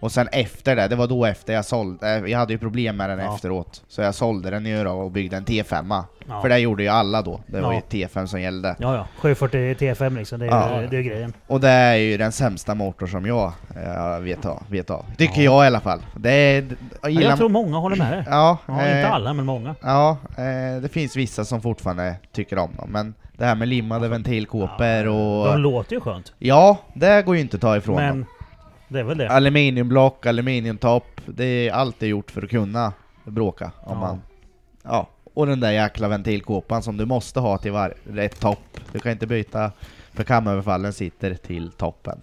Speaker 2: Och sen efter det, det var då efter jag sålde, eh, jag hade ju problem med den
Speaker 3: Ja.
Speaker 2: efteråt. Så jag sålde den ju då och byggde en T5.
Speaker 3: Ja.
Speaker 2: För det gjorde ju alla då, det var
Speaker 3: Ja.
Speaker 2: ju T5 som gällde.
Speaker 3: Ja, ja. 740 T5 liksom, det är,
Speaker 2: Ja.
Speaker 3: det är grejen.
Speaker 2: Och det är ju den sämsta motor som jag eh, vet, av, vet av. Tycker jag i alla fall. Det är... Jag
Speaker 3: Ja,
Speaker 2: gillar,
Speaker 3: jag tror många håller med dig.
Speaker 2: ja,
Speaker 3: Ja,
Speaker 2: eh,
Speaker 3: inte alla, men många.
Speaker 2: Ja, eh, det finns vissa som fortfarande tycker om dem. Men det här med limmade ventilkåpor
Speaker 3: De
Speaker 2: och...
Speaker 3: låter ju skönt.
Speaker 2: Ja, det går ju inte att ta ifrån dem.
Speaker 3: Men Det är väl det.
Speaker 2: Aluminiumblock, aluminiumtopp. Det är allt det är gjort för att kunna bråka. Om
Speaker 3: Ja.
Speaker 2: man, ja. Och den där jäkla ventilkåpan som du måste ha till var- rätt topp. Du kan inte byta för kamöverfallen sitter till toppen.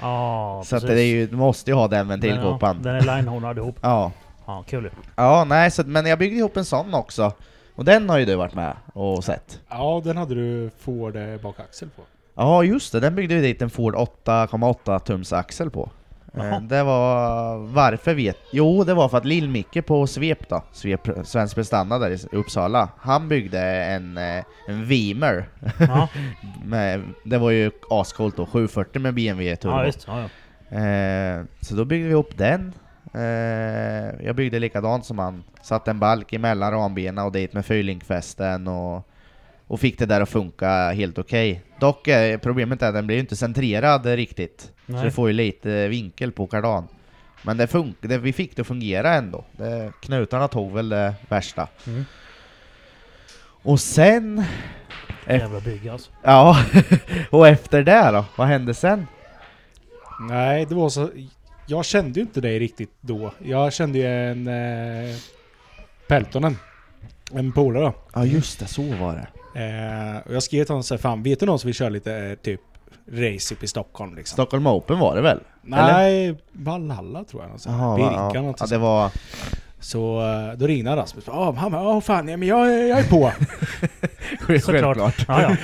Speaker 3: Ja,
Speaker 2: så att det
Speaker 3: precis.
Speaker 2: är ju, du måste ju ha den
Speaker 3: Den är-
Speaker 2: ventilkåpan.
Speaker 3: Den är linehornad ihop.
Speaker 2: Ja.
Speaker 3: Ja, kul ju.
Speaker 2: Ja, nej, så, men jag byggde ihop en sån också. Och den har ju du varit med och sett.
Speaker 5: Ja, den hade du Ford eh, bakaxel på.
Speaker 2: Ja, just det. Den byggde vi dit en Ford 8,8 tums axel på.
Speaker 3: Jaha.
Speaker 2: Eh, Det var... Varför vet... Jo, det var för att Lill-Micke på Svep då, Svep, Svensk Prestanda där i S- Uppsala, han byggde en, eh, en Vimer.
Speaker 3: Ja,
Speaker 2: Med, det var ju ascoolt då, 740 med BMW turbo.
Speaker 3: ja visst. Ja, ja.
Speaker 2: Eh, så då byggde vi upp den. Eh, jag byggde likadant som han. Satte en balk emellan rambenen och dit med fyrlinkfästen och, och fick det där att funka helt okej. Dock eh, problemet är att den blir ju inte centrerad eh, riktigt. Så
Speaker 3: Nej.
Speaker 2: du får ju lite vinkel på kardan. Men det fun- det, vi fick det att fungera ändå. Det, knutarna tog väl det värsta.
Speaker 3: Mm.
Speaker 2: Och sen... Eh.
Speaker 3: Jävla bygge alltså.
Speaker 2: Ja, och efter det då? Vad hände sen?
Speaker 5: Nej, det var så... Jag kände ju inte dig riktigt då. Jag kände ju en... Eh, Peltonen. En polare.
Speaker 2: Ja just det, så var det.
Speaker 5: Eh, och jag skrev till honom så här, fan vet du någon som vill köra lite eh, typ race upp i Stockholm liksom?
Speaker 2: Stockholm Open var det väl?
Speaker 5: Nej, Valhalla tror jag. Någon sån här.
Speaker 2: Jaha, va,
Speaker 5: Birka
Speaker 2: ja.
Speaker 5: något
Speaker 2: ja,
Speaker 5: sånt.
Speaker 2: det var...
Speaker 5: Så eh, då ringde Rasmus. Ja, han bara, ja fan, ja, men jag, är- jag är på.
Speaker 3: Såklart. Ja, ja.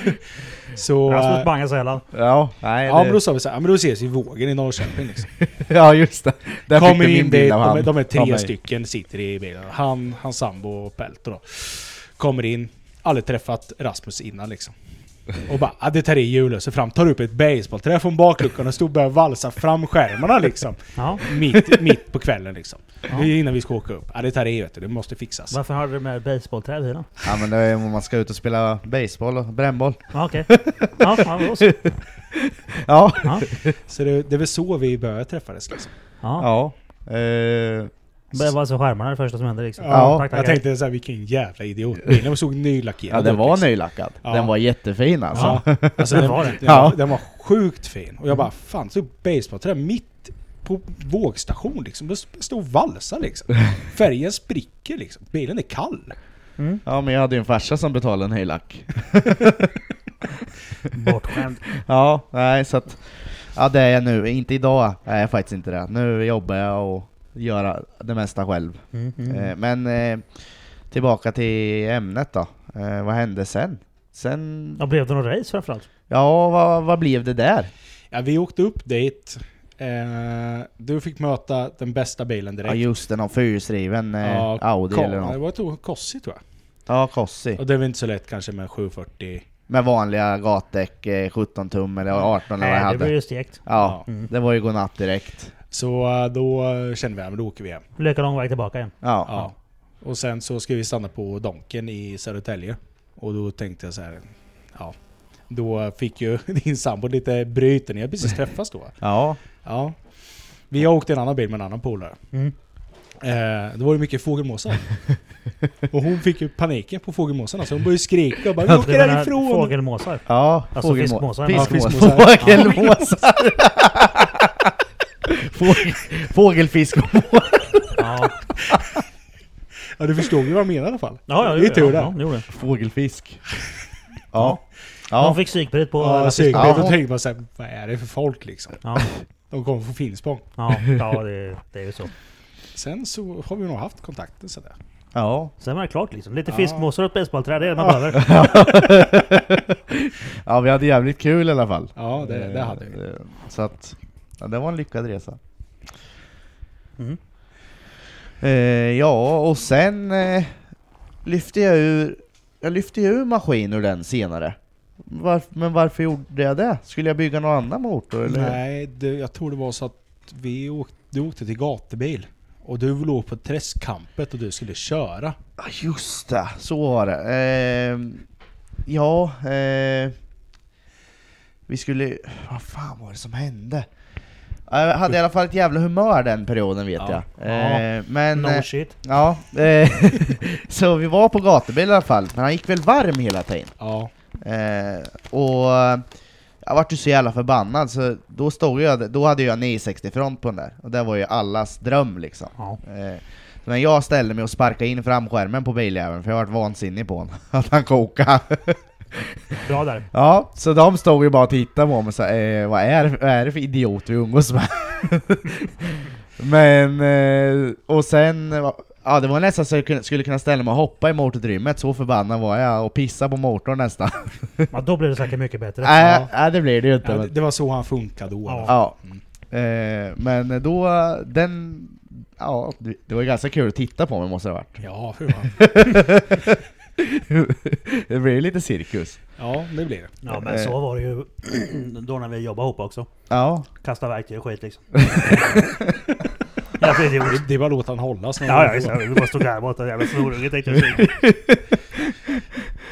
Speaker 5: så...
Speaker 3: Rasmus
Speaker 5: Eh,
Speaker 3: bangar sällan.
Speaker 2: Ja, nej,
Speaker 5: Ja men
Speaker 2: det,
Speaker 5: då sa vi såhär, ja men då ses vi i Vågen i Norrköping liksom.
Speaker 2: ja just det. Där
Speaker 5: Kommer
Speaker 2: du
Speaker 5: in dit,
Speaker 2: bild av
Speaker 5: de,
Speaker 2: han.
Speaker 5: är- de är
Speaker 2: Av
Speaker 5: tre
Speaker 2: mig.
Speaker 5: stycken, sitter i bilen. Han, hans sambo och Pelto då. Kommer in, aldrig träffat Rasmus innan liksom. Och bara, ja, det tar i hjulet, så fram, tar upp ett baseballträ från bakluckan och står och börjar valsa fram skärmarna liksom.
Speaker 3: Ja.
Speaker 5: Mitt, mitt på kvällen liksom. Det är innan vi ska åka upp. Ja, det tar i vet du, det måste fixas.
Speaker 3: Varför har du med basebollträd i då?
Speaker 2: Ja men det är om man ska ut och spela baseball och brännboll.
Speaker 3: Ja, okej. Ja, ja, då så.
Speaker 2: Ja.
Speaker 3: ja,
Speaker 5: Så det, det är väl så vi började träffades liksom.
Speaker 3: ja.
Speaker 2: Ja. Eh,
Speaker 3: Det var alltså skärmarna det första som hände liksom.
Speaker 2: Ja,
Speaker 3: Tack, tack,
Speaker 5: Jag
Speaker 3: tack.
Speaker 5: tänkte såhär, vilken jävla idiot. Bilen såg nylackerad
Speaker 2: ja den
Speaker 5: ut,
Speaker 2: var
Speaker 5: liksom.
Speaker 2: nylackad.
Speaker 5: Ja.
Speaker 2: Den var jättefin alltså.
Speaker 5: Ja,
Speaker 2: Ja.
Speaker 5: alltså
Speaker 3: Det
Speaker 5: den,
Speaker 3: var
Speaker 5: var
Speaker 3: det.
Speaker 5: den.
Speaker 2: Ja.
Speaker 5: var, den var sjukt fin. Och jag bara, fan, så basebollträ mitt på vågstation liksom. Det står och valsar liksom. Färgen spricker liksom. Bilen är kall.
Speaker 2: men jag hade ju en farsa som betalade en höjlack.
Speaker 3: Bortskämd.
Speaker 2: Ja, nej så att... Ja det är jag nu. Inte idag är jag faktiskt inte det. Nu jobbar jag och gör det mesta själv.
Speaker 3: Mm, mm.
Speaker 2: Eh, men eh, tillbaka till ämnet då. Eh, vad hände sen? Sen...
Speaker 3: Ja, blev det något race framförallt?
Speaker 2: Ja, vad, vad blev det där?
Speaker 5: Ja, vi åkte upp dit. Eh, du fick möta den bästa bilen direkt.
Speaker 2: Ja just det, någon fyrhjulsdriven eh,
Speaker 5: Ja,
Speaker 2: Audi
Speaker 5: Ka-
Speaker 2: eller
Speaker 5: Det
Speaker 2: något.
Speaker 5: var ett o- Kossi tror jag.
Speaker 2: Ja, Cossi.
Speaker 5: Och det är väl inte så lätt kanske med en 740.
Speaker 2: Med vanliga gatdäck, eh, 17 tum eller 18 eller vad jag
Speaker 3: Nej, det
Speaker 2: hade.
Speaker 3: blev ju stekt.
Speaker 2: Ja,
Speaker 3: Mm.
Speaker 2: det var ju godnatt direkt.
Speaker 5: Så eh, då eh, kände vi, ja men då åker vi hem.
Speaker 3: Lika lång väg tillbaka igen.
Speaker 2: Ja.
Speaker 5: Ja. Och sen så ska vi stanna på Donken i Södertälje. Och då tänkte jag så här, ja. Då fick ju din sambo lite bryter, ni har precis träffats då.
Speaker 2: Ja.
Speaker 5: Ja. Vi har åkt i en annan bil med en annan polare.
Speaker 3: Mm.
Speaker 5: Eh, det var ju mycket fågelmåsar. och hon fick ju paniken på fågelmåsarna så hon började skrika och bara Vi
Speaker 3: Du
Speaker 5: åker
Speaker 3: menar
Speaker 5: härifrån!
Speaker 3: Fågelmåsar.
Speaker 2: Ja,
Speaker 3: Alltså
Speaker 2: fågelmå-
Speaker 3: fiskmåsar.
Speaker 2: Fiskmåsar.
Speaker 5: Ja,
Speaker 2: Fågelmåsar. Fågel, fågelfisk och
Speaker 3: Ja,
Speaker 5: Ja du förstod ju vad jag menade i alla fall.
Speaker 3: ja, ja
Speaker 5: det är tur det.
Speaker 3: Ja, det gjorde det.
Speaker 2: fågelfisk. Ja. Ja.
Speaker 3: De fick psykbryt på...
Speaker 5: Ja,
Speaker 3: alla
Speaker 5: psykbryt.
Speaker 3: fiskar.
Speaker 2: Ja.
Speaker 5: Då tänkte man såhär, vad är det för folk liksom?
Speaker 3: Ja,
Speaker 5: De kommer från Finspång.
Speaker 3: ja, ja det, det är ju så.
Speaker 5: Sen så har vi nog haft kontakten sådär.
Speaker 2: Ja.
Speaker 3: Sen var det klart liksom. Lite
Speaker 5: Ja.
Speaker 3: fiskmåsar och ett basebollträ, det är det man behöver.
Speaker 2: ja, vi hade jävligt kul i alla fall.
Speaker 5: Ja det, det hade vi.
Speaker 2: Eh, Så att, ja, det var en lyckad resa.
Speaker 3: Mm.
Speaker 2: Eh, ja, och sen eh, lyfte jag ur, jag lyfte ju ur maskin ur den senare. Varf, men varför gjorde jag det? Skulle jag bygga någon annan motor eller?
Speaker 5: Nej, det, jag tror det var så att vi åkte, du åkte till gatubil. Och du låg på träskkampet och du skulle köra.
Speaker 2: Ja, just det, så var det. Eh, ja, eh, vi skulle... Vad fan var det som hände? Eh, Jag hade i alla fall ett jävla humör den perioden vet
Speaker 5: Ja.
Speaker 2: jag. Eh, men... eh,
Speaker 3: No shit.
Speaker 2: Ja, eh, så vi var på gatubil i alla fall, men han gick väl varm hela tiden.
Speaker 5: Ja.
Speaker 2: Eh, och eh, Jag vart ju så jävla förbannad så då stod jag, då hade jag 960 front på den där. Och det var ju allas dröm liksom.
Speaker 3: Ja.
Speaker 2: Eh, så när jag ställde mig och sparkade in framskärmen på biljäveln, för jag vart vansinnig på honom, att han kokade.
Speaker 3: Bra där.
Speaker 2: Ja, så de stod ju bara och tittade på mig och sa eh, vad, är, vad är det för idiot vi umgås med? Men, eh, och sen, eh, ja det var nästan så jag kunde- skulle kunna ställa mig och hoppa i motorutrymmet, så förbannad var jag, och pissa på motorn nästan.
Speaker 3: Ja, då blir det säkert mycket bättre.
Speaker 2: Nej, nej, det blir det ju inte.
Speaker 5: Ja, det, Mm.
Speaker 2: men,
Speaker 5: det var så han funkade då.
Speaker 3: Ja.
Speaker 2: ja. Eh, men då, den, ja det det var ju ganska kul att titta på mig måste det ha varit.
Speaker 5: Ja, för fan.
Speaker 2: det blev lite cirkus.
Speaker 5: Ja, det blir det.
Speaker 3: Ja men så var det ju då när vi jobbade ihop också.
Speaker 2: Ja,
Speaker 3: Kasta verktyg och skit liksom. Jävla idiot.
Speaker 5: Det- Det är bara att låta han hålla snarare.
Speaker 3: Ja, ja, just det. Vi bara stod där borta. Jävla snorunge tänkte jag säga.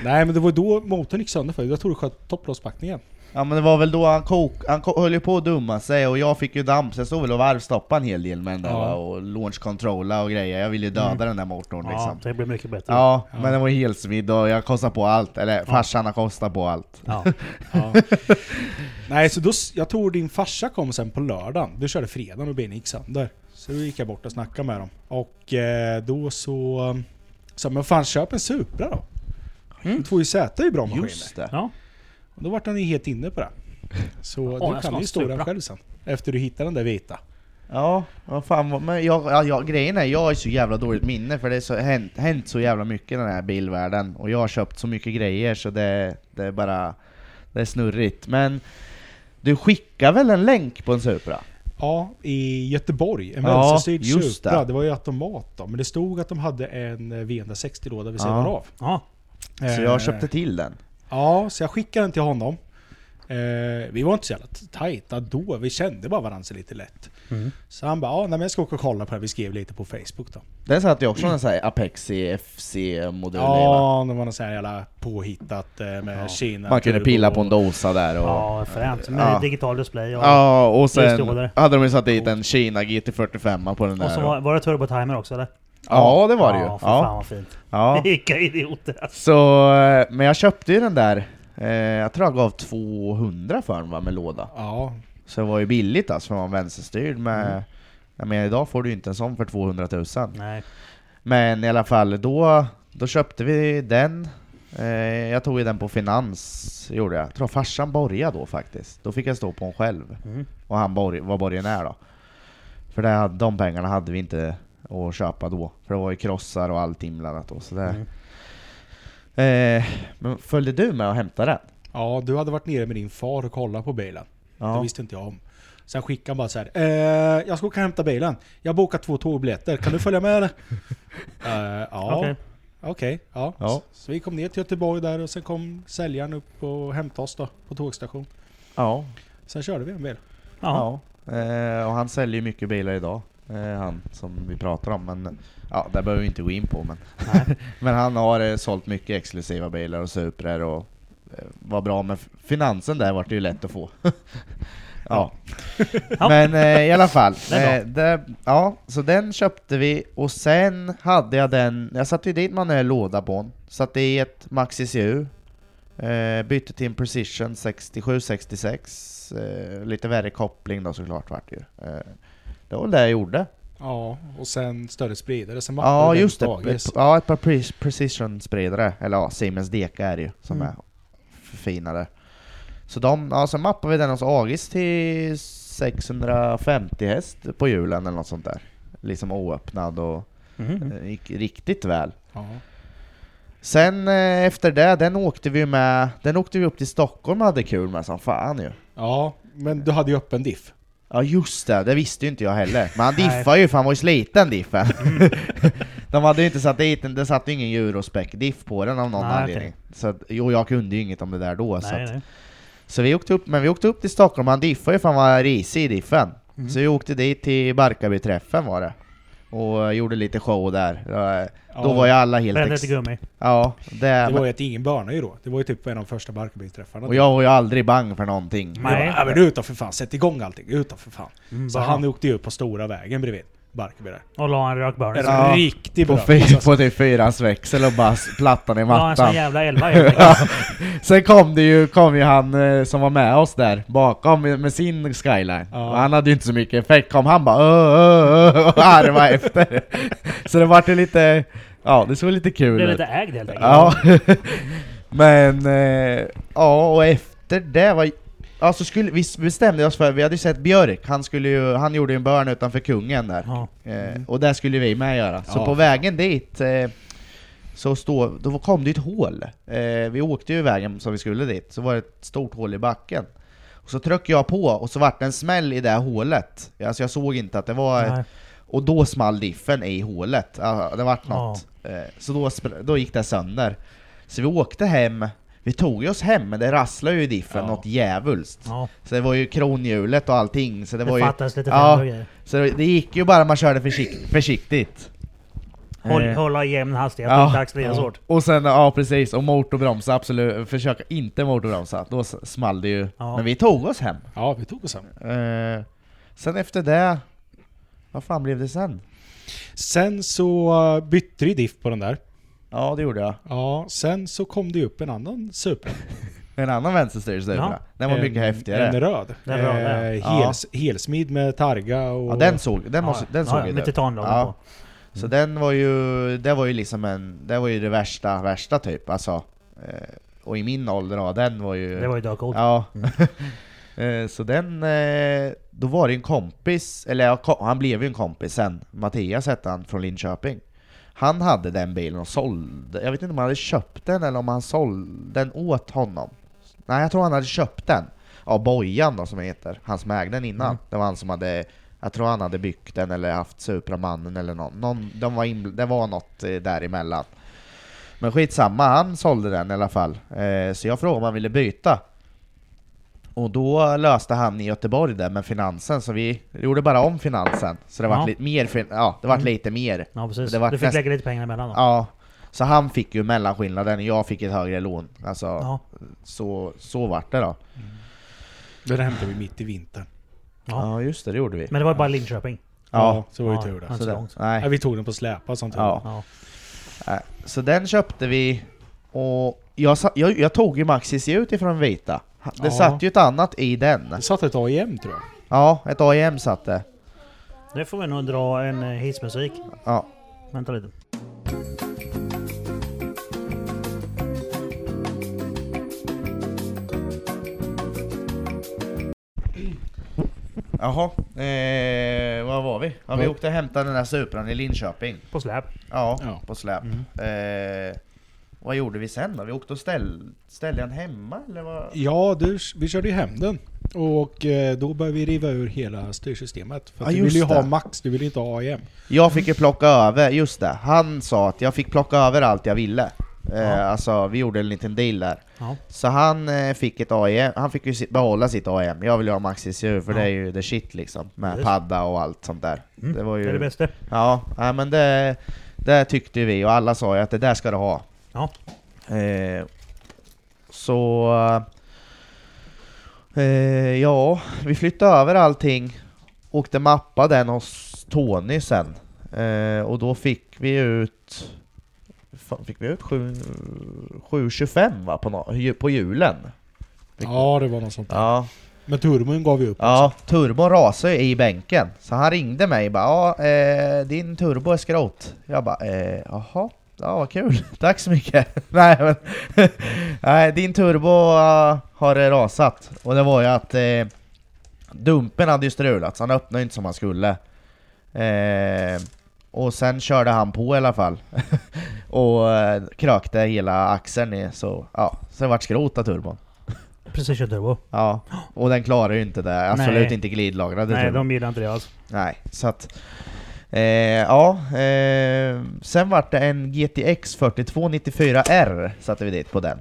Speaker 5: Nej, men det var då motorn gick sönder för. Jag tror du sköt topplåspackningen.
Speaker 2: Ja men det var väl då han, kok, han ko- höll ju på att dumma sig och jag fick ju damp, så jag stod väl och varvstoppade en hel del med den där
Speaker 5: Ja. Mm.
Speaker 2: va, och launch controlla och grejer. Jag ville ju döda den där motorn
Speaker 3: Ja,
Speaker 5: typ.
Speaker 2: liksom.
Speaker 3: det blir mycket bättre.
Speaker 2: Ja, men det var ju helsmidd och jag kostade på allt, eller farsan har kostat på allt.
Speaker 3: Ja.
Speaker 5: Ja. Nej, så då, s- jag tror din farsa kom sen på lördagen. Du körde fredagen och benen gick sönder. Så då gick jag bort och snackade med dem. Och eh, då så... eh, sa jag, men fan köp en Supra då.
Speaker 2: Mm.
Speaker 5: Två JZ är ju bra maskiner.
Speaker 2: Just det.
Speaker 3: Ja.
Speaker 5: Och då vart han ju helt inne på det. Så
Speaker 3: jag
Speaker 5: du
Speaker 3: ska
Speaker 5: kan
Speaker 3: ha en
Speaker 5: ju stå den
Speaker 3: Supra.
Speaker 5: själv sen. Efter du hittar den där vita.
Speaker 2: Ja, vad fan vad- men jag, ja, jag, grejen är jag är så jävla dåligt minne för det är så, hänt, hänt så jävla mycket i den här bilvärlden och jag har köpt så mycket grejer så det, det är bara, det är snurrigt. Men du skickar väl en länk på en Supra?
Speaker 5: Ja, i Göteborg. En
Speaker 2: Ja,
Speaker 5: vänsterstyrd
Speaker 2: just
Speaker 5: Supra.
Speaker 2: det.
Speaker 5: Det. var ju automat då. Men det stod att de hade en eh, V160-låda vid
Speaker 2: Ja.
Speaker 5: sidan av.
Speaker 3: ja.
Speaker 2: Så
Speaker 5: Eh,
Speaker 2: jag köpte till den.
Speaker 5: Ja, så jag skickade den till honom. Eh, vi var inte så jävla tajta då, vi kände bara varandra så lite lätt.
Speaker 3: Mm.
Speaker 5: Så han bara, ja nej, men jag ska åka och kolla på det här. Vi skrev lite på Facebook då.
Speaker 2: Den satt ju också en sån här Apexi FC-modell i, va?
Speaker 5: Ja, det var något sån här jävla påhittat eh, med
Speaker 3: Ja.
Speaker 5: Kina.
Speaker 2: Man kunde
Speaker 5: turbo
Speaker 2: pilla på
Speaker 5: och-
Speaker 2: en dosa där och... Ja.
Speaker 3: Ja, fränt. Med
Speaker 2: Ja.
Speaker 3: digital display och,
Speaker 2: och sen
Speaker 3: Lysdådare.
Speaker 2: hade de ju satt dit en Kina GT45 på den
Speaker 3: och så
Speaker 2: där.
Speaker 3: var, var det turbotimer också eller?
Speaker 2: ja, det var det ju.
Speaker 3: Ja, för fan
Speaker 2: Ja,
Speaker 3: vad fint.
Speaker 2: ja.
Speaker 3: Vilka idioter alltså.
Speaker 2: Så, eh, men jag köpte ju den där, eh, jag tror jag gav 200 för den va, med låda.
Speaker 5: Ja,
Speaker 2: Så det var ju billigt alltså, för man var vänsterstyrd med...
Speaker 3: Mm.
Speaker 2: Jag menar idag får du ju inte en sån för 200 000.
Speaker 3: Nej.
Speaker 2: Men i alla fall, då, då köpte vi den. Eh, jag tog ju den på finans, gjorde jag. jag tror farsan borgade då faktiskt. Då fick jag stå på en själv.
Speaker 3: Mm.
Speaker 2: Och han borg, var borgenär då. För det, hade- de pengarna hade vi inte att köpa då. För det var ju krossar och allt inblandat då. Så det,
Speaker 3: Mm.
Speaker 2: eh, men följde du med och hämtade den?
Speaker 5: ja, du hade varit nere med din far och kollat på bilen. Det
Speaker 2: Ja.
Speaker 5: visste inte jag om. Sen skickade han bara så här. Eh, jag ska åka och hämta bilen. Jag har bokat två tågbiljetter. Kan du följa med eller? eh, ja.
Speaker 3: Okej.
Speaker 5: Okej, ja.
Speaker 2: Ja.
Speaker 5: Så vi kom ner till Göteborg där och sen kom säljaren upp och hämtade oss då på tågstation.
Speaker 2: Ja.
Speaker 5: Sen körde vi en bil.
Speaker 3: Ja.
Speaker 2: ja. Eh, och han säljer ju mycket bilar idag. Eh, han som vi pratar om. Men ja, det behöver vi inte gå in på. Men, men han har eh, sålt mycket exklusiva bilar och Suprar och eh, var bra med f- finansen där vart det ju lätt att få. ja.
Speaker 3: Ja.
Speaker 2: Men eh, i alla fall.
Speaker 3: Det är
Speaker 2: Eh, det, ja, så den köpte vi och sen hade jag den, jag satte ju dit manuell låda på den. Satte i ett Maxi CU. Eh, bytte till en Precision 6766. Eh, lite värre koppling då såklart vart det ju. Eh, det var väl det jag gjorde.
Speaker 5: Ja, och sen större spridare. Sen mappade
Speaker 2: Ja
Speaker 5: vi den
Speaker 2: just det,
Speaker 5: på dagis.
Speaker 2: ett, ja, ett par pre- precision spridare, eller ja, Siemens Deka är det ju som
Speaker 5: Mm.
Speaker 2: är förfinade. Så de, ja, så mappade vi den hos Agis till 650 häst på hjulen eller något sånt där. Liksom oöppnad och
Speaker 3: Mhm.
Speaker 2: eh, gick riktigt väl.
Speaker 5: Ja.
Speaker 2: Sen eh, efter det, den åkte vi med, den åkte vi upp till Stockholm och hade kul med som fan ju.
Speaker 5: ja, men du hade ju öppen diff.
Speaker 2: Ja just det, det visste ju inte jag heller. Men han
Speaker 3: Nej. Mm.
Speaker 2: diffade ju för han var ju sliten diffen. De hade ju inte satt dit den, det satt ju ingen Eurospec-diff på den av någon
Speaker 3: Nej, okej.
Speaker 2: anledning. Så att, jo, jag kunde ju inget om det där då. så,
Speaker 3: Nej,
Speaker 2: att,
Speaker 3: nej.
Speaker 2: så vi åkte upp, men vi åkte upp till Stockholm, han diffade ju för han var risig i diffen.
Speaker 3: Mm.
Speaker 2: Så vi åkte dit till Barkarbyträffen var det. Och eh, gjorde lite show där. Eh, Då
Speaker 5: Ja,
Speaker 2: var ju alla helt...
Speaker 3: Brände
Speaker 2: ex-
Speaker 3: lite gummi.
Speaker 2: Ja, det,
Speaker 5: Det var ju att ingen börnade ju då. Det var ju typ en av de första Barkarbyträffarna.
Speaker 2: Och jag var ju aldrig bang för någonting.
Speaker 5: Nej.
Speaker 3: Nej.
Speaker 5: Ja men ut då för fan, sätt igång allting. Ut då för fan.
Speaker 3: Mm,
Speaker 5: Så
Speaker 3: bara-
Speaker 5: han åkte ju upp på stora vägen bredvid. Barkarby där.
Speaker 3: Och la en rök början.
Speaker 5: En
Speaker 3: Ja,
Speaker 2: Ja.
Speaker 5: riktigt
Speaker 2: På,
Speaker 5: bra.
Speaker 2: fy-
Speaker 5: Alltså,
Speaker 2: på typ fyrans växel och bara s- plattan i
Speaker 3: en sån
Speaker 2: mattan.
Speaker 3: jävla elva helt enkelt.
Speaker 2: Sen kom det ju, kom ju han eh, som var med oss där bakom med, med sin skyline.
Speaker 5: Ja.
Speaker 2: Och han hade ju inte så mycket effekt. Kom han bara "Ö, ö, ö", och arva efter. Så det vart ju lite, ja det såg lite kul
Speaker 3: Blev
Speaker 2: ut.
Speaker 3: lite ägd helt enkelt.
Speaker 2: Ja. Men, eh, ja och efter det var Ja så skulle, vi bestämde oss för, vi hade ju sett Björk, han skulle ju, han gjorde ju en burn utanför kungen där.
Speaker 3: Ja.
Speaker 2: Eh, och det skulle vi med göra. Så
Speaker 5: Ja.
Speaker 2: på vägen dit eh, så stå, då kom det ett hål. Eh, vi åkte ju vägen som vi skulle dit, så var det ett stort hål i backen. Och så tryckte jag på och så vart det en smäll i det här hålet. Alltså jag såg inte att det var...
Speaker 3: Nej.
Speaker 2: Och då small diffen i hålet. Ja, det vart något. Eh, Så då, spr- då gick det sönder. Så vi åkte hem. Vi tog ju oss hem, men det rasslade ju i diffen
Speaker 5: Ja.
Speaker 2: något djävulskt.
Speaker 3: Ja.
Speaker 2: Så det var ju kronhjulet och allting. Så det,
Speaker 3: Det,
Speaker 2: var ju...
Speaker 3: fattades lite
Speaker 2: Ja.
Speaker 3: främre grejer.
Speaker 2: Så det gick ju bara man körde försikt, försiktigt.
Speaker 3: Håll,
Speaker 2: Eh,
Speaker 3: hålla i jämn hastighet,
Speaker 2: ja.
Speaker 3: inte accelerera så hårt.
Speaker 2: Och sen, ja precis, och motorbromsa absolut, försöka inte motorbromsa, då s- small det ju.
Speaker 3: Ja.
Speaker 2: Men vi tog oss hem.
Speaker 5: ja, vi tog oss hem.
Speaker 2: Eh, sen efter det, vad fan blev det sen?
Speaker 5: Sen så eh, bytte vi diff på den där.
Speaker 2: Ja det gjorde jag.
Speaker 5: Ja, sen så kom det ju upp en annan Supra.
Speaker 2: En annan vänsterstyrelsebra.
Speaker 3: Ja. Eh,
Speaker 2: Den var mycket
Speaker 5: en,
Speaker 2: häftigare.
Speaker 5: En röd.
Speaker 3: Den röda, ja.
Speaker 5: Eh,
Speaker 2: Ja.
Speaker 5: hels, Helsmid med targa och...
Speaker 2: ja den såg, den
Speaker 5: Ja,
Speaker 2: måste, den såg
Speaker 3: Ja,
Speaker 2: ju
Speaker 3: med
Speaker 2: du.
Speaker 3: titanlagen
Speaker 2: Ja.
Speaker 3: på.
Speaker 2: Så den var ju, det var ju liksom en, det var ju det värsta, värsta typ alltså. Eh, och i min ålder, ja den var ju...
Speaker 3: Det var ju dökcoolt.
Speaker 2: Ja. Eh, så den... eh, Då var det en kompis, eller ja, ko- han blev ju en kompis sen. Mattias hette han från Linköping. Han hade den bilen och sålde, jag vet inte om han hade köpt den eller om han sålde den åt honom. Nej jag tror han hade köpt den. Av Bojan då som han heter, han som ägde den innan.
Speaker 3: Mm.
Speaker 2: Det var han som hade, jag tror han hade byggt den eller haft Supramannen eller någon. någon de var inbl- det var något eh, däremellan. Men skitsamma, han sålde den i alla fall. Eh, så jag frågade om han ville byta. Och då löste han i Göteborg det med finansen, så vi gjorde bara om finansen. Så det vart
Speaker 3: Ja.
Speaker 2: lite mer, fin- ja det vart
Speaker 3: Mm.
Speaker 2: lite mer.
Speaker 3: Ja precis.
Speaker 2: Det vart
Speaker 3: du fick
Speaker 2: näst-
Speaker 3: lägga lite pengar emellan då.
Speaker 2: Ja. Så han fick ju mellanskillnaden och jag fick ett högre lån. Alltså,
Speaker 3: Ja.
Speaker 2: så, så vart det då.
Speaker 5: Den hämtade vi mitt i vintern.
Speaker 3: Ja.
Speaker 2: Ja just det, det gjorde vi.
Speaker 3: Men det var ju bara Linköping.
Speaker 2: Ja.
Speaker 5: så var det
Speaker 3: Ja. alltså-
Speaker 5: tur det.
Speaker 3: Ja.
Speaker 2: Så,
Speaker 3: så
Speaker 2: den,
Speaker 3: långt.
Speaker 2: nej.
Speaker 5: Ja, vi tog den på släpa sånt.
Speaker 2: Ja.
Speaker 3: Ja.
Speaker 2: Nej, Så den köpte vi och jag, sa- jag, jag tog ju Maxis ut ifrån vita. Ha- Det
Speaker 5: Ja.
Speaker 2: satt ju ett annat i den.
Speaker 5: Det satt ett AIM tror jag.
Speaker 2: Ja, ett AIM satt det.
Speaker 3: Nu får vi nog dra en eh, hissmusik.
Speaker 2: Ja.
Speaker 3: Vänta lite.
Speaker 2: Jaha, eh, var var vi? Ja, vi
Speaker 5: Ja.
Speaker 2: åkte och hämtade den där Supran i Linköping.
Speaker 3: På släp.
Speaker 2: Ja, Mm.
Speaker 5: Ja.
Speaker 2: på släp. Eh, vad gjorde vi sen då? Vi åkte och ställ, ställde den hemma eller vad?
Speaker 5: Ja, du, vi körde ju hem den. Och eh, då började vi riva ur hela styrsystemet. För att
Speaker 2: Ja,
Speaker 5: du ville ju
Speaker 2: just
Speaker 5: ha
Speaker 2: det.
Speaker 5: max, du ville inte ha AIM.
Speaker 2: Jag fick ju plocka över, just det. Han sa att jag fick plocka över allt jag ville. Eh,
Speaker 3: Ja.
Speaker 2: Alltså, vi gjorde en liten deal där.
Speaker 3: Ja.
Speaker 2: Så han eh, fick ett AEM, han fick ju si- behålla sitt AEM. Jag vill ju ha Maxis för det är ju the shit liksom. Med
Speaker 3: Just.
Speaker 2: padda och allt sånt där.
Speaker 3: Mm.
Speaker 2: Det var ju...
Speaker 3: Det är det bästa.
Speaker 2: Ja, nej, men det, det tyckte ju vi och alla sa ju att det där ska du ha.
Speaker 3: Ja.
Speaker 2: Eh, så... Eh, ja, vi flyttade över allting, åkte mappa den hos Tony sen. Eh, och då fick vi ut... Fan, fick vi ut sju- 7,25 va? På, nå- på hjulen.
Speaker 5: Ja, det var något sånt.
Speaker 2: Ja,
Speaker 5: Men turbon gav vi upp.
Speaker 2: Ja, turbon rasade ju i bänken. Så han ringde mig och bara ja, eh, din turbo är skrot. Jag bara eh, jaha, ja vad kul, tack så mycket. nej men, nej din turbo eh, har rasat. Och det var ju att eh, dumpen hade ju strulat så han öppnade ju inte som han skulle. Eh, och sen körde han på i alla fall. och eh, krökte hela axeln i, så ja, så det vart skrot av turbon.
Speaker 3: Precis kört turbo.
Speaker 2: Ja, och den klarar ju inte det. Absolut
Speaker 3: Nej.
Speaker 2: inte glidlagrade
Speaker 3: Nej,
Speaker 2: turbon.
Speaker 3: de gillar inte det alls.
Speaker 2: Nej, så att... Eh, ja, eh, sen vart det en GTX 4294R satte vi dit på den.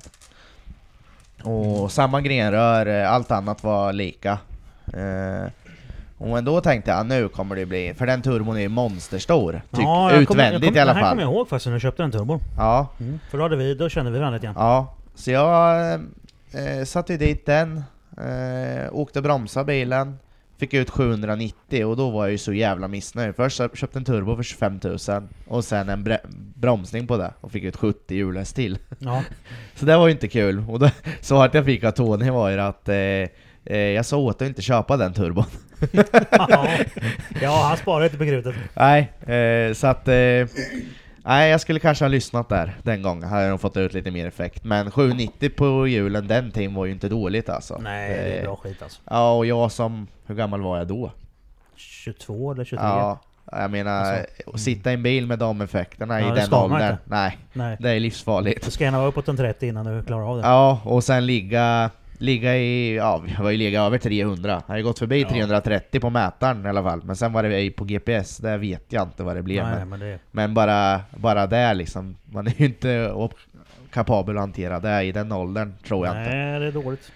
Speaker 3: Mm.
Speaker 2: Och samma grenrör, eh, allt annat var lika. Eh, och men då tänkte jag nu kommer det bli, för den turbon är ju monsterstor. Tyck,
Speaker 3: Ja, jag
Speaker 2: utvändigt
Speaker 3: kommer- jag kommer-
Speaker 2: i alla
Speaker 3: Den här kommer
Speaker 2: fall. Mm.
Speaker 3: jag ihåg faktiskt när jag köpte den turbon.
Speaker 2: Ja,
Speaker 3: För då, hade vi, då kände vi varandra lite grann.
Speaker 2: Ja, så jag eh, satte ju dit den, eh, åkte och eh, bromsade bilen, Fick ut 790 och då var jag ju så jävla missnöjd. Först så köpte en turbo för 25 000 och sen en bre- bromsning på det och fick ut 70 hjulhäst till.
Speaker 3: Ja.
Speaker 2: Så det var ju inte kul. Och då, svaret jag fick av Tony var ju att eh, eh, jag sa åt dig att inte köpa den turbon.
Speaker 3: ja, han sparar inte på krutet.
Speaker 2: Nej, eh, så att... Eh, nej, jag skulle kanske ha lyssnat där den gången. Hade jag nog fått ut lite mer effekt. Men 790 på hjulen den tiden var ju inte dåligt alltså.
Speaker 3: Nej, det är
Speaker 2: Eh,
Speaker 3: bra skit alltså.
Speaker 2: Ja, och jag som... Hur gammal var jag då?
Speaker 3: 22 eller 23?
Speaker 2: Ja, jag menar, att sitta i en bil med de effekterna
Speaker 3: Alltså. Ja,
Speaker 2: i
Speaker 3: det
Speaker 2: den
Speaker 3: ska man
Speaker 2: åldern.
Speaker 3: inte. Alltså.
Speaker 2: Nej,
Speaker 3: Nej.
Speaker 2: det är livsfarligt.
Speaker 3: Du ska gärna vara uppåt en 30 innan du klarar av det.
Speaker 2: Ja, och sen ligga... Ligga i, ja vi har ju legat över 300. Jag har ju gått förbi 330 på mätaren i alla fall. Men sen var det på GPS, där vet jag inte vad det blev. men-
Speaker 3: Nej, men det,
Speaker 2: Men bara, bara det liksom, man är ju inte op- kapabel att hantera det i den åldern tror jag inte.
Speaker 3: nej, det är dåligt.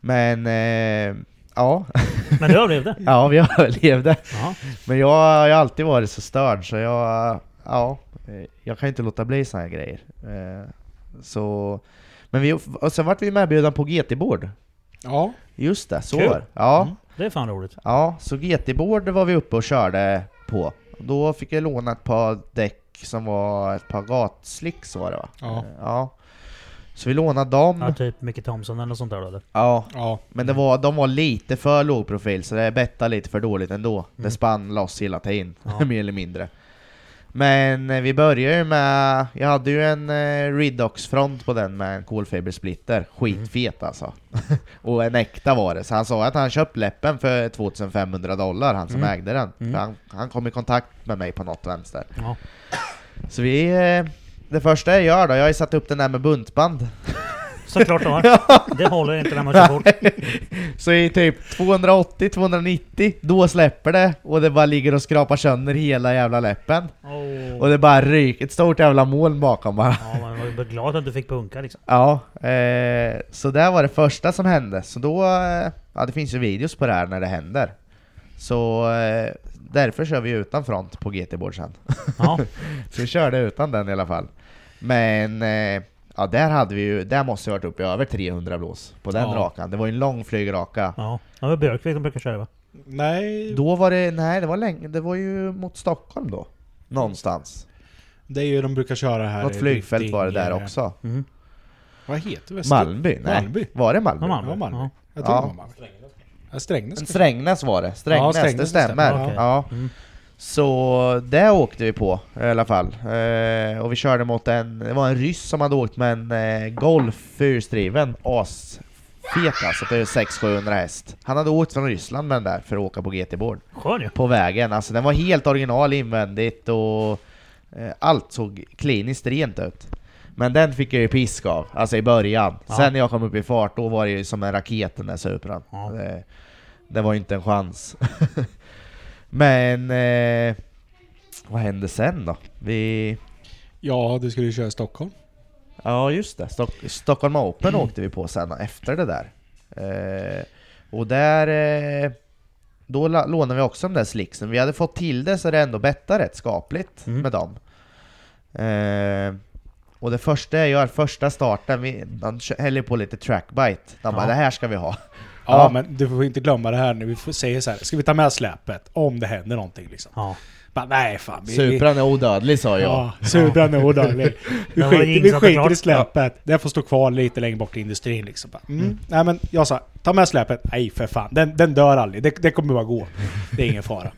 Speaker 2: Men eh, ja,
Speaker 3: Men du överlevde.
Speaker 2: ja vi överlevde.
Speaker 3: Ja.
Speaker 2: Men jag har ju alltid varit så störd så jag, ja, eh, jag kan inte låta bli såna här grejer. Eh, så, men vi, och sen vart vi medbjudna på GT-bord.
Speaker 5: Ja,
Speaker 2: Just det, så
Speaker 3: Kul.
Speaker 2: var det. Ja.
Speaker 3: Det är fan roligt.
Speaker 2: Ja, så GT-board var vi uppe och körde på. Då fick jag låna ett par däck som var ett par gatslicks var det va?
Speaker 5: Ja.
Speaker 2: ja. Så vi lånade dem.
Speaker 3: Ja, typ Micke Thomson eller sånt där då, eller?
Speaker 2: Ja.
Speaker 5: ja.
Speaker 2: Men det var, de var lite för låg profil så det bettade lite för dåligt ändå. Det spann loss hela tiden,
Speaker 3: Ja.
Speaker 2: mer eller mindre. Men eh, vi började ju med, jag hade ju en eh, Redox-front på den med en kolfibersplitter, skitfet alltså. och en äkta var det, så han sa att han köpt läppen för 2500 dollar, han som ägde den. För han, han kom i kontakt med mig på något vänster.
Speaker 3: Ja.
Speaker 2: Så vi, eh, det första jag gör då, jag har ju satt upp den där med buntband.
Speaker 3: Såklart du har. Det håller inte när man kör fort.
Speaker 2: Så i typ 280-290, då släpper det och det bara ligger och skrapar sönder hela jävla läppen.
Speaker 3: Åh.
Speaker 2: Och det bara ryker, ett stort jävla moln bakom bara.
Speaker 3: Ja, men jag var ju glad att du fick punka liksom.
Speaker 2: Ja, eh, så det var det första som hände. Så då, eh, ja det finns ju videos på det här när det händer. Så eh, därför kör vi utan front på GT-board sen.
Speaker 3: Ja.
Speaker 2: Så vi körde utan den i alla fall. Men eh, ja, där hade vi ju, där måste jag varit uppe i över 300 blås på den
Speaker 5: Ja.
Speaker 2: rakan. Det var ju en lång flygraka.
Speaker 3: Ja. Det var Björkvik de brukar köra va?
Speaker 5: Nej,
Speaker 2: Då var det, nej det var länge, det var ju mot Stockholm då. Någonstans.
Speaker 5: det är ju de brukar köra här.
Speaker 2: Något
Speaker 5: i
Speaker 2: flygfält var det där
Speaker 5: Vittinge.
Speaker 2: också.
Speaker 3: Mm.
Speaker 5: Vad heter det?
Speaker 2: Malmby? Nej.
Speaker 5: Malmby.
Speaker 2: Var det Malmby?
Speaker 3: Ja, Malmö.
Speaker 5: Ja, Malmö.
Speaker 3: Ja.
Speaker 5: Jag tror
Speaker 2: Ja.
Speaker 5: det var Malmö. Ja, Strängnäs. kanske.
Speaker 2: Strängnäs var det, Strängnäs,
Speaker 5: Ja, Strängnäs,
Speaker 2: det
Speaker 5: det
Speaker 2: stämmer.
Speaker 3: stämmer. Okej.
Speaker 2: Ja.
Speaker 3: Mm.
Speaker 2: Så det åkte vi på i alla fall. Eh, och vi körde mot en, det var en ryss som hade åkt med en eh, Golf fyrhjulsdriven, asfet alltså, det är 600-700 häst. Han hade åkt från Ryssland med den där för att åka på GT-board.
Speaker 3: Skön ju.
Speaker 2: på vägen. Alltså den var helt original invändigt och eh, allt såg kliniskt rent ut. Men den fick jag ju pisk av, alltså i början.
Speaker 3: Ja.
Speaker 2: Sen när jag kom upp i fart, då var det ju som en raket den där Supran.
Speaker 3: Ja.
Speaker 2: Det, det var ju inte en chans. Men... Eh, vad hände sen då? Vi...
Speaker 5: Ja, du skulle ju köra i Stockholm.
Speaker 2: Ja just det, Stock- Stockholm Open åkte vi på sen efter det där. Eh, och där... Eh, då la- lånade vi också de där slicksen. Vi hade fått till det så det ändå bettade rätt skapligt
Speaker 3: Mm.
Speaker 2: med dem. Eh, och det första jag gör, första starten, vi, de kö- häller på lite trackbite. De bara
Speaker 3: Ja.
Speaker 2: ”det här ska vi ha”.
Speaker 5: Ja,
Speaker 2: Ja.
Speaker 5: men du får inte glömma det här nu. Vi får säga så här, ska vi ta med släpet om det händer någonting liksom?
Speaker 3: Ja.
Speaker 5: Bara, nej fan. Vi,
Speaker 2: Supran är odödlig sa jag.
Speaker 5: Ja, Supran är odödlig. Vi
Speaker 3: Det var det
Speaker 5: skiter, vi
Speaker 3: jinxat och
Speaker 5: skiter
Speaker 3: klart.
Speaker 5: i släpet. Det får stå kvar lite längre bort i industrin liksom. Bara, Mm. Nej men jag sa, ta med släpet. Nej för fan, den, den dör aldrig. Det, det kommer bara gå. Det är ingen fara.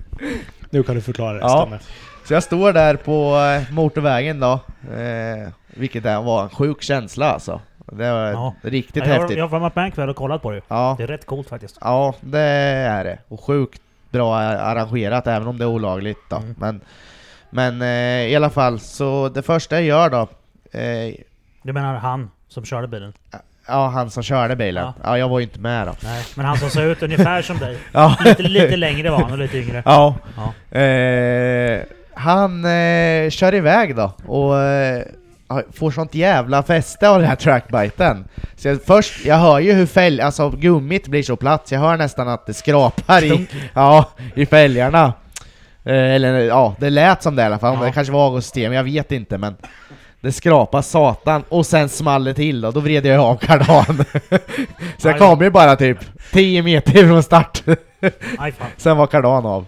Speaker 5: Nu kan du förklara resten.
Speaker 2: Ja.
Speaker 5: med.
Speaker 2: Så jag står där på eh, motorvägen då, eh, vilket där var en sjuk känsla alltså. Det var
Speaker 3: Ja.
Speaker 2: riktigt
Speaker 3: Ja, jag, har-
Speaker 2: häftigt.
Speaker 3: jag har varit med en kväll och kollat på det ju.
Speaker 2: Ja.
Speaker 3: Det är rätt coolt faktiskt.
Speaker 2: Ja, det är det. Och sjukt bra arrangerat, även om det är olagligt då.
Speaker 3: Mm.
Speaker 2: Men, men eh, i alla fall, så det första jag gör då... Eh,
Speaker 3: Du menar han som körde bilen?
Speaker 2: ja, han som körde bilen.
Speaker 3: Ja.
Speaker 2: Ja. jag var ju inte med då.
Speaker 3: Nej, men han som såg ut ungefär som dig.
Speaker 2: Ja.
Speaker 3: Lite, lite längre var han och lite yngre.
Speaker 2: Ja.
Speaker 3: Ja.
Speaker 2: Eh, han eh, kör iväg då och eh, får sånt jävla fäste av den här trackbiten. Så jag, först, jag hör ju hur fälg, alltså gummit blir så platt, så jag hör nästan att det skrapar i, ja, i fälgarna. Eh, eller ja, det lät som det i alla fall.
Speaker 3: Ja.
Speaker 2: Det kanske var avgassystem, jag vet inte men det skrapar satan och sen small det till och då vred jag av kardan. så jag
Speaker 3: Aj.
Speaker 2: kom ju bara typ 10 meter från start.
Speaker 3: Aj fan.
Speaker 2: Sen var kardan av.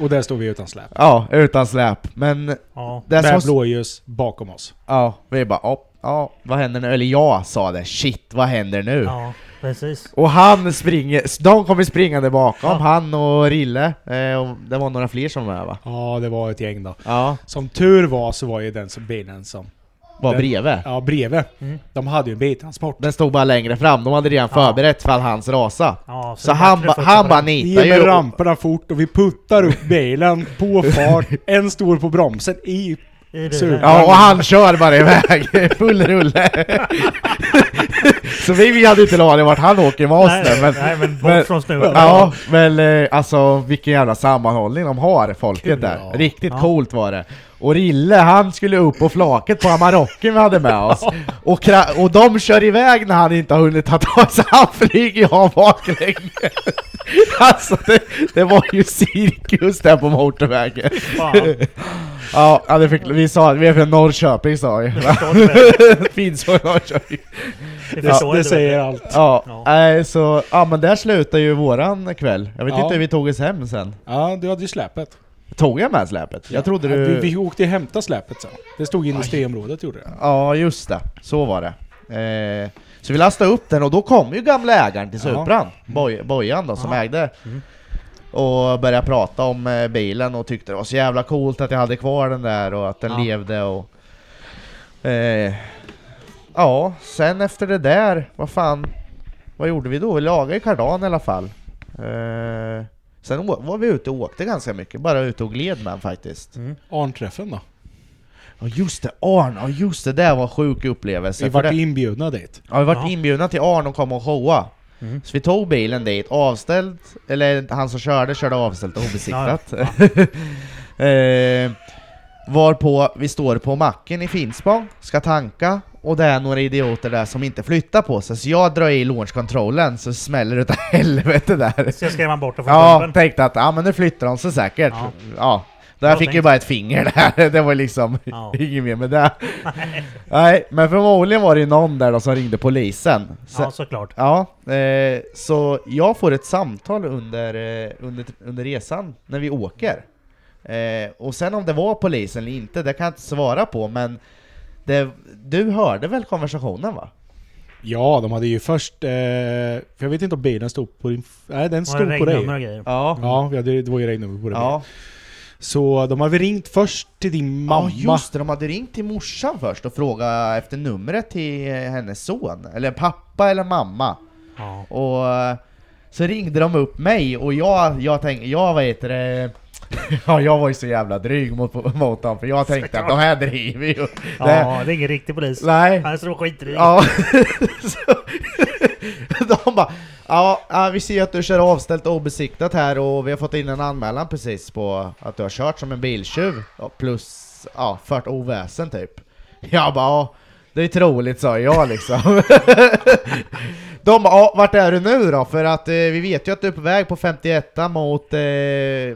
Speaker 5: Och där står vi utan släp.
Speaker 2: Ja, utan släp. Men
Speaker 3: Ja.
Speaker 2: det som
Speaker 5: Med
Speaker 2: var
Speaker 5: blåljus bakom oss.
Speaker 2: Ja, vi bara ja, ja, vad händer nu? Eller jag sa det, shit vad händer nu?
Speaker 3: ja, precis.
Speaker 2: Och han springer, de kommer springande bakom,
Speaker 3: Ja.
Speaker 2: han och Rille, eh, och det var några fler som var med va?
Speaker 5: Ja, det var ett gäng då.
Speaker 2: Ja,
Speaker 5: Som tur var så var ju den som bilen som...
Speaker 2: var
Speaker 5: Den-
Speaker 2: bredvid.
Speaker 5: Ja, bredvid. De hade ju en biltransport.
Speaker 2: Den stod bara längre fram, de hade redan
Speaker 3: Ja.
Speaker 2: förberett fall hans rasa.
Speaker 3: Ja,
Speaker 2: Så han, ba, han bara
Speaker 5: Ge
Speaker 2: nitar
Speaker 5: mig
Speaker 2: ju. och-
Speaker 5: ramperna fort och vi puttar upp bilen på fart. En står på bromsen i...
Speaker 3: Sur.
Speaker 2: Ja, och han kör bara iväg, full rulle. så vi, vi hade ju inte en aning vart han åker med oss
Speaker 3: nej,
Speaker 2: nu, men...
Speaker 3: nej, men bort
Speaker 2: men-
Speaker 3: från snubben.
Speaker 2: Ja, men eh, alltså vilken jävla sammanhållning de har, folket där.
Speaker 5: Ja.
Speaker 2: Riktigt
Speaker 3: Ja.
Speaker 2: coolt var det. Och Rille, han skulle upp på flaket på Amarocken vi hade med oss. Och, kra- och de kör iväg när han inte har hunnit ta tag så han flyger ju av baklänges. Alltså det, det var ju cirkus där på motorvägen.
Speaker 3: Fan,
Speaker 2: Ja, ja, det fick, vi sa vi är från Norrköping sa vi.
Speaker 3: det förstår du väl?
Speaker 2: Finns från Norrköping.
Speaker 3: Det
Speaker 5: Det,
Speaker 3: förstår
Speaker 5: det
Speaker 3: du
Speaker 5: säger
Speaker 3: väl?
Speaker 5: allt.
Speaker 2: Ja,
Speaker 3: Ja.
Speaker 2: nej så, ja men där slutar ju våran kväll. Jag vet
Speaker 5: Ja.
Speaker 2: inte hur vi tog oss hem sen.
Speaker 5: Ja, du hade ju släpet.
Speaker 2: Tog jag med släpet? Jag trodde
Speaker 5: Ja,
Speaker 2: du...
Speaker 5: Vi, vi åkte ju hämta släpet sen. Det stod industriområdet gjorde det.
Speaker 2: Ja, just det. Så var det. Eh, så vi lastade upp den och då kom ju gamla ägaren till
Speaker 5: Ja.
Speaker 2: Supran, Boj, Bojan då, som
Speaker 3: Ja.
Speaker 2: ägde.
Speaker 5: Mm.
Speaker 2: Och började prata om eh, bilen och tyckte det var så jävla coolt att jag hade kvar den där och att den
Speaker 5: Ja.
Speaker 2: levde och... Eh, ja, sen efter det där, vad fan... Vad gjorde vi då? Vi lagade ju kardan i alla fall. Eh, sen å- var vi ute och åkte ganska mycket, bara ute och gled med den faktiskt.
Speaker 5: Mm. Arnträffen då.
Speaker 2: Ja just det, Arn! Ja just det, det var en sjuk upplevelse.
Speaker 5: Vi
Speaker 2: För
Speaker 5: vart
Speaker 2: det-
Speaker 5: ju inbjudna dit.
Speaker 2: Ja, vi vart
Speaker 3: Ja. Mm.
Speaker 2: inbjudna till Arn och kom och showa. Så vi tog bilen dit, avställd, eller han som körde körde avställt och obesiktat. eh, varpå vi står på macken i Finspång, ska tanka, och det är några idioter där som inte flyttar på sig, så jag drar i launchkontrollen så smäller det utav helvete där.
Speaker 3: Så jag skrev han bort det från
Speaker 2: Ja,
Speaker 3: klubben.
Speaker 2: tänkte att ja, men nu flyttar de sig säkert.
Speaker 3: Ja.
Speaker 2: Ja. Då jag
Speaker 3: Bra
Speaker 2: fick ju
Speaker 3: tänkt.
Speaker 2: bara ett finger där, det var liksom
Speaker 3: Ja.
Speaker 2: inget mer med det. Nej, men förmodligen var det ju någon där då som ringde polisen. Så,
Speaker 3: Ja, såklart.
Speaker 2: Ja, eh, så jag får ett samtal under, eh, under, under resan när vi åker. Eh, och sen om det var polisen eller inte, det kan jag inte svara på, men det, du hörde väl konversationen va?
Speaker 5: Ja, de hade ju först... Eh, för jag vet inte om bilen stod på din... Nej, den
Speaker 3: Var det
Speaker 5: stod på dig.
Speaker 3: regnummer och grejer?
Speaker 2: Ja.
Speaker 5: Ja, vi hade, det var ju regnummer på den.
Speaker 2: Ja,
Speaker 5: Så de hade ringt först till din
Speaker 2: ja
Speaker 5: mamma.
Speaker 2: just det, de hade ringt till morsan först och frågat efter numret till eh, hennes son, eller pappa eller mamma.
Speaker 3: Ja.
Speaker 2: Och eh, så ringde de upp mig och jag, jag tänkte, jag vet det Ja, jag var ju så jävla dryg mot, mot dem för jag tänkte att de här driver ju. Det,
Speaker 3: Ja, det är ingen riktig polis.
Speaker 2: nej.
Speaker 3: Han står skitrik.
Speaker 2: Ja. Så, de bara Ja, ja, vi ser att du kör avställt och obesiktat här och vi har fått in en anmälan precis på att du har kört som en biltjuv Ja, plus ja, fört oväsen typ. Jag bara ja, det är troligt sa jag liksom. De bara, "Ja, vart är du nu då? För att eh, vi vet ju att du är på väg på 51 mot, eh,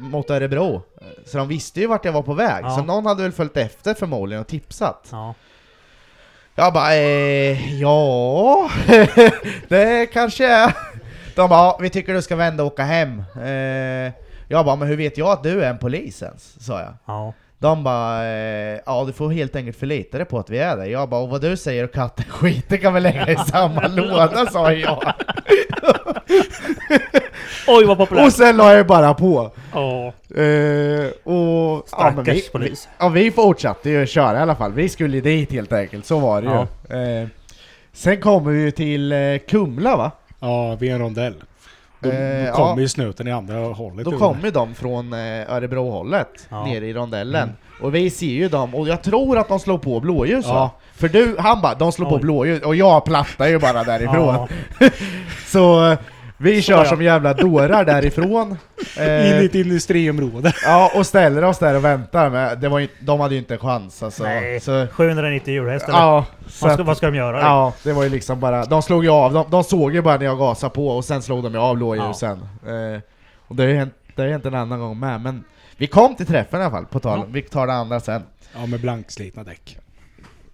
Speaker 2: mot Örebro. Så de visste ju vart jag var på väg.
Speaker 3: Ja.
Speaker 2: Så någon hade väl följt efter förmodligen och tipsat.
Speaker 3: Ja.
Speaker 2: Jag bara, eh, ja, det kanske är. De bara, "Ja, vi tycker du ska vända och åka hem. Eh, jag bara, men hur vet jag att du är en polis ens? Sa jag.
Speaker 3: Ja.
Speaker 2: De bara, eh, ja du får helt enkelt förlita dig på att vi är där. Jag bara, och vad du säger och katten skiter kan vi lägga i samma låda, sa jag.
Speaker 3: Oj vad
Speaker 2: Och
Speaker 3: populärt!
Speaker 2: sen la jag bara på.
Speaker 3: Ja.
Speaker 2: Eh, och, ja, men vi,
Speaker 3: Stackars polis.
Speaker 2: ja, vi fortsatte ju köra i alla fall. Vi skulle dit helt enkelt, så var det ju. Eh, sen kommer vi ju till eh, Kumla va?
Speaker 5: Ja, vid en rondell. Då,
Speaker 2: Eh,
Speaker 5: då kommer
Speaker 2: ja.
Speaker 5: ju snuten i andra hållet.
Speaker 2: Då kommer ju de från eh, Örebro-hållet,
Speaker 3: Ja. Mm.
Speaker 2: nere i rondellen. Och vi ser ju dem, och jag tror att de slår på blåljus va?
Speaker 5: Ja.
Speaker 2: För du, han bara 'de slår på
Speaker 3: Oj.
Speaker 2: blåljus' och jag plattar ju bara därifrån.
Speaker 3: Ja.
Speaker 2: Så eh, vi kör
Speaker 3: ja.
Speaker 2: som jävla dårar därifrån.
Speaker 5: In
Speaker 2: Eh,
Speaker 5: i ett industriområde.
Speaker 2: Ja, och ställer oss där och väntar, men det var ju, de hade ju inte en chans alltså.
Speaker 3: Nej.
Speaker 2: Så,
Speaker 3: 790 djurhästar.
Speaker 2: ja, så
Speaker 3: vad, ska,
Speaker 2: att,
Speaker 3: vad ska de göra?
Speaker 2: ja, det var ju liksom bara, de slog ju av, de, de såg ju bara när jag gasade på och sen slog de ju av lågljusen. Eh, och det har ju hänt, det har ju hänt en annan gång med, men vi kom till träffen i alla fall, på tal,
Speaker 3: Ja.
Speaker 2: vi tar det andra sen.
Speaker 5: Ja, med blankslitna däck.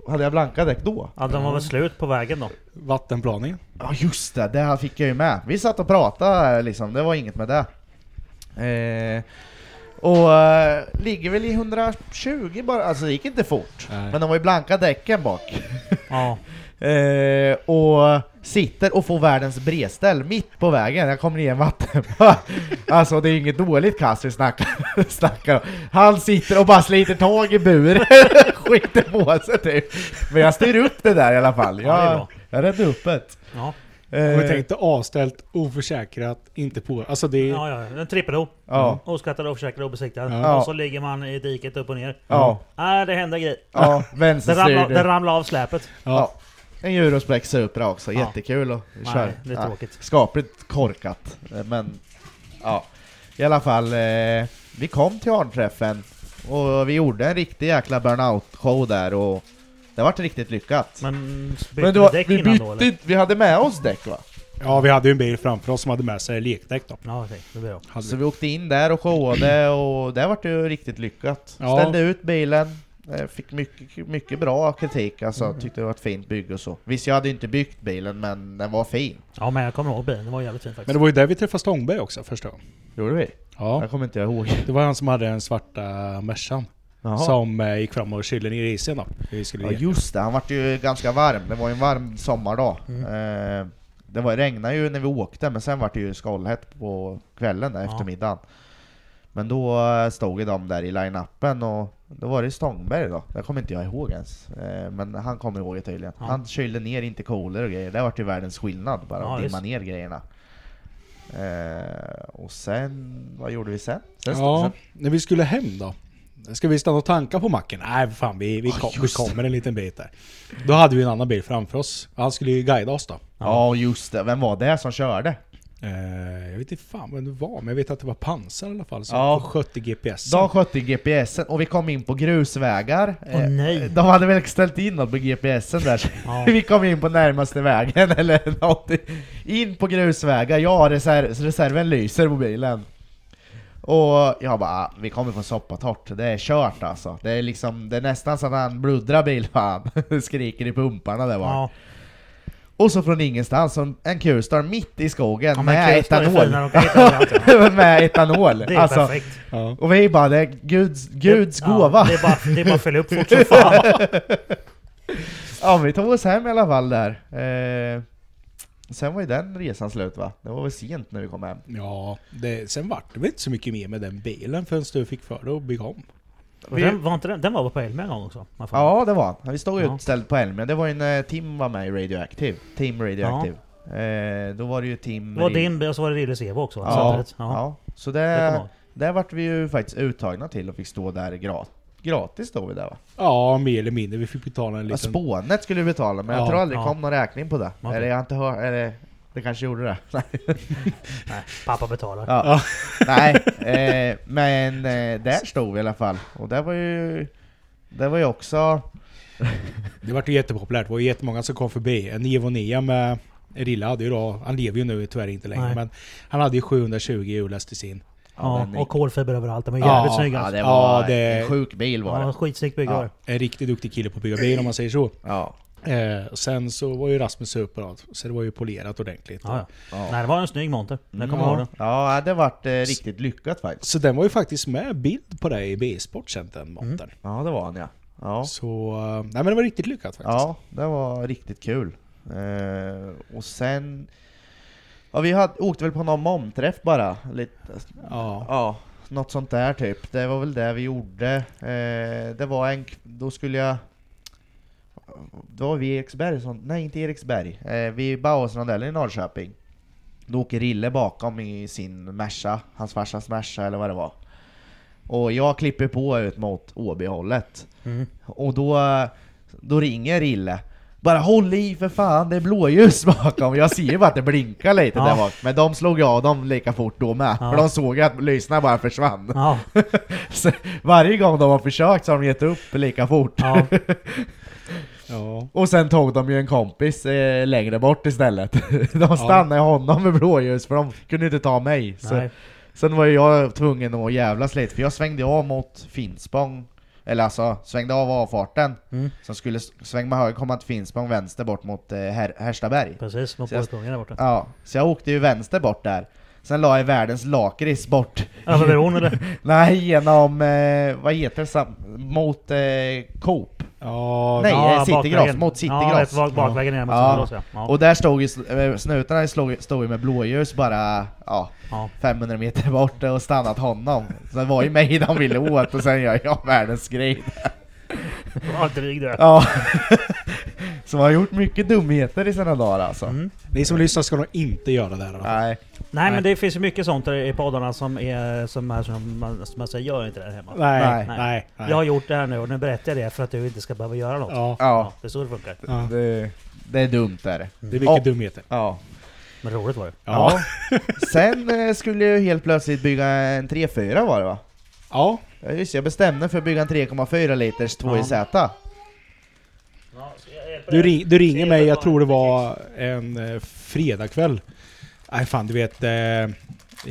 Speaker 2: Hade jag blanka däck då?
Speaker 3: Ja, de var väl slut på vägen då.
Speaker 5: Vattenplaning.
Speaker 2: Eh. Ja just det, det här fick jag ju med. Vi satt och pratade liksom, det var inget med det. Eh, och eh, ligger väl i 120 bara, alltså det gick inte fort.
Speaker 5: Nej.
Speaker 2: Men de var ju blanka däcken bak.
Speaker 3: Ja.
Speaker 2: Eh, och sitter och får världens bredställ mitt på vägen. Jag kommer i en vattenpöl. Alltså det är inget dåligt kast vi snackar, snackar om. Han sitter och bara sliter tag i buren. Skiter på sig typ. Men jag styr upp det där i alla fall.
Speaker 3: Ja, det är
Speaker 2: Jag,
Speaker 3: bra.
Speaker 2: jag räddade upp det.
Speaker 3: Ja.
Speaker 5: Och jag
Speaker 2: Eh,
Speaker 5: tänkte avställt, oförsäkrat, inte på. Alltså det är...
Speaker 3: ja, ja. En trippel-O.
Speaker 2: ja,
Speaker 3: Oskattad, oförsäkrad, obesiktad.
Speaker 5: Ja.
Speaker 3: Och så ligger man i diket upp och ner.
Speaker 2: ja,
Speaker 3: Nej, det händer grejer.
Speaker 2: ja,
Speaker 3: Det ramlar, det
Speaker 2: vänsterstyrd.
Speaker 3: ramlar av släpet.
Speaker 2: Ja. En Eurospec Supra också,
Speaker 3: Ja.
Speaker 2: jättekul att köra.
Speaker 3: Nej, det är tråkigt.
Speaker 2: skapligt korkat. Eh, Men ja, i alla fall. Eh, vi kom till Arnträffen och vi gjorde en riktig jäkla burnout-show där och det vart riktigt lyckat.
Speaker 3: Men bytte
Speaker 2: Men
Speaker 3: men
Speaker 2: det var,
Speaker 3: däck
Speaker 2: vi
Speaker 3: innan då eller?
Speaker 2: bytte, vi hade med oss däck va?
Speaker 5: Ja, vi hade ju en bil framför oss som hade med sig lekdäck då.
Speaker 3: Ja, okej. Det blir bra.
Speaker 5: Hade
Speaker 2: Så
Speaker 5: vi.
Speaker 2: vi åkte in där och showade och det vart ju riktigt lyckat.
Speaker 5: Ja.
Speaker 2: Ställde ut bilen, eh, fick mycket, mycket bra kritik alltså, tyckte det var ett fint bygge och så. Visst, jag hade ju inte byggt bilen men den var fin.
Speaker 3: Ja, men jag kommer ihåg bilen. Det var jävligt fint faktiskt.
Speaker 5: Men det var ju där vi träffade Stångberg också första gången.
Speaker 2: Gjorde vi?
Speaker 5: Ja.
Speaker 2: Jag kommer inte ihåg.
Speaker 5: Det var han som hade den svarta Mercan.
Speaker 2: Jaha.
Speaker 5: Som eh, gick fram och kylde ner isen då. Vi skulle
Speaker 2: Ja
Speaker 5: ge.
Speaker 2: just det, han vart ju ganska varm. Det var ju en varm sommardag.
Speaker 3: Mm.
Speaker 2: Eh, det var, regnade ju när vi åkte, men sen vart det ju skållhett på kvällen där
Speaker 3: Ja.
Speaker 2: eftermiddagen. Men då eh, stod ju de där i line-upen och då var det Stångberg då. Det kommer inte jag ihåg ens. Eh, men han kommer ihåg det tydligen.
Speaker 3: Ja.
Speaker 2: Han kylde ner intercooler och grejer. Det vart ju världens skillnad bara
Speaker 3: Ja,
Speaker 2: att dimma
Speaker 3: visst.
Speaker 2: ner grejerna. Eh, och sen, vad gjorde vi sen? sen
Speaker 5: Ja,
Speaker 2: sen-
Speaker 5: när vi skulle hem då. Ska vi stanna och tanka på macken? Nej, för fan vi, vi, kom, vi kommer en liten bit där. Då hade vi en annan bil framför oss. Han skulle ju guida oss då.
Speaker 2: ja just det, vem var det som körde?
Speaker 5: Eh, jag vet inte fan vem det var, men jag vet att det var pansar i alla fall. Som
Speaker 2: Ja.
Speaker 5: skötte GPS.
Speaker 2: De skötte GPSen och vi kom in på grusvägar.
Speaker 3: Åh,
Speaker 2: Eh,
Speaker 3: nej.
Speaker 2: De hade väl ställt in något på GPSen där.
Speaker 3: Ja.
Speaker 2: vi kom in på närmaste vägen eller något. In på grusvägar, ja reserv, reserven lyser på bilen. Och jag bara, ah, vi kommer från Soppatorp, det är kört alltså. Det är liksom, det är nästan så att han bluddrar bilfan. Skriker i pumparna där var.
Speaker 3: Ja,
Speaker 2: Och så från ingenstans, som en Q-star mitt i skogen
Speaker 3: ja men
Speaker 2: med,
Speaker 3: Q-star är
Speaker 2: etanol.
Speaker 3: fina, de kan hitta överallt.
Speaker 2: med etanol.
Speaker 3: Det är
Speaker 2: alltså,
Speaker 3: perfekt.
Speaker 5: Ja.
Speaker 2: Och vi bara, det är Guds, Guds
Speaker 3: Ja,
Speaker 2: gåva.
Speaker 3: Det är bara, det är bara att följa upp fort som fan.
Speaker 2: Ja, men vi tog oss hem i alla fall där. Eh, sen var ju den resan slut va? Det var väl sent när vi kom hem?
Speaker 5: Ja, det, sen vart det väl inte så mycket mer med den bilen förrän du fick för dig att bygga om.
Speaker 3: Och Den var, inte den, den var på Elmia en gång också? vad fan.
Speaker 2: Ja, det var han. Vi stod
Speaker 3: Ja.
Speaker 2: utställd på Elmia. Det var ju när Tim var med i Radioactive. Team Radioactive. Eh, då var det ju Tim...
Speaker 3: Det var
Speaker 2: Ri-
Speaker 3: din bil och så var det Rilles Evo också va?
Speaker 2: Ja.
Speaker 3: Samtidigt. Ja.
Speaker 2: ja. Så
Speaker 3: Jag kommer
Speaker 2: det,
Speaker 3: ihåg.
Speaker 2: där vart vi ju faktiskt uttagna till och fick stå där gratis. Gratis stod vi där va?
Speaker 5: Ja, mer eller mindre. Vi fick betala en
Speaker 2: Ja,
Speaker 5: liten...
Speaker 2: Spånet skulle vi betala men jag
Speaker 5: Ja,
Speaker 2: tror aldrig
Speaker 3: ja.
Speaker 2: kom någon räkning på det.
Speaker 3: Okej.
Speaker 2: Eller jag har inte hört... Eller, det kanske gjorde det.
Speaker 3: Nej, pappa betalar.
Speaker 2: Ja. Nej, eh, men eh, där stod vi i alla fall. Och det var ju... Det var ju också...
Speaker 5: Det vart ju jättepopulärt. Det var ju jättemånga som kom förbi. En Evonia med Rilla hade ju då, han lever ju nu tyvärr inte längre,
Speaker 3: Nej.
Speaker 5: men han hade ju 720 hjulhäst i sin.
Speaker 3: Ja,
Speaker 2: den-
Speaker 3: och kolfiber överallt. De är jävligt
Speaker 5: Ja,
Speaker 3: snygga.
Speaker 2: ja,
Speaker 3: Alltså.
Speaker 2: det var
Speaker 5: Ja, det-
Speaker 2: en sjuk bil var
Speaker 3: Ja,
Speaker 2: det.
Speaker 3: skitsnyggt bygge
Speaker 2: Ja.
Speaker 3: var det.
Speaker 5: En riktigt duktig kille på att bygga bil om man säger så.
Speaker 2: Ja,
Speaker 5: Eh, och sen så var ju Rasmus uppe så det var ju polerat ordentligt.
Speaker 3: ja, ja.
Speaker 2: Ja.
Speaker 3: Nej, det var en snygg monter. Jag kommer ihåg den.
Speaker 2: ja det vart eh, riktigt lyckat faktiskt.
Speaker 5: Så den var ju faktiskt med bild på dig i B-sport sen den montern.
Speaker 3: Mm.
Speaker 2: Ja, det var han ja. Ja,
Speaker 5: Så, eh, nej men det var riktigt lyckat faktiskt.
Speaker 2: ja det var riktigt kul. Eh, och sen... Ja, vi hade, åkte väl på någon momträff bara. Lite,
Speaker 5: Ja.
Speaker 2: ja, något sånt där typ. Det var väl det vi gjorde. Eh, det var en... k- Då skulle jag... Då var vi i Eriksberg, sånt. nej inte Eriksberg. Eh, vi Bauhausrondellen i Norrköping. Då åker Rille bakom i sin Merca, hans farsas Merca eller vad det var. Och jag klipper på ut mot Åby-hållet.
Speaker 3: Mm.
Speaker 2: Och då, då ringer Rille. Bara håll i för fan, det är blåljus bakom. Jag ser ju bara att det blinkar lite
Speaker 3: Ja.
Speaker 2: där bak. Men de slog jag av dem lika fort då med.
Speaker 3: Ja.
Speaker 2: För de såg ju att lyssnarna bara försvann.
Speaker 3: Ja,
Speaker 2: Så varje gång de har försökt så har de gett upp lika fort.
Speaker 3: ja.
Speaker 5: ja.
Speaker 2: Och sen tog de ju en kompis eh, längre bort istället. De stannade honom med blåljus för de kunde inte ta mig. Så,
Speaker 3: Nej.
Speaker 2: sen var ju jag tvungen att jävlas lite för jag svängde av mot Finspång. Eller alltså, svängde av avfarten.
Speaker 3: Mm.
Speaker 2: Som skulle s- svänga med höger, komma till Finspång vänster bort mot eh, Her- Herstaberg.
Speaker 3: Precis, mot
Speaker 2: Så jag-
Speaker 3: Borgkungen där borta.
Speaker 2: Ja, så jag åkte ju vänster bort där. Sen la jag världens lakrits bort.
Speaker 3: Över bron eller?
Speaker 2: Nej, genom, eh, vad heter det, sam- mot eh, Coop.
Speaker 5: Ja,
Speaker 2: Nej,
Speaker 5: ja.
Speaker 2: eh, Citygross,
Speaker 3: bakvägen.
Speaker 2: mot
Speaker 3: Ja,
Speaker 2: Citygross.
Speaker 3: rätt bak- bakvägen ner mot
Speaker 2: Ja.
Speaker 3: Citygross ja. ja.
Speaker 2: Och där stod ju sl- eh, snutarna slog, stod ju med blåljus bara ja,
Speaker 3: Ja.
Speaker 2: 500 meter bort och stannat honom. Så det var ju mig de ville åt och sen gör jag världens grej.
Speaker 3: Allt dryg du är.
Speaker 2: Ja. Så man har gjort mycket dumheter i sina dagar alltså.
Speaker 3: Mm.
Speaker 5: Ni som lyssnar ska nog inte göra det här i alla fall.
Speaker 2: Nej.
Speaker 3: Nej
Speaker 5: Nej.
Speaker 3: men det finns ju mycket sånt där i poddarna som är som, är, som, man, som man säger gör inte det här hemma.
Speaker 5: Nej,
Speaker 2: Nej.
Speaker 5: nej, nej.
Speaker 3: Jag har gjort det här nu och nu berättar jag det för att du inte ska behöva göra något.
Speaker 5: Ja,
Speaker 2: Ja.
Speaker 3: det är så det funkar.
Speaker 5: ja.
Speaker 2: Det, det är dumt är det.
Speaker 5: Det är mycket
Speaker 2: Ja.
Speaker 5: dumheter.
Speaker 2: Ja.
Speaker 3: Men roligt var det.
Speaker 5: Ja.
Speaker 2: Sen eh, skulle jag ju helt plötsligt bygga en 3-4 var det va?
Speaker 5: ja.
Speaker 2: Ja, just det, jag bestämde för att bygga en 3,4 liters 2JZ.
Speaker 5: Du, ring, du ringer mig, jag tror det var en eh, fredagkväll. Nej fan du vet, eh,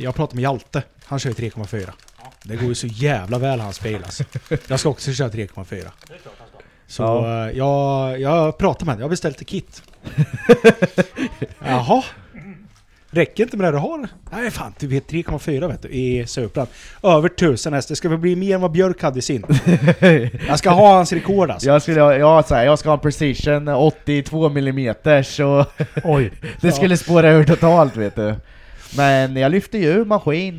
Speaker 5: jag pratade med Hjalte. Han kör ju 3,4. Det går ju så jävla väl hans bil alltså. Jag ska också köra 3,4. Så
Speaker 2: Ja.
Speaker 5: eh, jag, jag pratade med honom, jag har beställt ett kit. Jaha? Räcker inte med det du har? Nej fan, du vet 3,4 vet du, i Supran. Över 1000 häst, det ska väl bli mer än vad Björk hade i sin. Jag ska ha hans rekord alltså.
Speaker 2: Jag skulle ha, ja, så här, jag ska ha en precision 82 mm så
Speaker 3: Oj!
Speaker 2: det skulle spåra ur totalt vet du. Men jag lyfte ju ur maskin.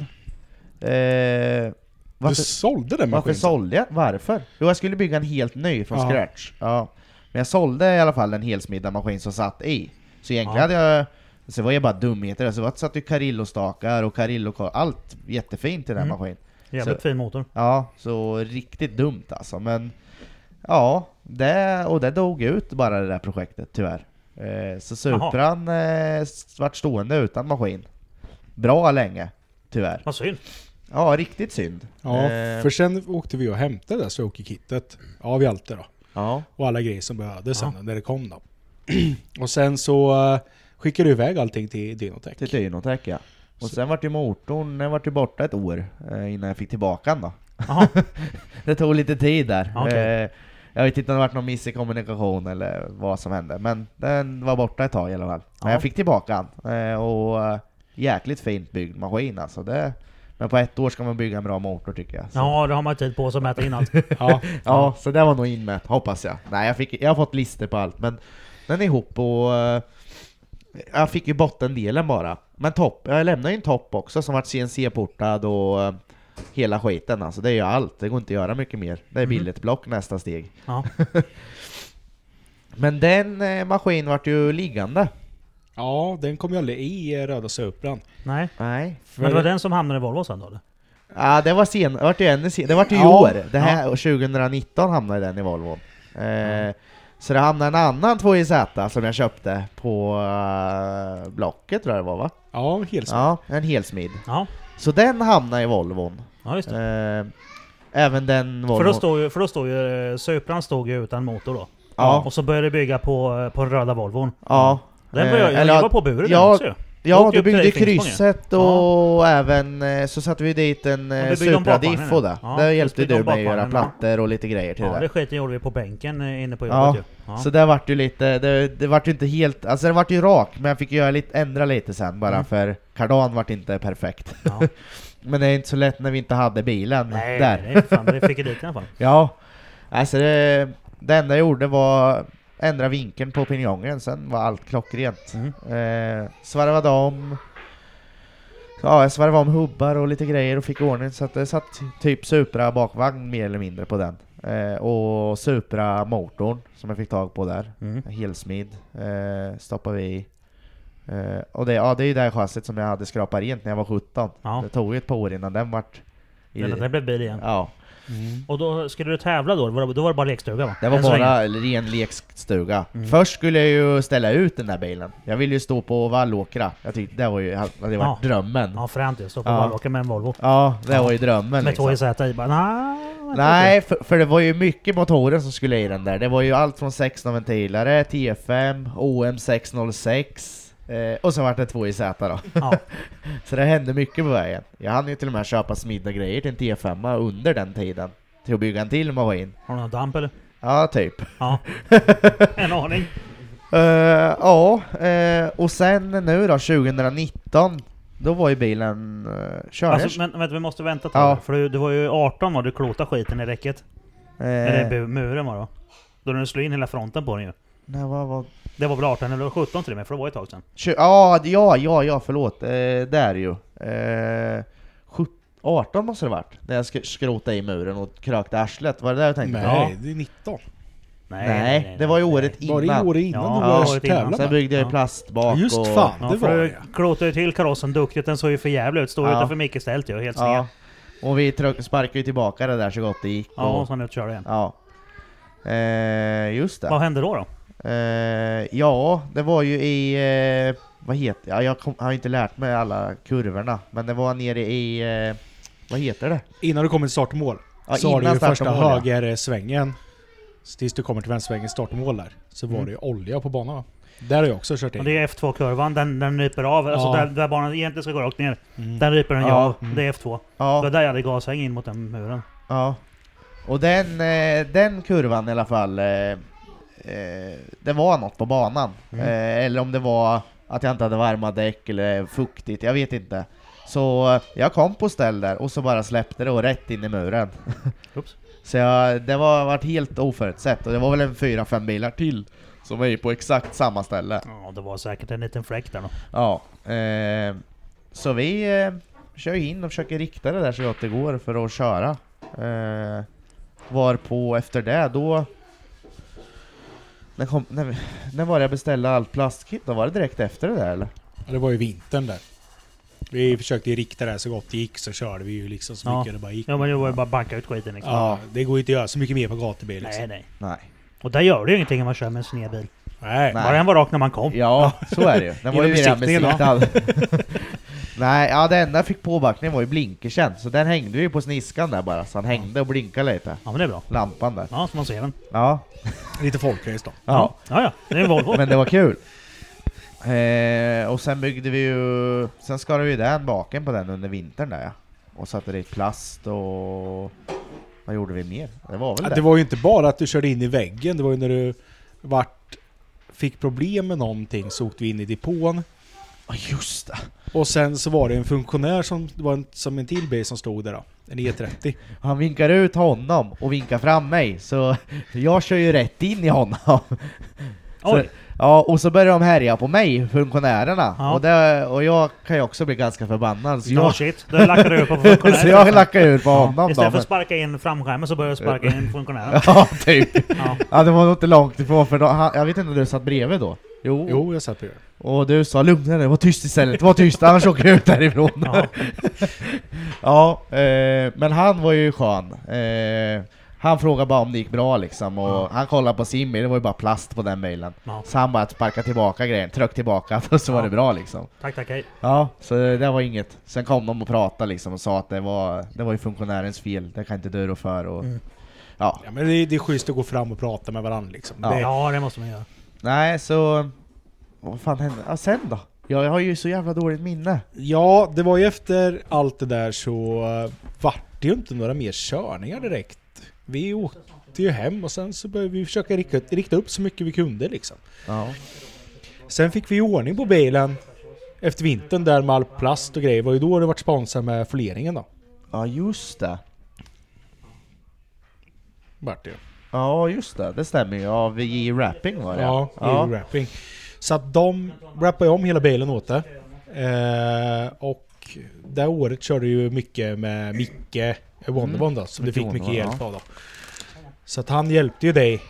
Speaker 2: Eh,
Speaker 5: Du
Speaker 2: varför,
Speaker 5: sålde den
Speaker 2: varför
Speaker 5: maskinen?
Speaker 2: sålde jag? Varför? Jo, jag skulle bygga en helt ny från
Speaker 5: Ja.
Speaker 2: scratch. Ja. Men jag sålde i alla fall en helsmiddad maskin som satt i. Så egentligen hade jag... Så var jag bara dumheter. Så det satt ju Carillo-stakar och Carillo... Allt jättefint i den här
Speaker 3: Mm.
Speaker 2: maskinen.
Speaker 3: Jävligt
Speaker 2: Så-
Speaker 3: fin motor.
Speaker 2: Ja, så riktigt dumt alltså. Men ja, det, och det dog ut bara det där projektet tyvärr. Eh, så Supran eh, s- vart stående utan maskin. Bra länge, tyvärr.
Speaker 3: Vad synd.
Speaker 2: Ja, riktigt synd.
Speaker 5: Ja,
Speaker 2: Eh,
Speaker 5: för sen åkte vi och hämtade det där stroke-kittet av Hjalte då.
Speaker 2: ja.
Speaker 5: Och alla grejer som behövdes sen när det kom då. och sen så eh, skickade du iväg allting till Dinotech.
Speaker 2: till Dynotech ja. Och sen vart ju motorn den vart ju borta ett år eh, innan jag fick tillbaka den då.
Speaker 3: Jaha.
Speaker 2: det tog lite tid där.
Speaker 3: Okej.
Speaker 2: Eh, jag vet inte om det varit någon miss i kommunikation eller vad som hände, men den var borta ett tag i alla fall. Men
Speaker 3: Ja.
Speaker 2: jag fick tillbaka den, eh, och eh, jäkligt fint byggd maskin alltså. Det, men på ett år ska man bygga en bra motor tycker jag. Så,
Speaker 3: Ja, då har man tid på sig att mäta in allt.
Speaker 5: Ja,
Speaker 2: ja, så det var nog inmätt, hoppas jag. Nej, jag, fick, jag har fått listor på allt, men den är ihop och... eh, jag fick ju bottendelen bara. Men topp, jag lämnade ju en topp också som vart CNC-portad och eh, hela skiten alltså. Det är ju allt, det går inte att göra mycket mer. Det är
Speaker 3: Mhm.
Speaker 2: billigt block nästa steg.
Speaker 3: Ja.
Speaker 2: Men den eh, maskin vart ju liggande.
Speaker 5: ja den kom ju aldrig i eh, röda Supran.
Speaker 3: Nej.
Speaker 2: Nej.
Speaker 3: Men det var den som hamnade i Volvo sen då eller?
Speaker 2: Ja, det var sen, det vart ju ännu sen, det vart ju i
Speaker 5: Ja.
Speaker 2: år. Det här, 2019 hamnade den i Volvo. Eh, Så det hamnade en annan 2JZ som jag köpte på eh, Blocket tror jag det var va?
Speaker 5: Ja, helt så.
Speaker 2: Ja, en helsmid.
Speaker 3: Ja,
Speaker 2: Så den hamnade i Volvon.
Speaker 3: ja just det.
Speaker 2: Eh, även den Volvo...
Speaker 3: För då stod ju, för då stod ju eh, Supran stod ju utan motor då.
Speaker 2: Ja.
Speaker 3: Och så började det bygga på, eh, på den röda Volvon.
Speaker 2: Ja.
Speaker 3: Den var jag,
Speaker 2: Eh,
Speaker 3: jag
Speaker 2: eller
Speaker 3: var på buren
Speaker 2: ja,
Speaker 3: också ju.
Speaker 2: Ja,
Speaker 3: åkte
Speaker 2: du
Speaker 3: upp till
Speaker 2: byggde
Speaker 3: Rejkingsborg, ja.
Speaker 2: krysset och även eh, så satte vi dit en
Speaker 3: vi
Speaker 2: eh,
Speaker 3: byggde om
Speaker 2: Supra
Speaker 3: bakvagnen,
Speaker 2: Diff och det.
Speaker 3: ja.
Speaker 2: Där
Speaker 3: Just
Speaker 2: hjälpte
Speaker 3: byggde om
Speaker 2: du mig att göra
Speaker 3: bakvagnen,
Speaker 2: plattor och lite grejer till
Speaker 3: Ja,
Speaker 2: det.
Speaker 3: det skiten gjorde vi på bänken eh, inne på jobbet
Speaker 2: Ja.
Speaker 3: ju. Ja.
Speaker 2: Så det vart ju lite, det, det vart ju inte helt, alltså det vart ju rak, men jag fick ju göra lite, ändra lite sen bara
Speaker 3: Mm.
Speaker 2: för kardan vart inte perfekt.
Speaker 3: ja.
Speaker 2: Men det är inte så lätt när vi inte hade bilen
Speaker 3: Nej,
Speaker 2: där.
Speaker 3: nej, fan, det fick ju dit i alla fall.
Speaker 2: Ja, alltså det, det enda jag gjorde var ändra vinkeln på pinjongen, sen var allt klockrent.
Speaker 3: Mm.
Speaker 2: Eh, svarvade om, ja jag svarvade om hubbar och lite grejer och fick ordning så att det satt typ Supra bakvagn mer eller mindre på den. Eh, och Supra motorn som jag fick tag på där,
Speaker 3: Mm.
Speaker 2: helsmid, eh, stoppade vi i. Eh, och det, ja, det är ju det här chassit som jag hade skrapat rent när jag var 17.
Speaker 3: Ja.
Speaker 2: Det tog ju ett par år innan den vart... i-
Speaker 3: Den, den blev bil igen.
Speaker 2: Ja.
Speaker 3: Och då skulle du tävla då? Var det- Då var det bara lekstuga va?
Speaker 2: Det var
Speaker 3: Än så länge. Mm.
Speaker 2: bara ren lekstuga. Först skulle jag ju ställa ut den där bilen. Jag ville ju stå på Vallåkra. Jag tyckte det var ju det var
Speaker 3: Ja.
Speaker 2: drömmen. Ja,
Speaker 3: Ja fränt ju, stå på
Speaker 2: Ja.
Speaker 3: Vallåker med en Volvo.
Speaker 2: det var ju drömmen
Speaker 3: Med två
Speaker 2: liksom.
Speaker 3: IZ i bara nej. jag tror
Speaker 2: Nej, för, för det var ju mycket motorer som skulle i den där. Det var ju allt från 16 ventilare, T5, OM606 eh, och så vart det två i Z då.
Speaker 3: inte. Ja.
Speaker 2: Så det hände mycket på vägen. Jag hann ju till och med köpa smidda grejer till en T5 under den tiden. Till att bygga en till maskin.
Speaker 3: Har du någon damp eller?
Speaker 2: Ja, typ.
Speaker 3: Ja. en aning.
Speaker 2: Eh, ja, eh, och sen nu då 2019 Då var ju bilen eh, körd.
Speaker 3: Alltså, men vänta, vi måste vänta ett
Speaker 2: Ja.
Speaker 3: tag. För du, du var ju 18 var du klotade skiten i räcket.
Speaker 2: Eh,
Speaker 3: Eller bu- muren var det va? Då du slog in hela fronten på den ju.
Speaker 2: nej, vad var...
Speaker 3: Det var väl 18 eller 17 till och med, för det var ju ett tag sedan.
Speaker 2: Kö- ja, det- ja, ja, ja, förlåt. Eh, där ju. Eh, sjut- 18 måste det varit, när jag sk- skrotade i muren och krökte arslet. Var det där jag tänkte? på?
Speaker 5: Nej, det är 19.
Speaker 2: Nej, det var ju året
Speaker 5: Var det
Speaker 2: innan.
Speaker 5: året innan
Speaker 3: Ja,
Speaker 5: du
Speaker 2: ja,
Speaker 5: började
Speaker 3: året innan.
Speaker 5: tävla?
Speaker 2: Sen
Speaker 5: med?
Speaker 2: byggde jag
Speaker 3: Ja.
Speaker 2: ju plast bak
Speaker 5: Just
Speaker 2: och...
Speaker 5: fan,
Speaker 3: Ja,
Speaker 5: det var
Speaker 3: för
Speaker 5: det.
Speaker 3: du klotade ju till karossen duktigt, den såg ju för jävlig ut. Stod
Speaker 2: Ja.
Speaker 3: utanför Mickes tält ju, helt sned.
Speaker 2: Ja. Och vi trö- sparkade ju tillbaka det där så gott det gick.
Speaker 3: Ja,
Speaker 2: och-
Speaker 3: och sen ut och körde igen.
Speaker 2: Ja. Eh, just det.
Speaker 3: Vad hände då då?
Speaker 2: Eh, ja, det var ju i... Eh, vad heter ja, Jag kom, har ju inte lärt mig alla kurvorna, men det var nere i... Eh, vad heter det?
Speaker 5: Innan du kommer till startmål
Speaker 2: Ja,
Speaker 5: så har du ju
Speaker 2: starten
Speaker 5: första
Speaker 2: var det.
Speaker 5: högersvängen. Så Tills du kommer till vänstersvängen startmål där. Så var det ju olja på banan. va? Där har jag också kört
Speaker 3: Och
Speaker 5: in.
Speaker 3: det är F2-kurvan, den, den ryper av. Alltså
Speaker 5: Ja.
Speaker 3: där, där banan egentligen ska gå rakt ner.
Speaker 5: Mm.
Speaker 3: Den ryper den ju
Speaker 2: Ja.
Speaker 3: av. Det är F2. Det var
Speaker 2: Ja,
Speaker 3: där jag hade gashäng in mot den muren.
Speaker 2: ja. Och den, eh, den kurvan i alla fall, eh, eh, det var något på banan. Eh, eller om det var att jag inte hade varma däck eller fuktigt, jag vet inte. Så eh, jag kom på ställ där och så bara släppte det och rätt in i muren.
Speaker 3: Oops.
Speaker 2: Så jag, det var varit helt oförutsett och det var väl en fyra fem bilar till som var ju på exakt samma ställe.
Speaker 3: Ja, det var säkert en liten fläck där då.
Speaker 2: Ja. Eh, så vi eh, kör ju in och försöker rikta det där så gott det går för att köra. Eh, var på efter det då... När, kom, när, vi- när var det jag beställde allt plastkit då? Var det direkt efter det där eller?
Speaker 5: Ja, Det var ju vintern där. Vi försökte ju rikta det här så gott det gick så körde vi ju liksom så
Speaker 3: Ja.
Speaker 5: mycket det bara gick.
Speaker 3: Ja, men det var ju bara att banka ut skiten liksom.
Speaker 5: Ja, det går ju inte att göra så mycket mer på gatubil liksom.
Speaker 3: Nej, nej.
Speaker 2: Nej.
Speaker 3: Och där gör det ju ingenting om man kör med en sned bil.
Speaker 2: Nej.
Speaker 5: Nej.
Speaker 3: Bara den var rak när man kom.
Speaker 2: Ja, så är det ju. Den var ju
Speaker 5: Genom
Speaker 2: redan
Speaker 5: besiktningen,
Speaker 2: besiktad. Nej, ja det enda jag fick påbackning var ju blinkersen, så den hängde ju på sniskan där bara, så han hängde och blinkade lite.
Speaker 3: Ja, men det är bra.
Speaker 2: Lampan där.
Speaker 3: Ja, så man ser den.
Speaker 2: Ja,
Speaker 5: Lite folkrace då.
Speaker 2: ja.
Speaker 3: Ja, ja. Det är en Volvo.
Speaker 2: men det var kul. Eh, och sen byggde vi ju, sen skar vi ju den baken på den under vintern där ja. Och satte dit plast och... Vad gjorde vi mer? Det var väl
Speaker 5: Ja,
Speaker 2: det?
Speaker 5: Det var ju inte bara att du körde in i väggen, det var ju när du vart, fick problem med någonting så åkte vi in i depån.
Speaker 2: Ja, just det!
Speaker 5: Och sen så var det en funktionär som det var en, som en till bil som stod där då. En E E30.
Speaker 2: Han vinkar ut honom och vinkar fram mig, så jag kör ju rätt in i honom.
Speaker 3: Oj!
Speaker 2: Ja, och så börjar de härja på mig, funktionärerna.
Speaker 3: Ja.
Speaker 2: Och, det, och jag kan ju också bli ganska förbannad. Så
Speaker 3: No
Speaker 2: jag,
Speaker 3: shit. Då lackar du upp på funktionären.
Speaker 2: så jag lackar ur på honom då.
Speaker 3: Istället för
Speaker 2: Men,
Speaker 3: att sparka in framskärmen så börjar du sparka in funktionären.
Speaker 2: ja, typ.
Speaker 3: Ja.
Speaker 2: Ja, det var nog inte långt ifrån för då, han, jag vet inte om du satt bredvid då? Jo.
Speaker 5: Jo, jag satt på det.
Speaker 2: Och du sa lugna dig, var tyst istället, var tyst annars åker jag ut därifrån.
Speaker 3: Ja.
Speaker 2: Ja, eh, men han var ju skön. Eh, han frågade bara om det gick bra liksom och han kollade på sin bil, det var ju bara plast på den bilen.
Speaker 3: Ja.
Speaker 2: Så han bara sparkade tillbaka grejen, tryckte tillbaka och så var
Speaker 3: Ja.
Speaker 2: det bra liksom.
Speaker 3: Tack, tack, hej.
Speaker 2: Ja, så det där var inget. Sen kom de och pratade liksom och sa att det var, det var ju funktionärens fel, det kan inte du rå för och...
Speaker 3: Mm.
Speaker 2: Ja,
Speaker 5: Ja, men det, är- det är schysst att gå fram och prata med varandra liksom.
Speaker 2: Ja.
Speaker 5: Det,
Speaker 3: Ja, det måste man göra.
Speaker 2: nej så... Vad fan hände? Ja, sen då? Jag har ju så jävla dåligt minne.
Speaker 5: Ja, det var ju efter allt det där så eh, vart det ju inte några mer körningar direkt. Vi åkte ju hem och sen så började vi försöka rikta, rikta upp så mycket vi kunde liksom.
Speaker 2: Ja.
Speaker 5: Sen fick vi ju ordning på bilen efter vintern där med all plast och grejer. Det var ju då det vart sponsrat med foleringen då.
Speaker 2: Ja, just det.
Speaker 5: Vart det ju.
Speaker 2: Ja, just det. Det stämmer ju. Ja, vi är rapping var det.
Speaker 5: Ja, ja. wrapping. Så att de wrappade ju om hela bilen åt det. Eh, och det året körde ju mycket med Micke eh,
Speaker 2: Mm.
Speaker 5: Wonderbond då, som du
Speaker 2: Micke
Speaker 5: fick mycket
Speaker 2: Wonderbond,
Speaker 5: hjälp
Speaker 2: ja.
Speaker 5: av då. Så att han hjälpte ju dig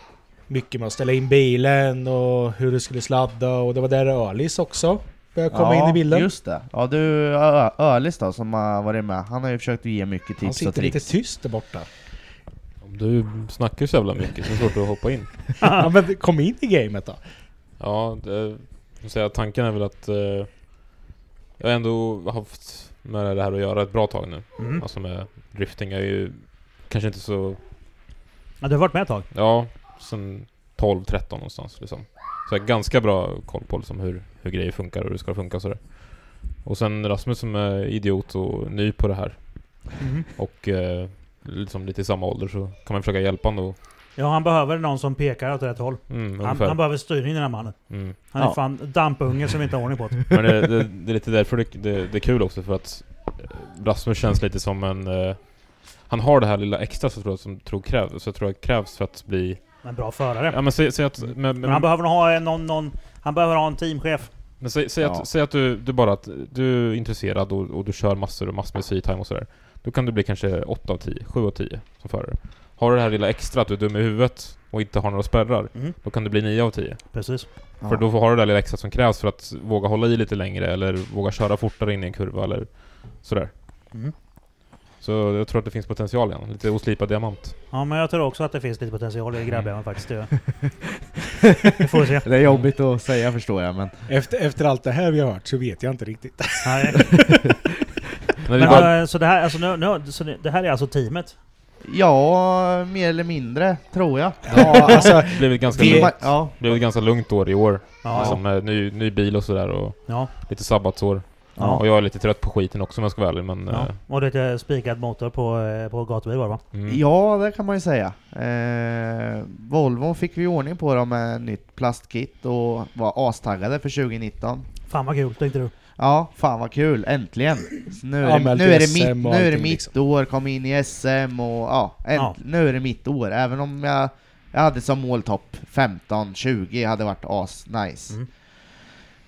Speaker 5: mycket med att ställa in bilen och hur du skulle sladda och det var där Ölis också började komma
Speaker 2: ja,
Speaker 5: in i bilden.
Speaker 2: just det. Ja, du Ö- Ölis då som har varit med, han har ju försökt ge mycket
Speaker 5: han
Speaker 2: tips och
Speaker 5: sitter lite
Speaker 2: tricks.
Speaker 5: tyst där borta.
Speaker 1: Om Du snackar så jävla mycket, så det är svårt att hoppa in.
Speaker 5: ja, men kom in i gamet då.
Speaker 1: Ja, det, jag säga, tanken är väl att eh, jag har ändå haft med det här att göra ett bra tag nu.
Speaker 3: Mm.
Speaker 1: Alltså med drifting. Jag är ju kanske inte så...
Speaker 3: Ja, du har varit med ett tag?
Speaker 1: Ja, sen 12-13 någonstans liksom. Så jag har ganska bra koll på liksom, hur, hur grejer funkar och hur det ska funka och sådär. Och sen Rasmus som är idiot och ny på det här.
Speaker 3: Mhm.
Speaker 2: Mm.
Speaker 1: Och eh, liksom lite i samma ålder så kan man försöka hjälpa honom att
Speaker 3: Ja, han behöver någon som pekar åt rätt håll.
Speaker 1: Mm,
Speaker 3: Han,
Speaker 1: ungefär.
Speaker 3: han behöver styrning den här mannen.
Speaker 1: Mm.
Speaker 3: Han är
Speaker 2: Ja.
Speaker 3: fan dampunge som vi inte har ordning på. det.
Speaker 1: Men det, det, det är lite därför det, det, det är kul också för att eh, Rasmus känns lite som en... eh, han har det här lilla extra så tror jag, som tror krävs, så jag tror jag krävs för att bli...
Speaker 3: En bra förare.
Speaker 1: Ja men säg, säg att... Men, men,
Speaker 3: Mm. Men han behöver nog ha en- någon, någon... Han behöver ha en teamchef.
Speaker 1: Men säg, säg,
Speaker 2: Ja.
Speaker 1: att, säg att du, du bara att du är intresserad och, och du kör massor och massor med C-time och sådär. Då kan du bli kanske 8 av 10, 7 av 10 som förare. Har du det här lilla extra att du är dum i huvudet och inte har några spärrar,
Speaker 3: Mm.
Speaker 1: då kan du bli 9 av 10.
Speaker 3: Precis.
Speaker 2: Ja.
Speaker 1: För då har du det där lilla extra som krävs för att våga hålla i lite längre eller våga köra fortare in i en kurva eller sådär.
Speaker 3: Mm.
Speaker 1: Så jag tror att det finns potential igen. Lite oslipad diamant.
Speaker 3: Ja, men jag tror också att det finns lite potential i
Speaker 2: Mm.
Speaker 3: grabbjäveln faktiskt. Det gör jag. Vi får se.
Speaker 2: Det är jobbigt att säga förstår jag, men
Speaker 5: Efter, efter allt det här vi har hört så vet jag inte riktigt.
Speaker 3: Nej.
Speaker 1: Men det är
Speaker 3: Men,
Speaker 1: bara,
Speaker 3: eh, så det här, alltså, nu, nu, så det, det här är alltså teamet?
Speaker 2: ja, mer eller mindre tror jag.
Speaker 5: Ja, alltså,
Speaker 1: det blev ett ganska,
Speaker 5: vi-
Speaker 1: lugnt,
Speaker 2: Ja,
Speaker 1: det blev ett ganska lugnt år i år.
Speaker 3: eh, Ja.
Speaker 1: Liksom, med ny, ny bil och sådär och
Speaker 3: Ja.
Speaker 1: lite sabbatsår.
Speaker 2: Ja.
Speaker 1: Och jag är lite trött på skiten också om jag ska vara ärlig men...
Speaker 3: ja.
Speaker 1: eh,
Speaker 3: Och lite spikad motor på, eh, på gatubil var det va?
Speaker 1: Mm.
Speaker 2: ja det kan man ju säga. Eh, Volvo fick vi ordning på dem med nytt plastkit och var astaggade för 2019.
Speaker 3: Fan vad kul, tänkte du?
Speaker 2: Ja, fan vad kul, äntligen! Så nu, är det,
Speaker 5: Anmäld
Speaker 2: nu,
Speaker 5: till
Speaker 2: är det
Speaker 5: SM och
Speaker 2: mitt, nu är det
Speaker 5: allting, liksom.
Speaker 2: mitt år, kom in i SM och ja, änt,
Speaker 3: Ja.
Speaker 2: nu är det mitt år. Även om jag, jag hade som mål topp 15-20, hade varit as-nice.
Speaker 3: Mm.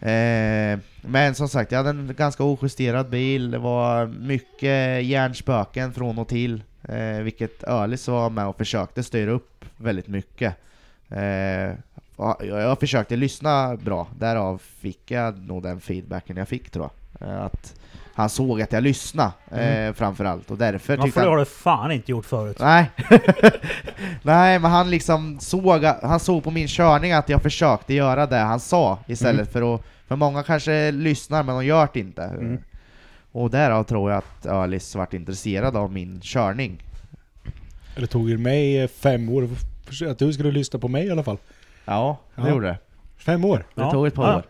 Speaker 2: Eh, men som sagt, jag hade en ganska ojusterad bil, det var mycket hjärnspöken från och till. Eh, vilket Ölis var med och försökte styra upp väldigt mycket. Eh, ja, jag, jag försökte lyssna bra, därav fick jag nog den feedbacken jag fick tror jag. Eh, att han såg att jag lyssnade
Speaker 3: Mm.
Speaker 2: eh, framförallt och därför
Speaker 3: Ja,
Speaker 2: tyckte
Speaker 3: för det har
Speaker 2: han...
Speaker 3: du fan inte gjort förut.
Speaker 2: Nej. Nej, men han liksom såg, att- han såg på min körning att jag försökte göra det han sa
Speaker 3: Mm.
Speaker 2: istället för att... För många kanske lyssnar men de gör det inte. Eh,
Speaker 3: Mm.
Speaker 2: Och därav tror jag att Ölis vart intresserad av min körning.
Speaker 5: det tog ju mig eh, fem år för att du skulle lyssna på mig i alla fall.
Speaker 2: Ja, det
Speaker 5: Ja.
Speaker 2: gjorde det.
Speaker 5: Fem år?
Speaker 2: Det tog ett par år.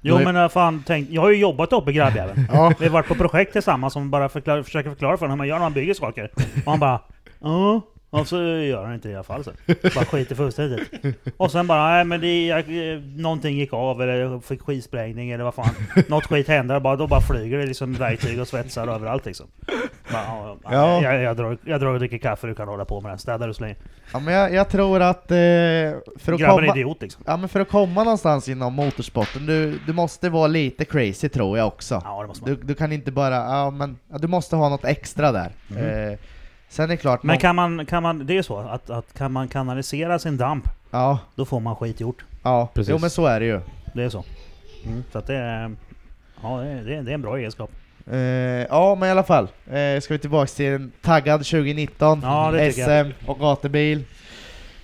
Speaker 3: Jo
Speaker 2: Då är-
Speaker 3: men eh, fan, tänk, jag har ju jobbat uppe i grabbjäveln.
Speaker 2: Ja.
Speaker 3: Vi har varit på projekt tillsammans som bara förklar, försöker förklara för honom hur man gör när man bygger saker. Och han bara ja. Och så gör han inte det i alla fall sen. Bara skiter fullständigt Och sen bara, nej men det, jag, eh, någonting gick av eller jag fick skivsprängning eller vad fan. Något skit hände och bara, då bara flyger det liksom verktyg och svetsar överallt liksom. Bara, ja,
Speaker 2: Ja.
Speaker 3: Jag, jag, drar, jag drar och dricker kaffe, du kan hålla på med den. Städar och slänger.
Speaker 2: Ja, men jag, jag tror att... Eh, för att
Speaker 3: Grabben är
Speaker 2: komma...
Speaker 3: idiot liksom.
Speaker 2: Ja men för att komma någonstans inom motorsporten, du, du måste vara lite crazy tror jag också.
Speaker 3: Ja, det måste man.
Speaker 2: Du, du kan inte bara, ja men, ja, du måste ha något extra där. Eh, sen är det klart,
Speaker 3: Mm. Men
Speaker 2: man-
Speaker 3: kan man, kan man, det är så att, att kan man kanalisera sin damp,
Speaker 2: ja,
Speaker 3: då får man skit gjort.
Speaker 2: ja,
Speaker 1: Precis.
Speaker 2: jo men så är det ju.
Speaker 3: Det är så. Mm. Så att det är, ja, det, är, det är- det är en bra egenskap.
Speaker 2: Eh, ja men i alla fall, eh, ska vi tillbaks till en taggad 2019,
Speaker 3: Ja, det tycker jag.
Speaker 2: SM och gatubil.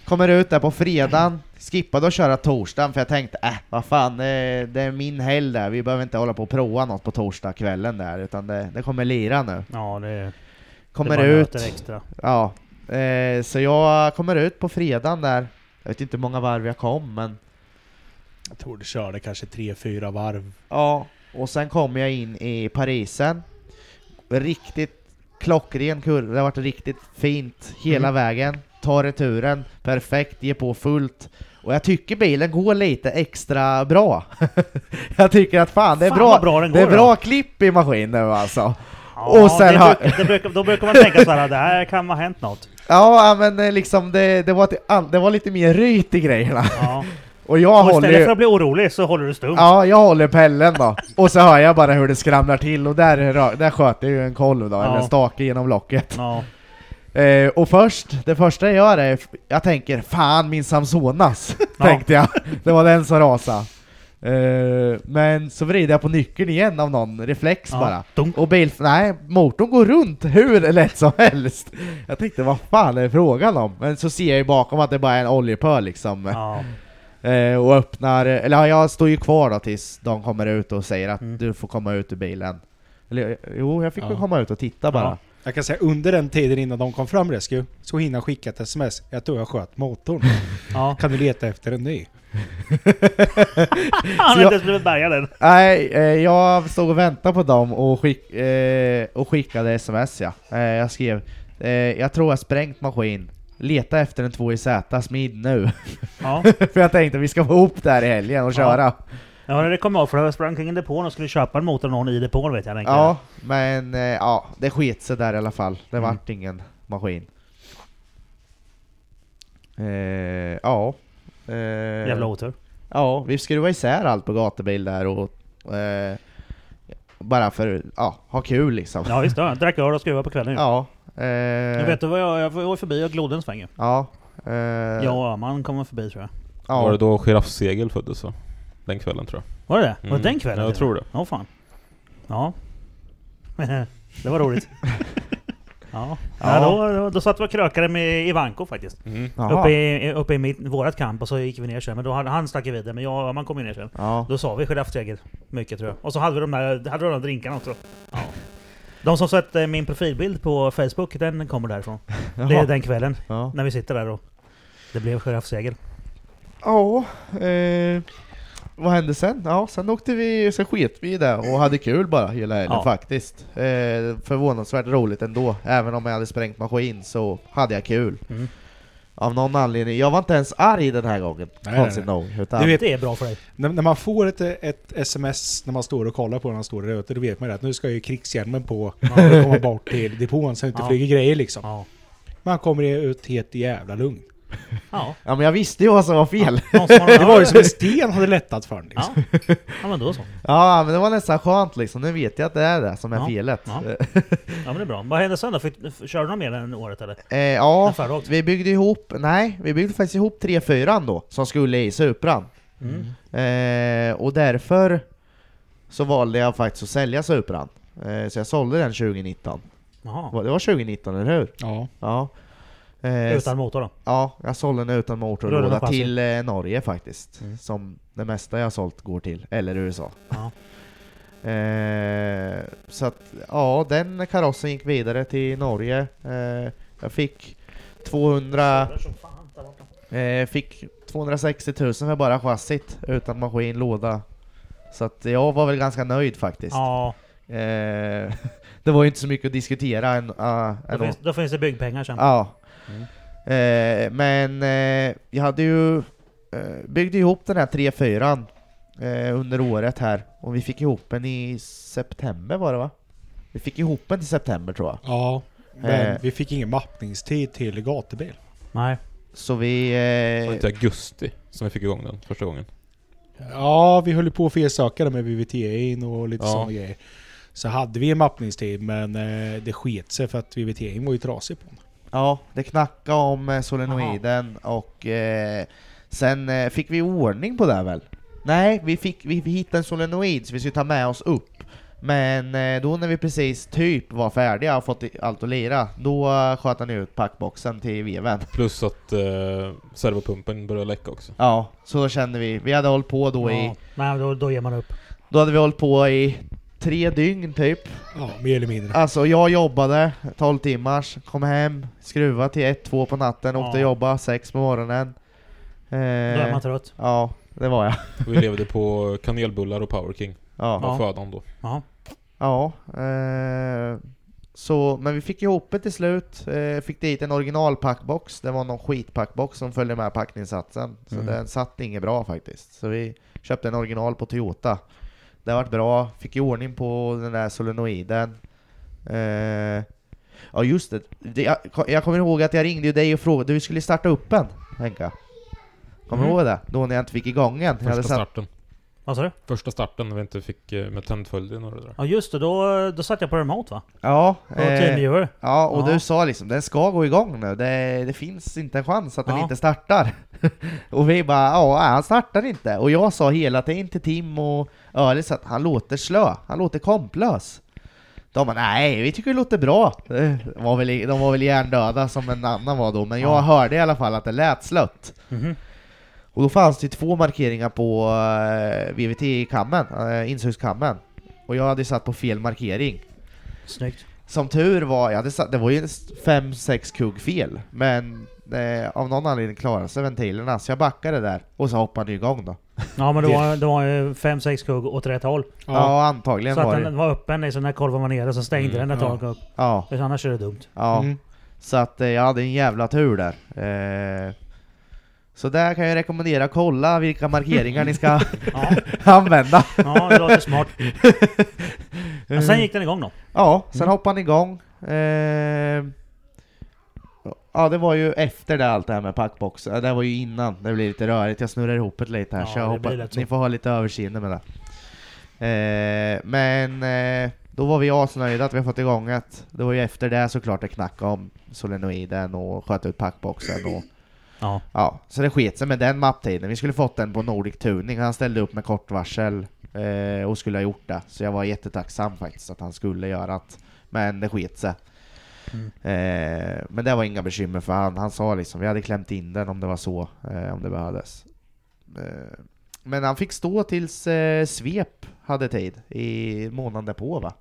Speaker 2: Kommer ut där på fredagen, skippade att köra torsdagen för jag tänkte äh, vad fan, eh, det är min helg där, vi behöver inte hålla på och prova något på torsdagskvällen där, utan det, det kommer lira nu.
Speaker 3: Ja, det,
Speaker 2: Kommer
Speaker 3: det bara
Speaker 2: ut,
Speaker 3: nöter extra.
Speaker 2: Ja, eh, så jag kommer ut på fredagen där. Jag vet inte hur många varv jag kom, men
Speaker 5: Jag tror du körde kanske tre, fyra varv.
Speaker 2: ja. Och sen kom jag in i Parisen. Riktigt klockren kurva, det har varit riktigt fint hela
Speaker 3: Mm.
Speaker 2: vägen. Tar returen, perfekt, ger på fullt. Och jag tycker bilen går lite extra bra. jag tycker att fan, det är
Speaker 3: Fan,
Speaker 2: bra,
Speaker 3: vad bra den
Speaker 2: det är
Speaker 3: går
Speaker 2: bra klipp i maskin nu alltså.
Speaker 3: Ja,
Speaker 2: och sen
Speaker 3: det,
Speaker 2: har-
Speaker 3: brukar- det brukar, då brukar man tänka så här, det här kan ha hänt något.
Speaker 2: Ja, ja, men eh, liksom det, det, var, till an- det var lite mer ryt i grejerna.
Speaker 3: Ja.
Speaker 2: Och jag
Speaker 3: Och
Speaker 2: håller ju...
Speaker 3: istället för att bli orolig så håller du stum.
Speaker 2: Ja, jag håller pellen då. Och så hör jag bara hur det skramlar till och där, rö- där sköt jag ju en kolv då,
Speaker 3: Ja.
Speaker 2: eller en stake genom locket.
Speaker 3: Ja.
Speaker 2: Eh, och först, det första jag gör är, jag tänker fan min Samsonas,
Speaker 3: Ja.
Speaker 2: tänkte jag. Det var den som rasade. Eh, men så vrider jag på nyckeln igen av någon reflex
Speaker 3: Ja.
Speaker 2: bara.
Speaker 3: Dunk.
Speaker 2: Och bil, nej, motorn går runt hur lätt som helst. Jag tänkte vad fan är det frågan om? Men så ser jag ju bakom att det bara är en oljepöl liksom.
Speaker 3: Ja.
Speaker 2: Eh, och öppnar, eller ja, jag står ju kvar då tills de kommer ut och säger att
Speaker 3: Mm.
Speaker 2: du får komma ut ur bilen. Eller eh, jo, jag fick väl
Speaker 5: Ja.
Speaker 2: komma ut och titta bara.
Speaker 3: Ja.
Speaker 5: Jag kan säga under den tiden innan de kom fram Rescue, så hinner jag skicka ett sms. Jag tror jag sköt motorn.
Speaker 3: Ja.
Speaker 5: Kan du leta efter en ny?
Speaker 3: Han har
Speaker 2: jag-
Speaker 3: inte ens blivit bärgad än.
Speaker 2: Nej, eh, jag stod och väntade på dem och, skick, eh, och skickade sms ja. Eh, jag skrev eh, jag tror jag sprängt maskin. Leta efter en 2 i Z, smid nu.
Speaker 3: Ja.
Speaker 2: för jag tänkte vi ska få ihop det här i helgen och
Speaker 3: Ja.
Speaker 2: köra.
Speaker 3: ja, det kommer jag ihåg för jag sprang kring en depån och skulle köpa en motor av någon i depån vet jag. Mm. den kan-
Speaker 2: Ja, men eh, ja, det sket sig där i alla fall. Det vart ingen maskin. Eh, ja. Eh,
Speaker 3: Jävla otur.
Speaker 2: Ja, vi skruvade isär allt på gatubil där och... Eh, bara för ja, ha kul liksom.
Speaker 3: Ja just det, jag drack öl och skruvade på kvällen ju.
Speaker 2: Ja.
Speaker 3: Jag
Speaker 2: Eh,
Speaker 3: vet du vad jag, jag var förbi och glodde en sväng ju.
Speaker 2: Ja. Eh,
Speaker 3: Jag och Öhman kom förbi tror jag.
Speaker 2: ja.
Speaker 1: Var det då Giraffsegel föddes va? Den kvällen tror jag.
Speaker 3: Var det det? Var
Speaker 1: Mm.
Speaker 3: det den kvällen?
Speaker 1: Ja, jag
Speaker 3: till och
Speaker 1: tror
Speaker 3: med? Ja, fan. Ja. det var roligt. ja.
Speaker 2: Ja.
Speaker 3: ja. Då, då, då satt vi och krökade med Ivanko faktiskt.
Speaker 1: Mm.
Speaker 2: Jaha.
Speaker 3: Uppe i, uppe i mitt, vårat kamp och så gick vi ner sen. Men då hade, han stack ju vidare, men jag, man kom ju ner sen.
Speaker 2: Ja.
Speaker 3: Då sa vi giraffsegel. Mycket tror jag. Och så hade vi de där, hade vi de där drinkarna också. Ja. De som sett eh, min profilbild på Facebook, den kommer därifrån. Det är
Speaker 2: Jaha.
Speaker 3: den kvällen,
Speaker 2: Ja.
Speaker 3: när vi sitter där och det blev giraffsegel.
Speaker 2: Ja, eh, vad hände sen? Ja, sen åkte vi, sen sket vi i det och hade kul bara hela helgen
Speaker 3: Ja.
Speaker 2: faktiskt. Eh, förvånansvärt roligt ändå, även om jag hade sprängt maskin så hade jag kul.
Speaker 3: Mm.
Speaker 2: Av någon anledning, jag var inte ens arg den här gången,
Speaker 5: nej,
Speaker 2: konstigt nog. Utan,
Speaker 5: Du vet-
Speaker 3: Det är bra för dig.
Speaker 5: När, när man får ett, ett sms när man står och kollar på när man står där ute, då vet man ju att nu ska ju krigshjälmen på för att komma bort till depån så det inte
Speaker 3: Ja.
Speaker 5: flyger grejer liksom.
Speaker 3: Ja.
Speaker 5: Man kommer ut helt jävla lugn.
Speaker 3: ja.
Speaker 2: ja men jag visste ju vad som var fel.
Speaker 3: Någon som har en
Speaker 5: Det var ju som en sten hade lättat för en liksom.
Speaker 3: Ja. ja, men då så.
Speaker 2: Ja men det var nästan skönt liksom, nu vet jag att det är det som är
Speaker 3: Ja.
Speaker 2: felet.
Speaker 3: Ja.
Speaker 2: Eh,
Speaker 3: Ja men det är bra. Vad hände sen då? Fick, f- körde de mer än året eller?
Speaker 2: Eh, ja,
Speaker 3: Den förra också?
Speaker 2: vi byggde ihop, nej, vi byggde faktiskt ihop 3-4 då, som skulle i Supran.
Speaker 3: Mm.
Speaker 2: Eh, och därför så valde jag faktiskt att sälja Supran. Eh, så jag sålde den 2019. Det
Speaker 3: Jaha.
Speaker 2: var 2019, eller hur?
Speaker 5: Ja.
Speaker 2: Ja. Eh,
Speaker 3: Utan motor då?
Speaker 2: s- Ja, jag sålde den utan motor och
Speaker 3: Rullar
Speaker 2: låda
Speaker 3: och chassi.
Speaker 2: till eh, Norge faktiskt. Som det mesta jag har sålt går till, eller USA.
Speaker 3: Mm. Ja.
Speaker 2: Eh, så att, ja, den karossen gick vidare till Norge. Eh, jag fick 200... Eh, fick 260 000 för bara chassit utan maskin, låda. Så att jag var väl ganska nöjd faktiskt.
Speaker 3: Ja,
Speaker 2: Eh, det var ju inte så mycket att diskutera än, ah,
Speaker 3: då
Speaker 2: ändå.
Speaker 3: finns, då finns det Mm. byggpengar sen.
Speaker 2: Ja. Eh, men eh, jag hade ju eh, byggde ihop den här 3-4 eh, under året här och vi fick ihop den i september var det va? Vi fick ihop den till september tror jag.
Speaker 5: Ja. Men
Speaker 2: Eh.
Speaker 5: vi fick ingen mappningstid till gatubil.
Speaker 3: Nej.
Speaker 2: Så vi...
Speaker 1: Var det
Speaker 2: Eh,
Speaker 1: inte i augusti som vi fick igång den första gången?
Speaker 5: Ja, vi höll ju på att försöka det med VVT in och lite
Speaker 1: Ja.
Speaker 5: sådana grejer. Så hade vi en mappningstid men eh, det sket sig för att VVT in var ju trasig på den.
Speaker 2: ja, det knackade om eh, solenoiden och eh, sen eh, fick vi ordning på det väl? Nej, vi, fick, vi hittade en solenoid så vi skulle ta med oss upp. Men eh, då när vi precis typ var färdiga och fått i- allt att lira, då eh, sköt han ut packboxen till veven.
Speaker 1: Plus att eh, servopumpen började läcka också.
Speaker 2: Ja, så då kände vi, vi hade hållit på då i,
Speaker 3: Ja. Nej, då, då ger man upp.
Speaker 2: då hade vi hållit på i tre dygn typ.
Speaker 5: Ja, mer eller mindre.
Speaker 2: Alltså jag jobbade 12 timmars, kom hem, skruva till 1-2 på natten, åkte
Speaker 3: Ja.
Speaker 2: jobba 6 på morgonen.
Speaker 3: Då är man
Speaker 2: Eh,
Speaker 3: trött.
Speaker 2: ja, det var jag.
Speaker 1: Och vi levde på kanelbullar och Power King.
Speaker 2: Ja.
Speaker 1: Var
Speaker 3: Ja.
Speaker 1: födan då.
Speaker 3: Ja.
Speaker 2: Ja, eh, så, men vi fick ihop det till slut. Eh, fick dit en original packbox. Det var någon skitpackbox som följde med packningssatsen. Så
Speaker 1: Mm.
Speaker 2: den satt inget bra faktiskt. Så vi köpte en original på Toyota. Det vart bra. Fick i ordning på den där solenoiden. Eh, ja just det. det jag, jag kommer ihåg att jag ringde ju dig och frågade. Du skulle starta upp en, Henka. Kommer du
Speaker 1: Mm.
Speaker 2: ihåg det? Då när jag inte fick igång en. Jag
Speaker 1: Första
Speaker 2: hade satt-
Speaker 1: starten.
Speaker 3: Vad sa du?
Speaker 1: Första starten när vi inte fick eh, med tändföljden och det där.
Speaker 3: Ja just det, då, då satt jag på remote va?
Speaker 2: Ja. eh,
Speaker 3: På TeamViewer.
Speaker 2: Ja, och
Speaker 3: Ja.
Speaker 2: du sa liksom den ska gå igång nu, det, det finns inte en chans att den
Speaker 3: Ja.
Speaker 2: inte startar. och vi bara ja, nej, han startar inte. Och jag sa hela tiden till Tim och Ölis att han låter slö, han låter komplös. De bara nej, vi tycker det låter bra. Eh, De var väl, de var väl hjärndöda som en annan var då, men jag
Speaker 3: Ja.
Speaker 2: hörde i alla fall att det lät slött.
Speaker 3: Mhm.
Speaker 2: Och då fanns det ju två markeringar på eh, VVT-kammen, eh, insugskammen. Och jag hade ju satt på fel markering.
Speaker 3: Snyggt.
Speaker 2: Som tur var, jag hade satt, det var ju 5-6 kugg fel, men eh, av någon anledning klarade sig ventilerna, så jag backade där och så hoppade det igång då.
Speaker 3: Ja men det var, det var ju 5-6 kugg åt rätt håll.
Speaker 2: Ja,
Speaker 5: Ja.
Speaker 2: antagligen
Speaker 3: Så att
Speaker 2: var det.
Speaker 3: liksom, den var öppen, så när kolven var nere så stängde
Speaker 1: Mm,
Speaker 3: den ett
Speaker 5: ja.
Speaker 3: tag upp.
Speaker 2: Ja,
Speaker 3: För Annars är det dumt.
Speaker 2: ja.
Speaker 5: Mm.
Speaker 2: Så att eh, jag hade en jävla tur där. Eh, så där kan jag rekommendera, kolla vilka markeringar ni ska
Speaker 3: Ja,
Speaker 2: använda.
Speaker 3: ja det låter smart. Men
Speaker 2: Mm.
Speaker 3: sen gick den igång då.
Speaker 2: Ja, sen
Speaker 3: Mm.
Speaker 2: hoppade han igång. Eh, ja, det var ju efter det allt det här med packboxen. Ja, Det var ju innan, det blev lite rörigt. Jag snurrar ihop det lite här
Speaker 3: Ja,
Speaker 2: så jag
Speaker 3: det blir
Speaker 2: hoppas
Speaker 3: lätt så.
Speaker 2: ni får ha lite överseende med det. Eh, men eh, då var vi asnöjda att vi har fått igång det. Det var ju efter det såklart det knackade om solenoiden och sköt ut packboxen och
Speaker 3: Ja.
Speaker 2: Ja, så det sket sig med den mapptiden. Vi skulle fått den på Nordic Tuning. Han ställde upp med kort varsel eh, och skulle ha gjort det. Så jag var jättetacksam faktiskt att han skulle göra det. Men det sket sig.
Speaker 3: Mm.
Speaker 2: Eh, men det var inga bekymmer för han. Han sa liksom, vi hade klämt in den om det var så, eh, om det behövdes. Eh, men han fick stå tills eh, Svep hade tid i månaden därpå va?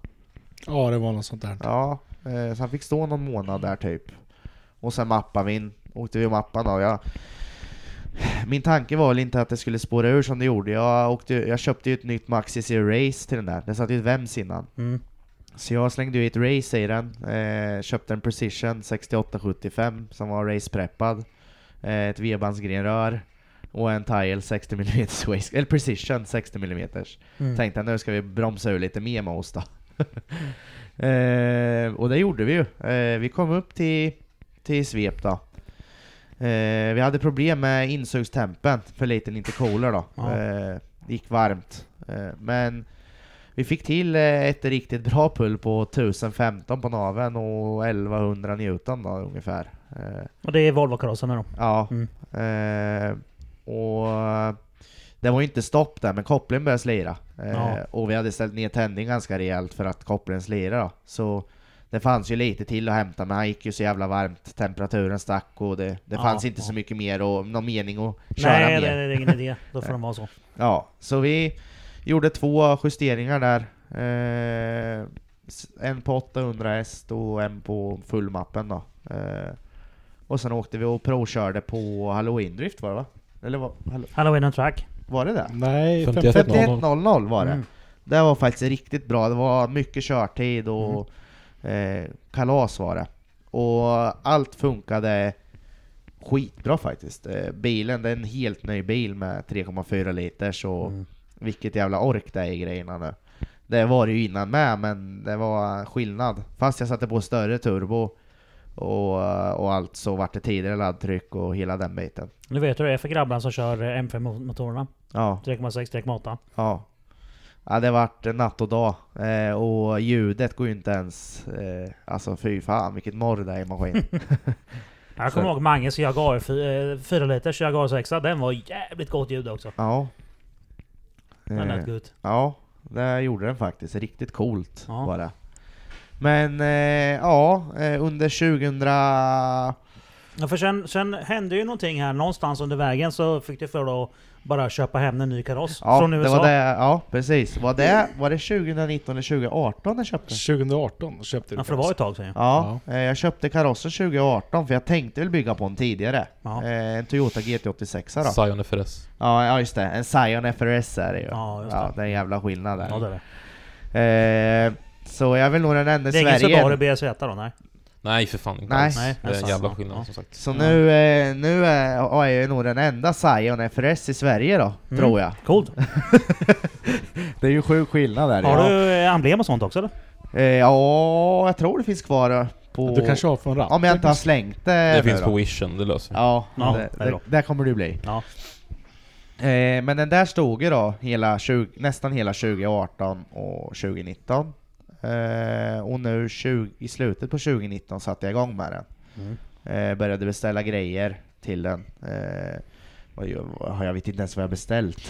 Speaker 5: Ja, det var något sånt där.
Speaker 2: Ja, eh, så han fick stå någon månad där typ. Och sen mappade vi in, åkte vi och mappade då. Jag, min tanke var väl inte att det skulle spåra ur som det gjorde. Jag, åkte, jag köpte ju ett nytt Maxi Zero Race till den där. Den satt ju ett Vems innan.
Speaker 3: Mm.
Speaker 2: Så jag slängde ju ett race i den. Eh, köpte en Precision 6875 som var racepreppad. Eh, ett vedbandsgrenrör. Och en Tile 60 mm waist, eller Precision 60 mm.
Speaker 3: Mm.
Speaker 2: Tänkte nu ska vi bromsa ur lite mer med oss då. eh, och det gjorde vi ju. Eh, vi kom upp till, till svep då. Eh, vi hade problem med insugstempen, för liten intercooler då.
Speaker 3: Ja.
Speaker 2: Eh, det gick varmt. Eh, men vi fick till eh, ett riktigt bra pull på 1015 på naven och 1100 Newton då ungefär. Eh,
Speaker 3: Och det är Volvo-karossen med då.
Speaker 2: Ja.
Speaker 3: Mm.
Speaker 2: Eh, och det var ju inte stopp där, men kopplingen började slira. Eh,
Speaker 3: Ja.
Speaker 2: Och vi hade ställt ner tändning ganska rejält för att kopplingen slirade då. Så det fanns ju lite till att hämta, men han gick ju så jävla varmt. Temperaturen stack och det, det
Speaker 3: Ja,
Speaker 2: fanns inte
Speaker 3: ja.
Speaker 2: så mycket mer och någon mening att köra
Speaker 3: Nej,
Speaker 2: mer.
Speaker 3: det, det är ingen idé. Då får de vara så.
Speaker 2: Ja, så vi gjorde två justeringar där. Eh, s- en på 800 häst och en på fullmappen då. Eh, och sen åkte vi och provkörde på Halloween Drift var det va? Eller var, hallå-
Speaker 3: Halloween on track.
Speaker 2: var det det?
Speaker 5: Nej,
Speaker 1: 51.
Speaker 5: 51.
Speaker 2: 51.00 var det.
Speaker 3: Mm.
Speaker 2: Det var faktiskt riktigt bra. Det var mycket körtid och
Speaker 3: Mm.
Speaker 2: eh, kalas var det. Och allt funkade skitbra faktiskt. Eh, bilen, det är en helt ny bil med 3,4 liters och
Speaker 3: Mm.
Speaker 2: vilket jävla ork det är i grejerna nu. Det var det ju innan med, men det var skillnad. Fast jag satte på större turbo och, och allt så vart det tidigare laddtryck och hela den biten.
Speaker 3: Nu vet du hur det är för grabbarna som kör eh, M5-motorerna.
Speaker 2: Ja,
Speaker 3: 3,6, 3,8.
Speaker 2: ja. Ja, det vart natt och dag. Eh, och ljudet går ju inte ens... Eh, alltså fy fan vilket morr det är i maskin.
Speaker 3: Jag kommer
Speaker 2: Så-
Speaker 3: ihåg Manges jag gav 4 liters jag gav 6 Den var jävligt gott ljud också.
Speaker 2: Ja.
Speaker 3: Den
Speaker 2: Eh,
Speaker 3: lät gott.
Speaker 2: Ja, det gjorde den faktiskt. Riktigt coolt
Speaker 3: Ja.
Speaker 2: var det. Men eh, ja, eh, under 2000...
Speaker 3: Ja, för sen, sen hände ju någonting här någonstans under vägen så fick du för dig att bara köpa hem en ny kaross
Speaker 2: Ja,
Speaker 3: från
Speaker 2: det
Speaker 3: USA.
Speaker 2: var det. Ja, precis. Var det, var det 2019 eller 2018 jag köpte?
Speaker 5: 2018 köpte du
Speaker 3: Ja, för det var ett tag sedan ju.
Speaker 2: Ja, eh, jag köpte karossen 2018 för jag tänkte väl bygga på en tidigare.
Speaker 3: Ja.
Speaker 2: Eh, En Toyota GT86 då.
Speaker 1: Zion FRS.
Speaker 2: Ja, ja, just det. En Scion FRS är det ju.
Speaker 3: Ja, just
Speaker 2: Ja,
Speaker 3: det.
Speaker 2: det är en jävla skillnad där.
Speaker 3: Ja, det är det.
Speaker 2: Eh, så jag är väl nog den enda i
Speaker 3: Det är ingen Subaru
Speaker 2: Sverige.
Speaker 3: BSZ då? Nej.
Speaker 1: Nej för fan inte
Speaker 2: Nej.
Speaker 1: alls.
Speaker 3: Nej,
Speaker 1: Det är en
Speaker 3: alltså,
Speaker 1: jävla
Speaker 3: ja,
Speaker 1: skillnad
Speaker 3: ja.
Speaker 1: som sagt.
Speaker 2: Så nu, eh, nu är, ja, är jag nog den enda Scion FRS i Sverige då,
Speaker 3: Mm.
Speaker 2: tror jag.
Speaker 3: Coolt.
Speaker 2: Det är ju sjuk skillnad där.
Speaker 3: Har
Speaker 2: ja.
Speaker 3: du eh, emblem och sånt också eller?
Speaker 2: Eh, ja, jag tror det finns kvar eh, på...
Speaker 5: Du kanske har från ratten?
Speaker 2: Om jag inte har slängt det
Speaker 1: Det
Speaker 2: nu
Speaker 1: finns
Speaker 2: då.
Speaker 1: på wishen, det löser vi.
Speaker 2: Ja,
Speaker 3: Ja,
Speaker 2: det,
Speaker 3: det är
Speaker 2: det,
Speaker 3: bra.
Speaker 2: där kommer det ju bli.
Speaker 3: Ja.
Speaker 2: Eh, men den där stod ju då hela 20, nästan hela 2018 och 2019. Eh, och nu 20, i slutet på 2019 satte jag igång med den.
Speaker 3: Mm.
Speaker 2: Eh, började beställa grejer till den. Eh, vad gör- vad har jag vet inte ens vad jag beställt.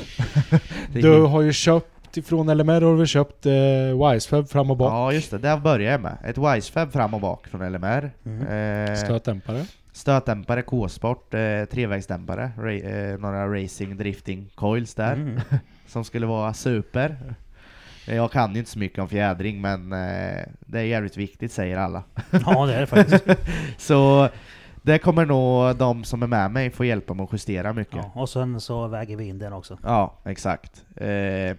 Speaker 2: Det
Speaker 5: Du
Speaker 2: gick-
Speaker 5: har ju köpt ifrån LMR har du köpt eh, Wisefab fram och bak.
Speaker 2: Ja just det, där började jag med. Ett Wisefab fram och bak från LMR.
Speaker 3: Mm.
Speaker 2: Eh,
Speaker 5: Stötdämpare.
Speaker 2: Stötdämpare, K-sport, eh, trevägsdämpare, ra- eh, några racing drifting coils där
Speaker 3: Mm.
Speaker 2: som skulle vara super. Eh, Jag kan ju inte så mycket om fjädring men eh, det är jävligt viktigt säger alla.
Speaker 3: Ja det är det faktiskt.
Speaker 2: Så det kommer nog de som är med mig få hjälpa mig att justera mycket.
Speaker 3: Ja, och sen så väger vi in den också.
Speaker 2: Ja, exakt. Eh,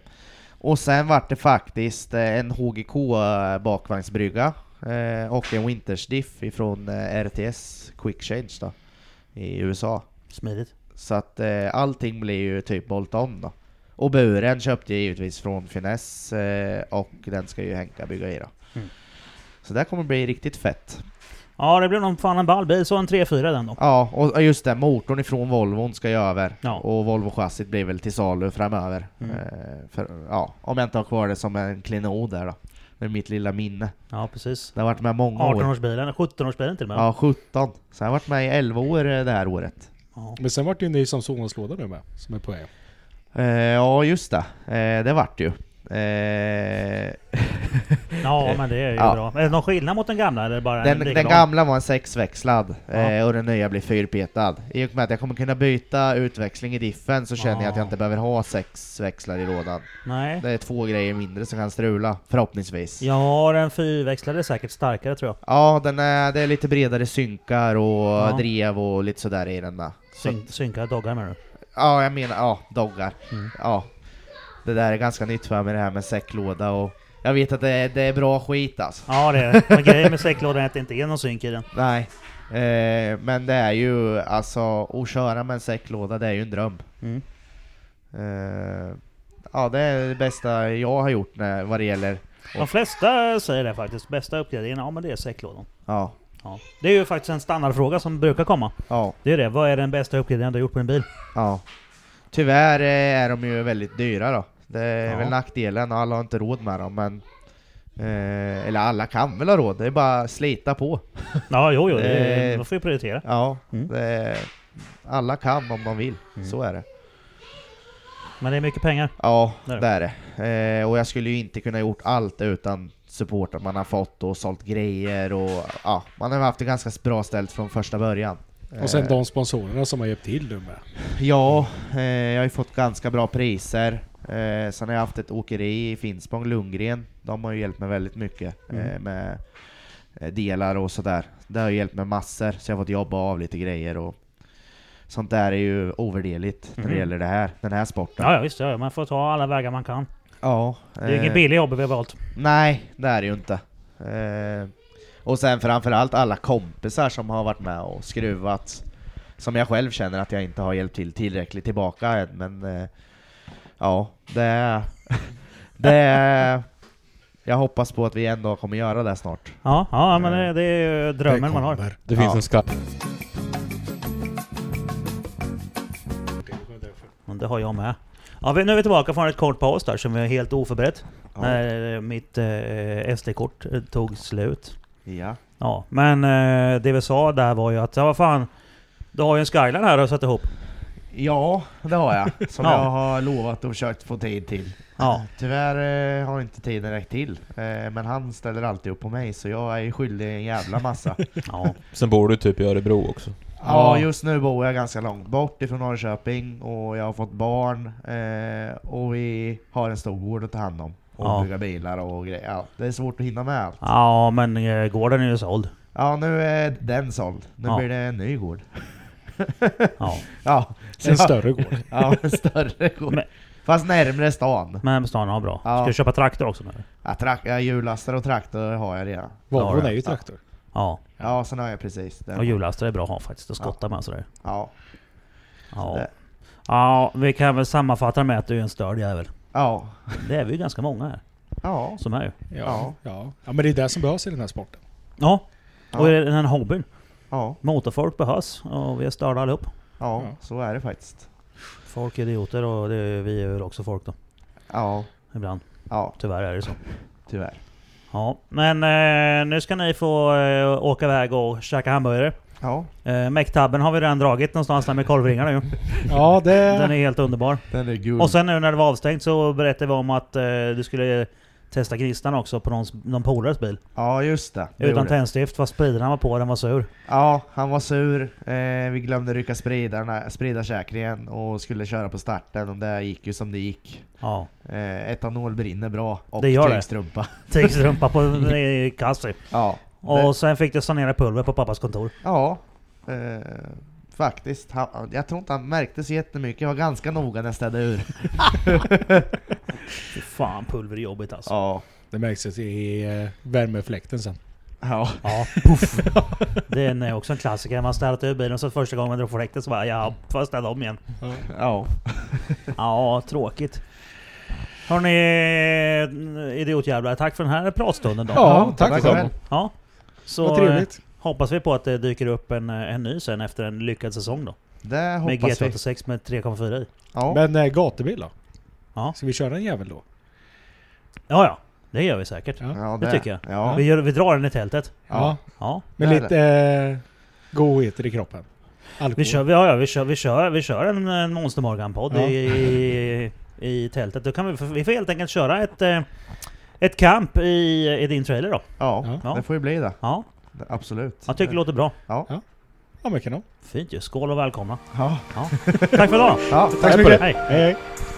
Speaker 2: och sen vart det faktiskt eh, en HGK eh, bakvagnsbrygga eh, och en Wintersdiff ifrån eh, RTS Quick Change då, i USA.
Speaker 3: Smidigt.
Speaker 2: Så att eh, allting blir ju typ bolt om då. Och buren köpte jag givetvis från Finess eh, och den ska ju Henka bygga i då.
Speaker 3: Mm.
Speaker 2: Så det här kommer bli riktigt fett.
Speaker 3: Ja, det blev nog fan en ball bil. Så en 3-4 den då.
Speaker 2: Ja, och just det, motorn ifrån Volvon ska jag över.
Speaker 3: Ja.
Speaker 2: Och Volvo-chassit blir väl till salu framöver.
Speaker 3: Mm.
Speaker 2: Eh, för, ja, om jag inte har kvar det som en klenod där då. Det är mitt lilla minne.
Speaker 3: Ja, precis.
Speaker 2: Det har varit med många år.
Speaker 3: 18-årsbilen, 17-årsbilen till och med.
Speaker 2: Ja, 17. Så jag har varit med i 11 år eh, det här året.
Speaker 3: Ja.
Speaker 5: Men sen vart det ju ni som sovvagnslåda nu med, som är på väg.
Speaker 2: Eh, ja, just det. Eh, det vart det ju. Eh,
Speaker 3: Ja, men det är ju
Speaker 2: Ja.
Speaker 3: bra. Är det någon skillnad mot den gamla? Eller bara
Speaker 2: Den,
Speaker 3: en
Speaker 2: den
Speaker 3: likadan?
Speaker 2: gamla var en sexväxlad
Speaker 3: Ja.
Speaker 2: eh, och den nya blir fyrpetad. I och med att jag kommer kunna byta utväxling i diffen så känner jag att
Speaker 3: Ja.
Speaker 2: jag inte behöver ha sex växlar i lådan.
Speaker 3: Nej.
Speaker 2: Det är två grejer mindre som kan strula, förhoppningsvis. Ja,
Speaker 3: Ja, den fyrväxlade är säkert starkare tror jag.
Speaker 2: den är, det är lite bredare synkar och
Speaker 3: Ja.
Speaker 2: drev och lite sådär i den där. Så,
Speaker 3: Syn synkade doggar menar du?
Speaker 2: ja, jag menar, ja, doggar.
Speaker 3: Mm.
Speaker 2: Ja. Det där är ganska nytt för mig det här med säcklåda och jag vet att det är, det är bra skit alltså.
Speaker 3: Ja, det är det. Men grejen med säcklådan är att det inte är någon synk i den.
Speaker 2: Nej. Eh, men det är ju alltså, att köra med en säcklåda det är ju en dröm.
Speaker 3: Mm.
Speaker 2: Eh, ja, det är det bästa jag har gjort när, vad det gäller...
Speaker 3: De flesta säger det faktiskt. Bästa uppgraderingen, ja men det är säcklådan.
Speaker 2: Ja,
Speaker 3: Ja. Det är ju faktiskt en standardfråga som brukar komma.
Speaker 2: ja,
Speaker 3: Det är det. Vad är den bästa uppgraderingen du har gjort på en bil?
Speaker 2: ja. Tyvärr eh, är de ju väldigt dyra då. Det är
Speaker 3: Ja.
Speaker 2: väl nackdelen, alla har inte råd med dem men... Eh, eller alla kan väl ha råd, det är bara att slita på.
Speaker 3: Ja, jo, jo. Det är,
Speaker 2: Eh.
Speaker 3: man får ju prioritera.
Speaker 2: Ja,
Speaker 3: Mm.
Speaker 2: det, alla kan om de vill,
Speaker 3: Mm.
Speaker 2: så är det.
Speaker 3: Men det är mycket pengar.
Speaker 2: Ja,
Speaker 3: Det är det.
Speaker 2: det är det. Eh, och jag skulle ju inte kunna gjort allt utan supporten man har fått och sålt grejer och ja, man har haft det ganska bra ställt från första början.
Speaker 5: Och sen
Speaker 2: Eh,
Speaker 5: de sponsorerna som har hjälpt till nu med.
Speaker 2: Ja, eh, jag har ju fått ganska bra priser. Eh, sen har jag haft ett åkeri i Finspång, Lundgren. De har ju hjälpt mig väldigt mycket eh,
Speaker 3: Mm.
Speaker 2: med eh, delar och sådär. Det har ju hjälpt mig massor, så jag har fått jobba av lite grejer och sånt där är ju ovärderligt när
Speaker 3: Mhm.
Speaker 2: det gäller det här, den här sporten.
Speaker 3: Ja, ja visst. Ja, man får ta alla vägar man kan.
Speaker 2: Ja,
Speaker 3: Det är ju
Speaker 2: eh,
Speaker 3: inget billigt jobb vi har valt.
Speaker 2: Nej, det är det ju inte. Eh, och sen framförallt alla kompisar som har varit med och skruvat. Som jag själv känner att jag inte har hjälpt till tillräckligt tillbaka än, men... Eh, ja, det är... det är... Jag hoppas på att vi ändå kommer göra det snart.
Speaker 3: Ja, ja men
Speaker 2: Eh.
Speaker 3: det, det är ju
Speaker 5: Det
Speaker 3: drömmen man har.
Speaker 5: kommer.
Speaker 1: Det finns
Speaker 2: Ja.
Speaker 1: en skatt.
Speaker 3: Men det har jag med. Ja, vi- nu är vi tillbaka från ett kort paus där som är helt oförberett.
Speaker 2: Ja.
Speaker 3: När eh, mitt eh, SD-kort eh, tog slut.
Speaker 2: Ja.
Speaker 3: Ja, men eh, det vi sa där var ju att, ja vad fan. Du har ju en skyline här och satt ihop.
Speaker 2: ja, det har jag. Som
Speaker 3: Ja.
Speaker 2: jag har lovat och försökt få tid till.
Speaker 3: Ja.
Speaker 2: Tyvärr eh, har inte tiden räckt till. Eh, men han ställer alltid upp på mig, så jag är ju skyldig en jävla massa.
Speaker 3: ja.
Speaker 1: Sen bor du typ i Örebro också.
Speaker 2: Ja,
Speaker 5: Ja.
Speaker 2: just nu bor jag ganska långt bort ifrån Norrköping och jag har fått barn eh, och vi har en stor gård att ta hand om. Och
Speaker 3: Ja.
Speaker 2: bygga bilar och grejer. Ja, det är svårt att hinna med allt.
Speaker 3: Ja, men eh, gården är ju såld.
Speaker 2: Ja, nu är den såld. Nu
Speaker 3: Ja.
Speaker 2: blir det en ny gård.
Speaker 3: Ja.
Speaker 2: Ja,
Speaker 5: En större gård.
Speaker 2: ja, en större gård.
Speaker 3: Men-
Speaker 2: Fast närmre stan.
Speaker 3: Men stan har bra.
Speaker 2: Ja.
Speaker 3: Ska du köpa traktor också nu?
Speaker 2: Ja, trak- ja, hjullastare och traktor har jag redan.
Speaker 5: Volvon
Speaker 3: Ja,
Speaker 5: är ju traktor.
Speaker 3: Ja.
Speaker 2: Ja, sen har jag precis den.
Speaker 3: Och hjullastare är bra att ha faktiskt. Att skotta med och sådär.
Speaker 2: Ja.
Speaker 3: Ja.
Speaker 2: det-
Speaker 3: Ja, vi kan väl sammanfatta med att du är en störd jävel.
Speaker 2: Ja.
Speaker 3: Det är vi ju ganska många här
Speaker 2: Ja.
Speaker 3: som är ju.
Speaker 5: Ja, ja. ja, men det är det som behövs i den här sporten.
Speaker 3: Ja. Och
Speaker 2: Ja.
Speaker 3: i den här hobbyn.
Speaker 2: Ja.
Speaker 3: Motorfolk behövs och vi är störda allihop.
Speaker 2: Ja, så är det faktiskt.
Speaker 3: Folk är idioter och det är, vi är väl också folk då.
Speaker 2: Ja.
Speaker 3: Ibland.
Speaker 2: Ja,
Speaker 3: Tyvärr är det så.
Speaker 2: tyvärr.
Speaker 3: Ja, men eh, nu ska ni få eh, åka iväg och käka hamburgare.
Speaker 2: Ja,
Speaker 3: Eh, Mäcktabben har vi redan dragit någonstans där med korvringarna ju.
Speaker 5: Ja,
Speaker 3: Den är
Speaker 5: det...
Speaker 3: helt underbar.
Speaker 2: den är gul.
Speaker 3: Och sen nu när det var avstängt så berättade vi om att eh, du skulle testa gnistan också på någons, någon polares bil.
Speaker 2: Ja just det. det
Speaker 3: Utan
Speaker 2: gjorde jag.
Speaker 3: tändstift, fast spridarna var på den var sur.
Speaker 2: Ja, han var sur. Eh, vi glömde rycka spridarna, spridarsäkringen och skulle köra på starten och det gick ju som det gick.
Speaker 3: Ja.
Speaker 2: Eh, etanol brinner bra och
Speaker 3: Det gör det.
Speaker 2: tygstrumpa.
Speaker 3: Tigstrumpa på i kassi.
Speaker 2: Ja,
Speaker 3: typ. Och sen fick du sanera pulver på pappas kontor.
Speaker 2: ja eh, faktiskt. Han, jag tror inte han märkte så jättemycket. Jag var ganska noga när jag städade ur.
Speaker 3: Fy fan pulver är jobbigt alltså.
Speaker 2: Ja,
Speaker 5: Det märks ju i eh, värmefläkten sen.
Speaker 2: Ja.
Speaker 3: Ja, puff. Den är också en klassiker. Man startar ur bilen och så första gången man drar på fläkten så bara ja, får jag ställa om igen.
Speaker 2: ja.
Speaker 3: Ja, tråkigt. Hörni eh, idiotjävlar, tack för den här pratstunden då.
Speaker 5: Ja, tack
Speaker 2: tack
Speaker 5: detsamma.
Speaker 3: Ja. Så
Speaker 5: Vad
Speaker 3: eh,
Speaker 5: trevligt.
Speaker 3: hoppas vi på att det dyker upp en, eh, en ny sen efter en lyckad säsong då.
Speaker 2: Det
Speaker 3: Med
Speaker 2: hoppas vi.
Speaker 3: GT86 med 3,4 i.
Speaker 2: Ja.
Speaker 5: Men äh, gatubil då?
Speaker 3: Ja.
Speaker 5: Ska vi köra en jävel då?
Speaker 3: Ja, ja. Det gör vi säkert.
Speaker 2: Ja,
Speaker 3: det tycker jag.
Speaker 2: Ja.
Speaker 3: Vi, gör, vi drar den i tältet.
Speaker 2: Ja.
Speaker 3: Ja.
Speaker 5: Med
Speaker 2: Det är
Speaker 5: lite eh, godheter i kroppen. Alkohol.
Speaker 3: Vi kör, vi, ja, ja, vi kör, vi kör, vi kör en, en Monster Morgan-podd
Speaker 5: Ja.
Speaker 3: i, i, i tältet. Då kan vi, vi får helt enkelt köra ett, eh, ett camp i, i din trailer då.
Speaker 2: Ja.
Speaker 3: Ja.
Speaker 2: det får ju bli det.
Speaker 3: Ja,
Speaker 2: Absolut. Eh,
Speaker 3: jag tycker det låter bra.
Speaker 5: Ja men kanon.
Speaker 3: Fint ju. Skål och välkomna.
Speaker 2: Ja.
Speaker 3: Tack för idag.
Speaker 2: Ja,
Speaker 5: Tack
Speaker 2: för det.
Speaker 5: så mycket.
Speaker 3: Hej.
Speaker 5: Hej hej.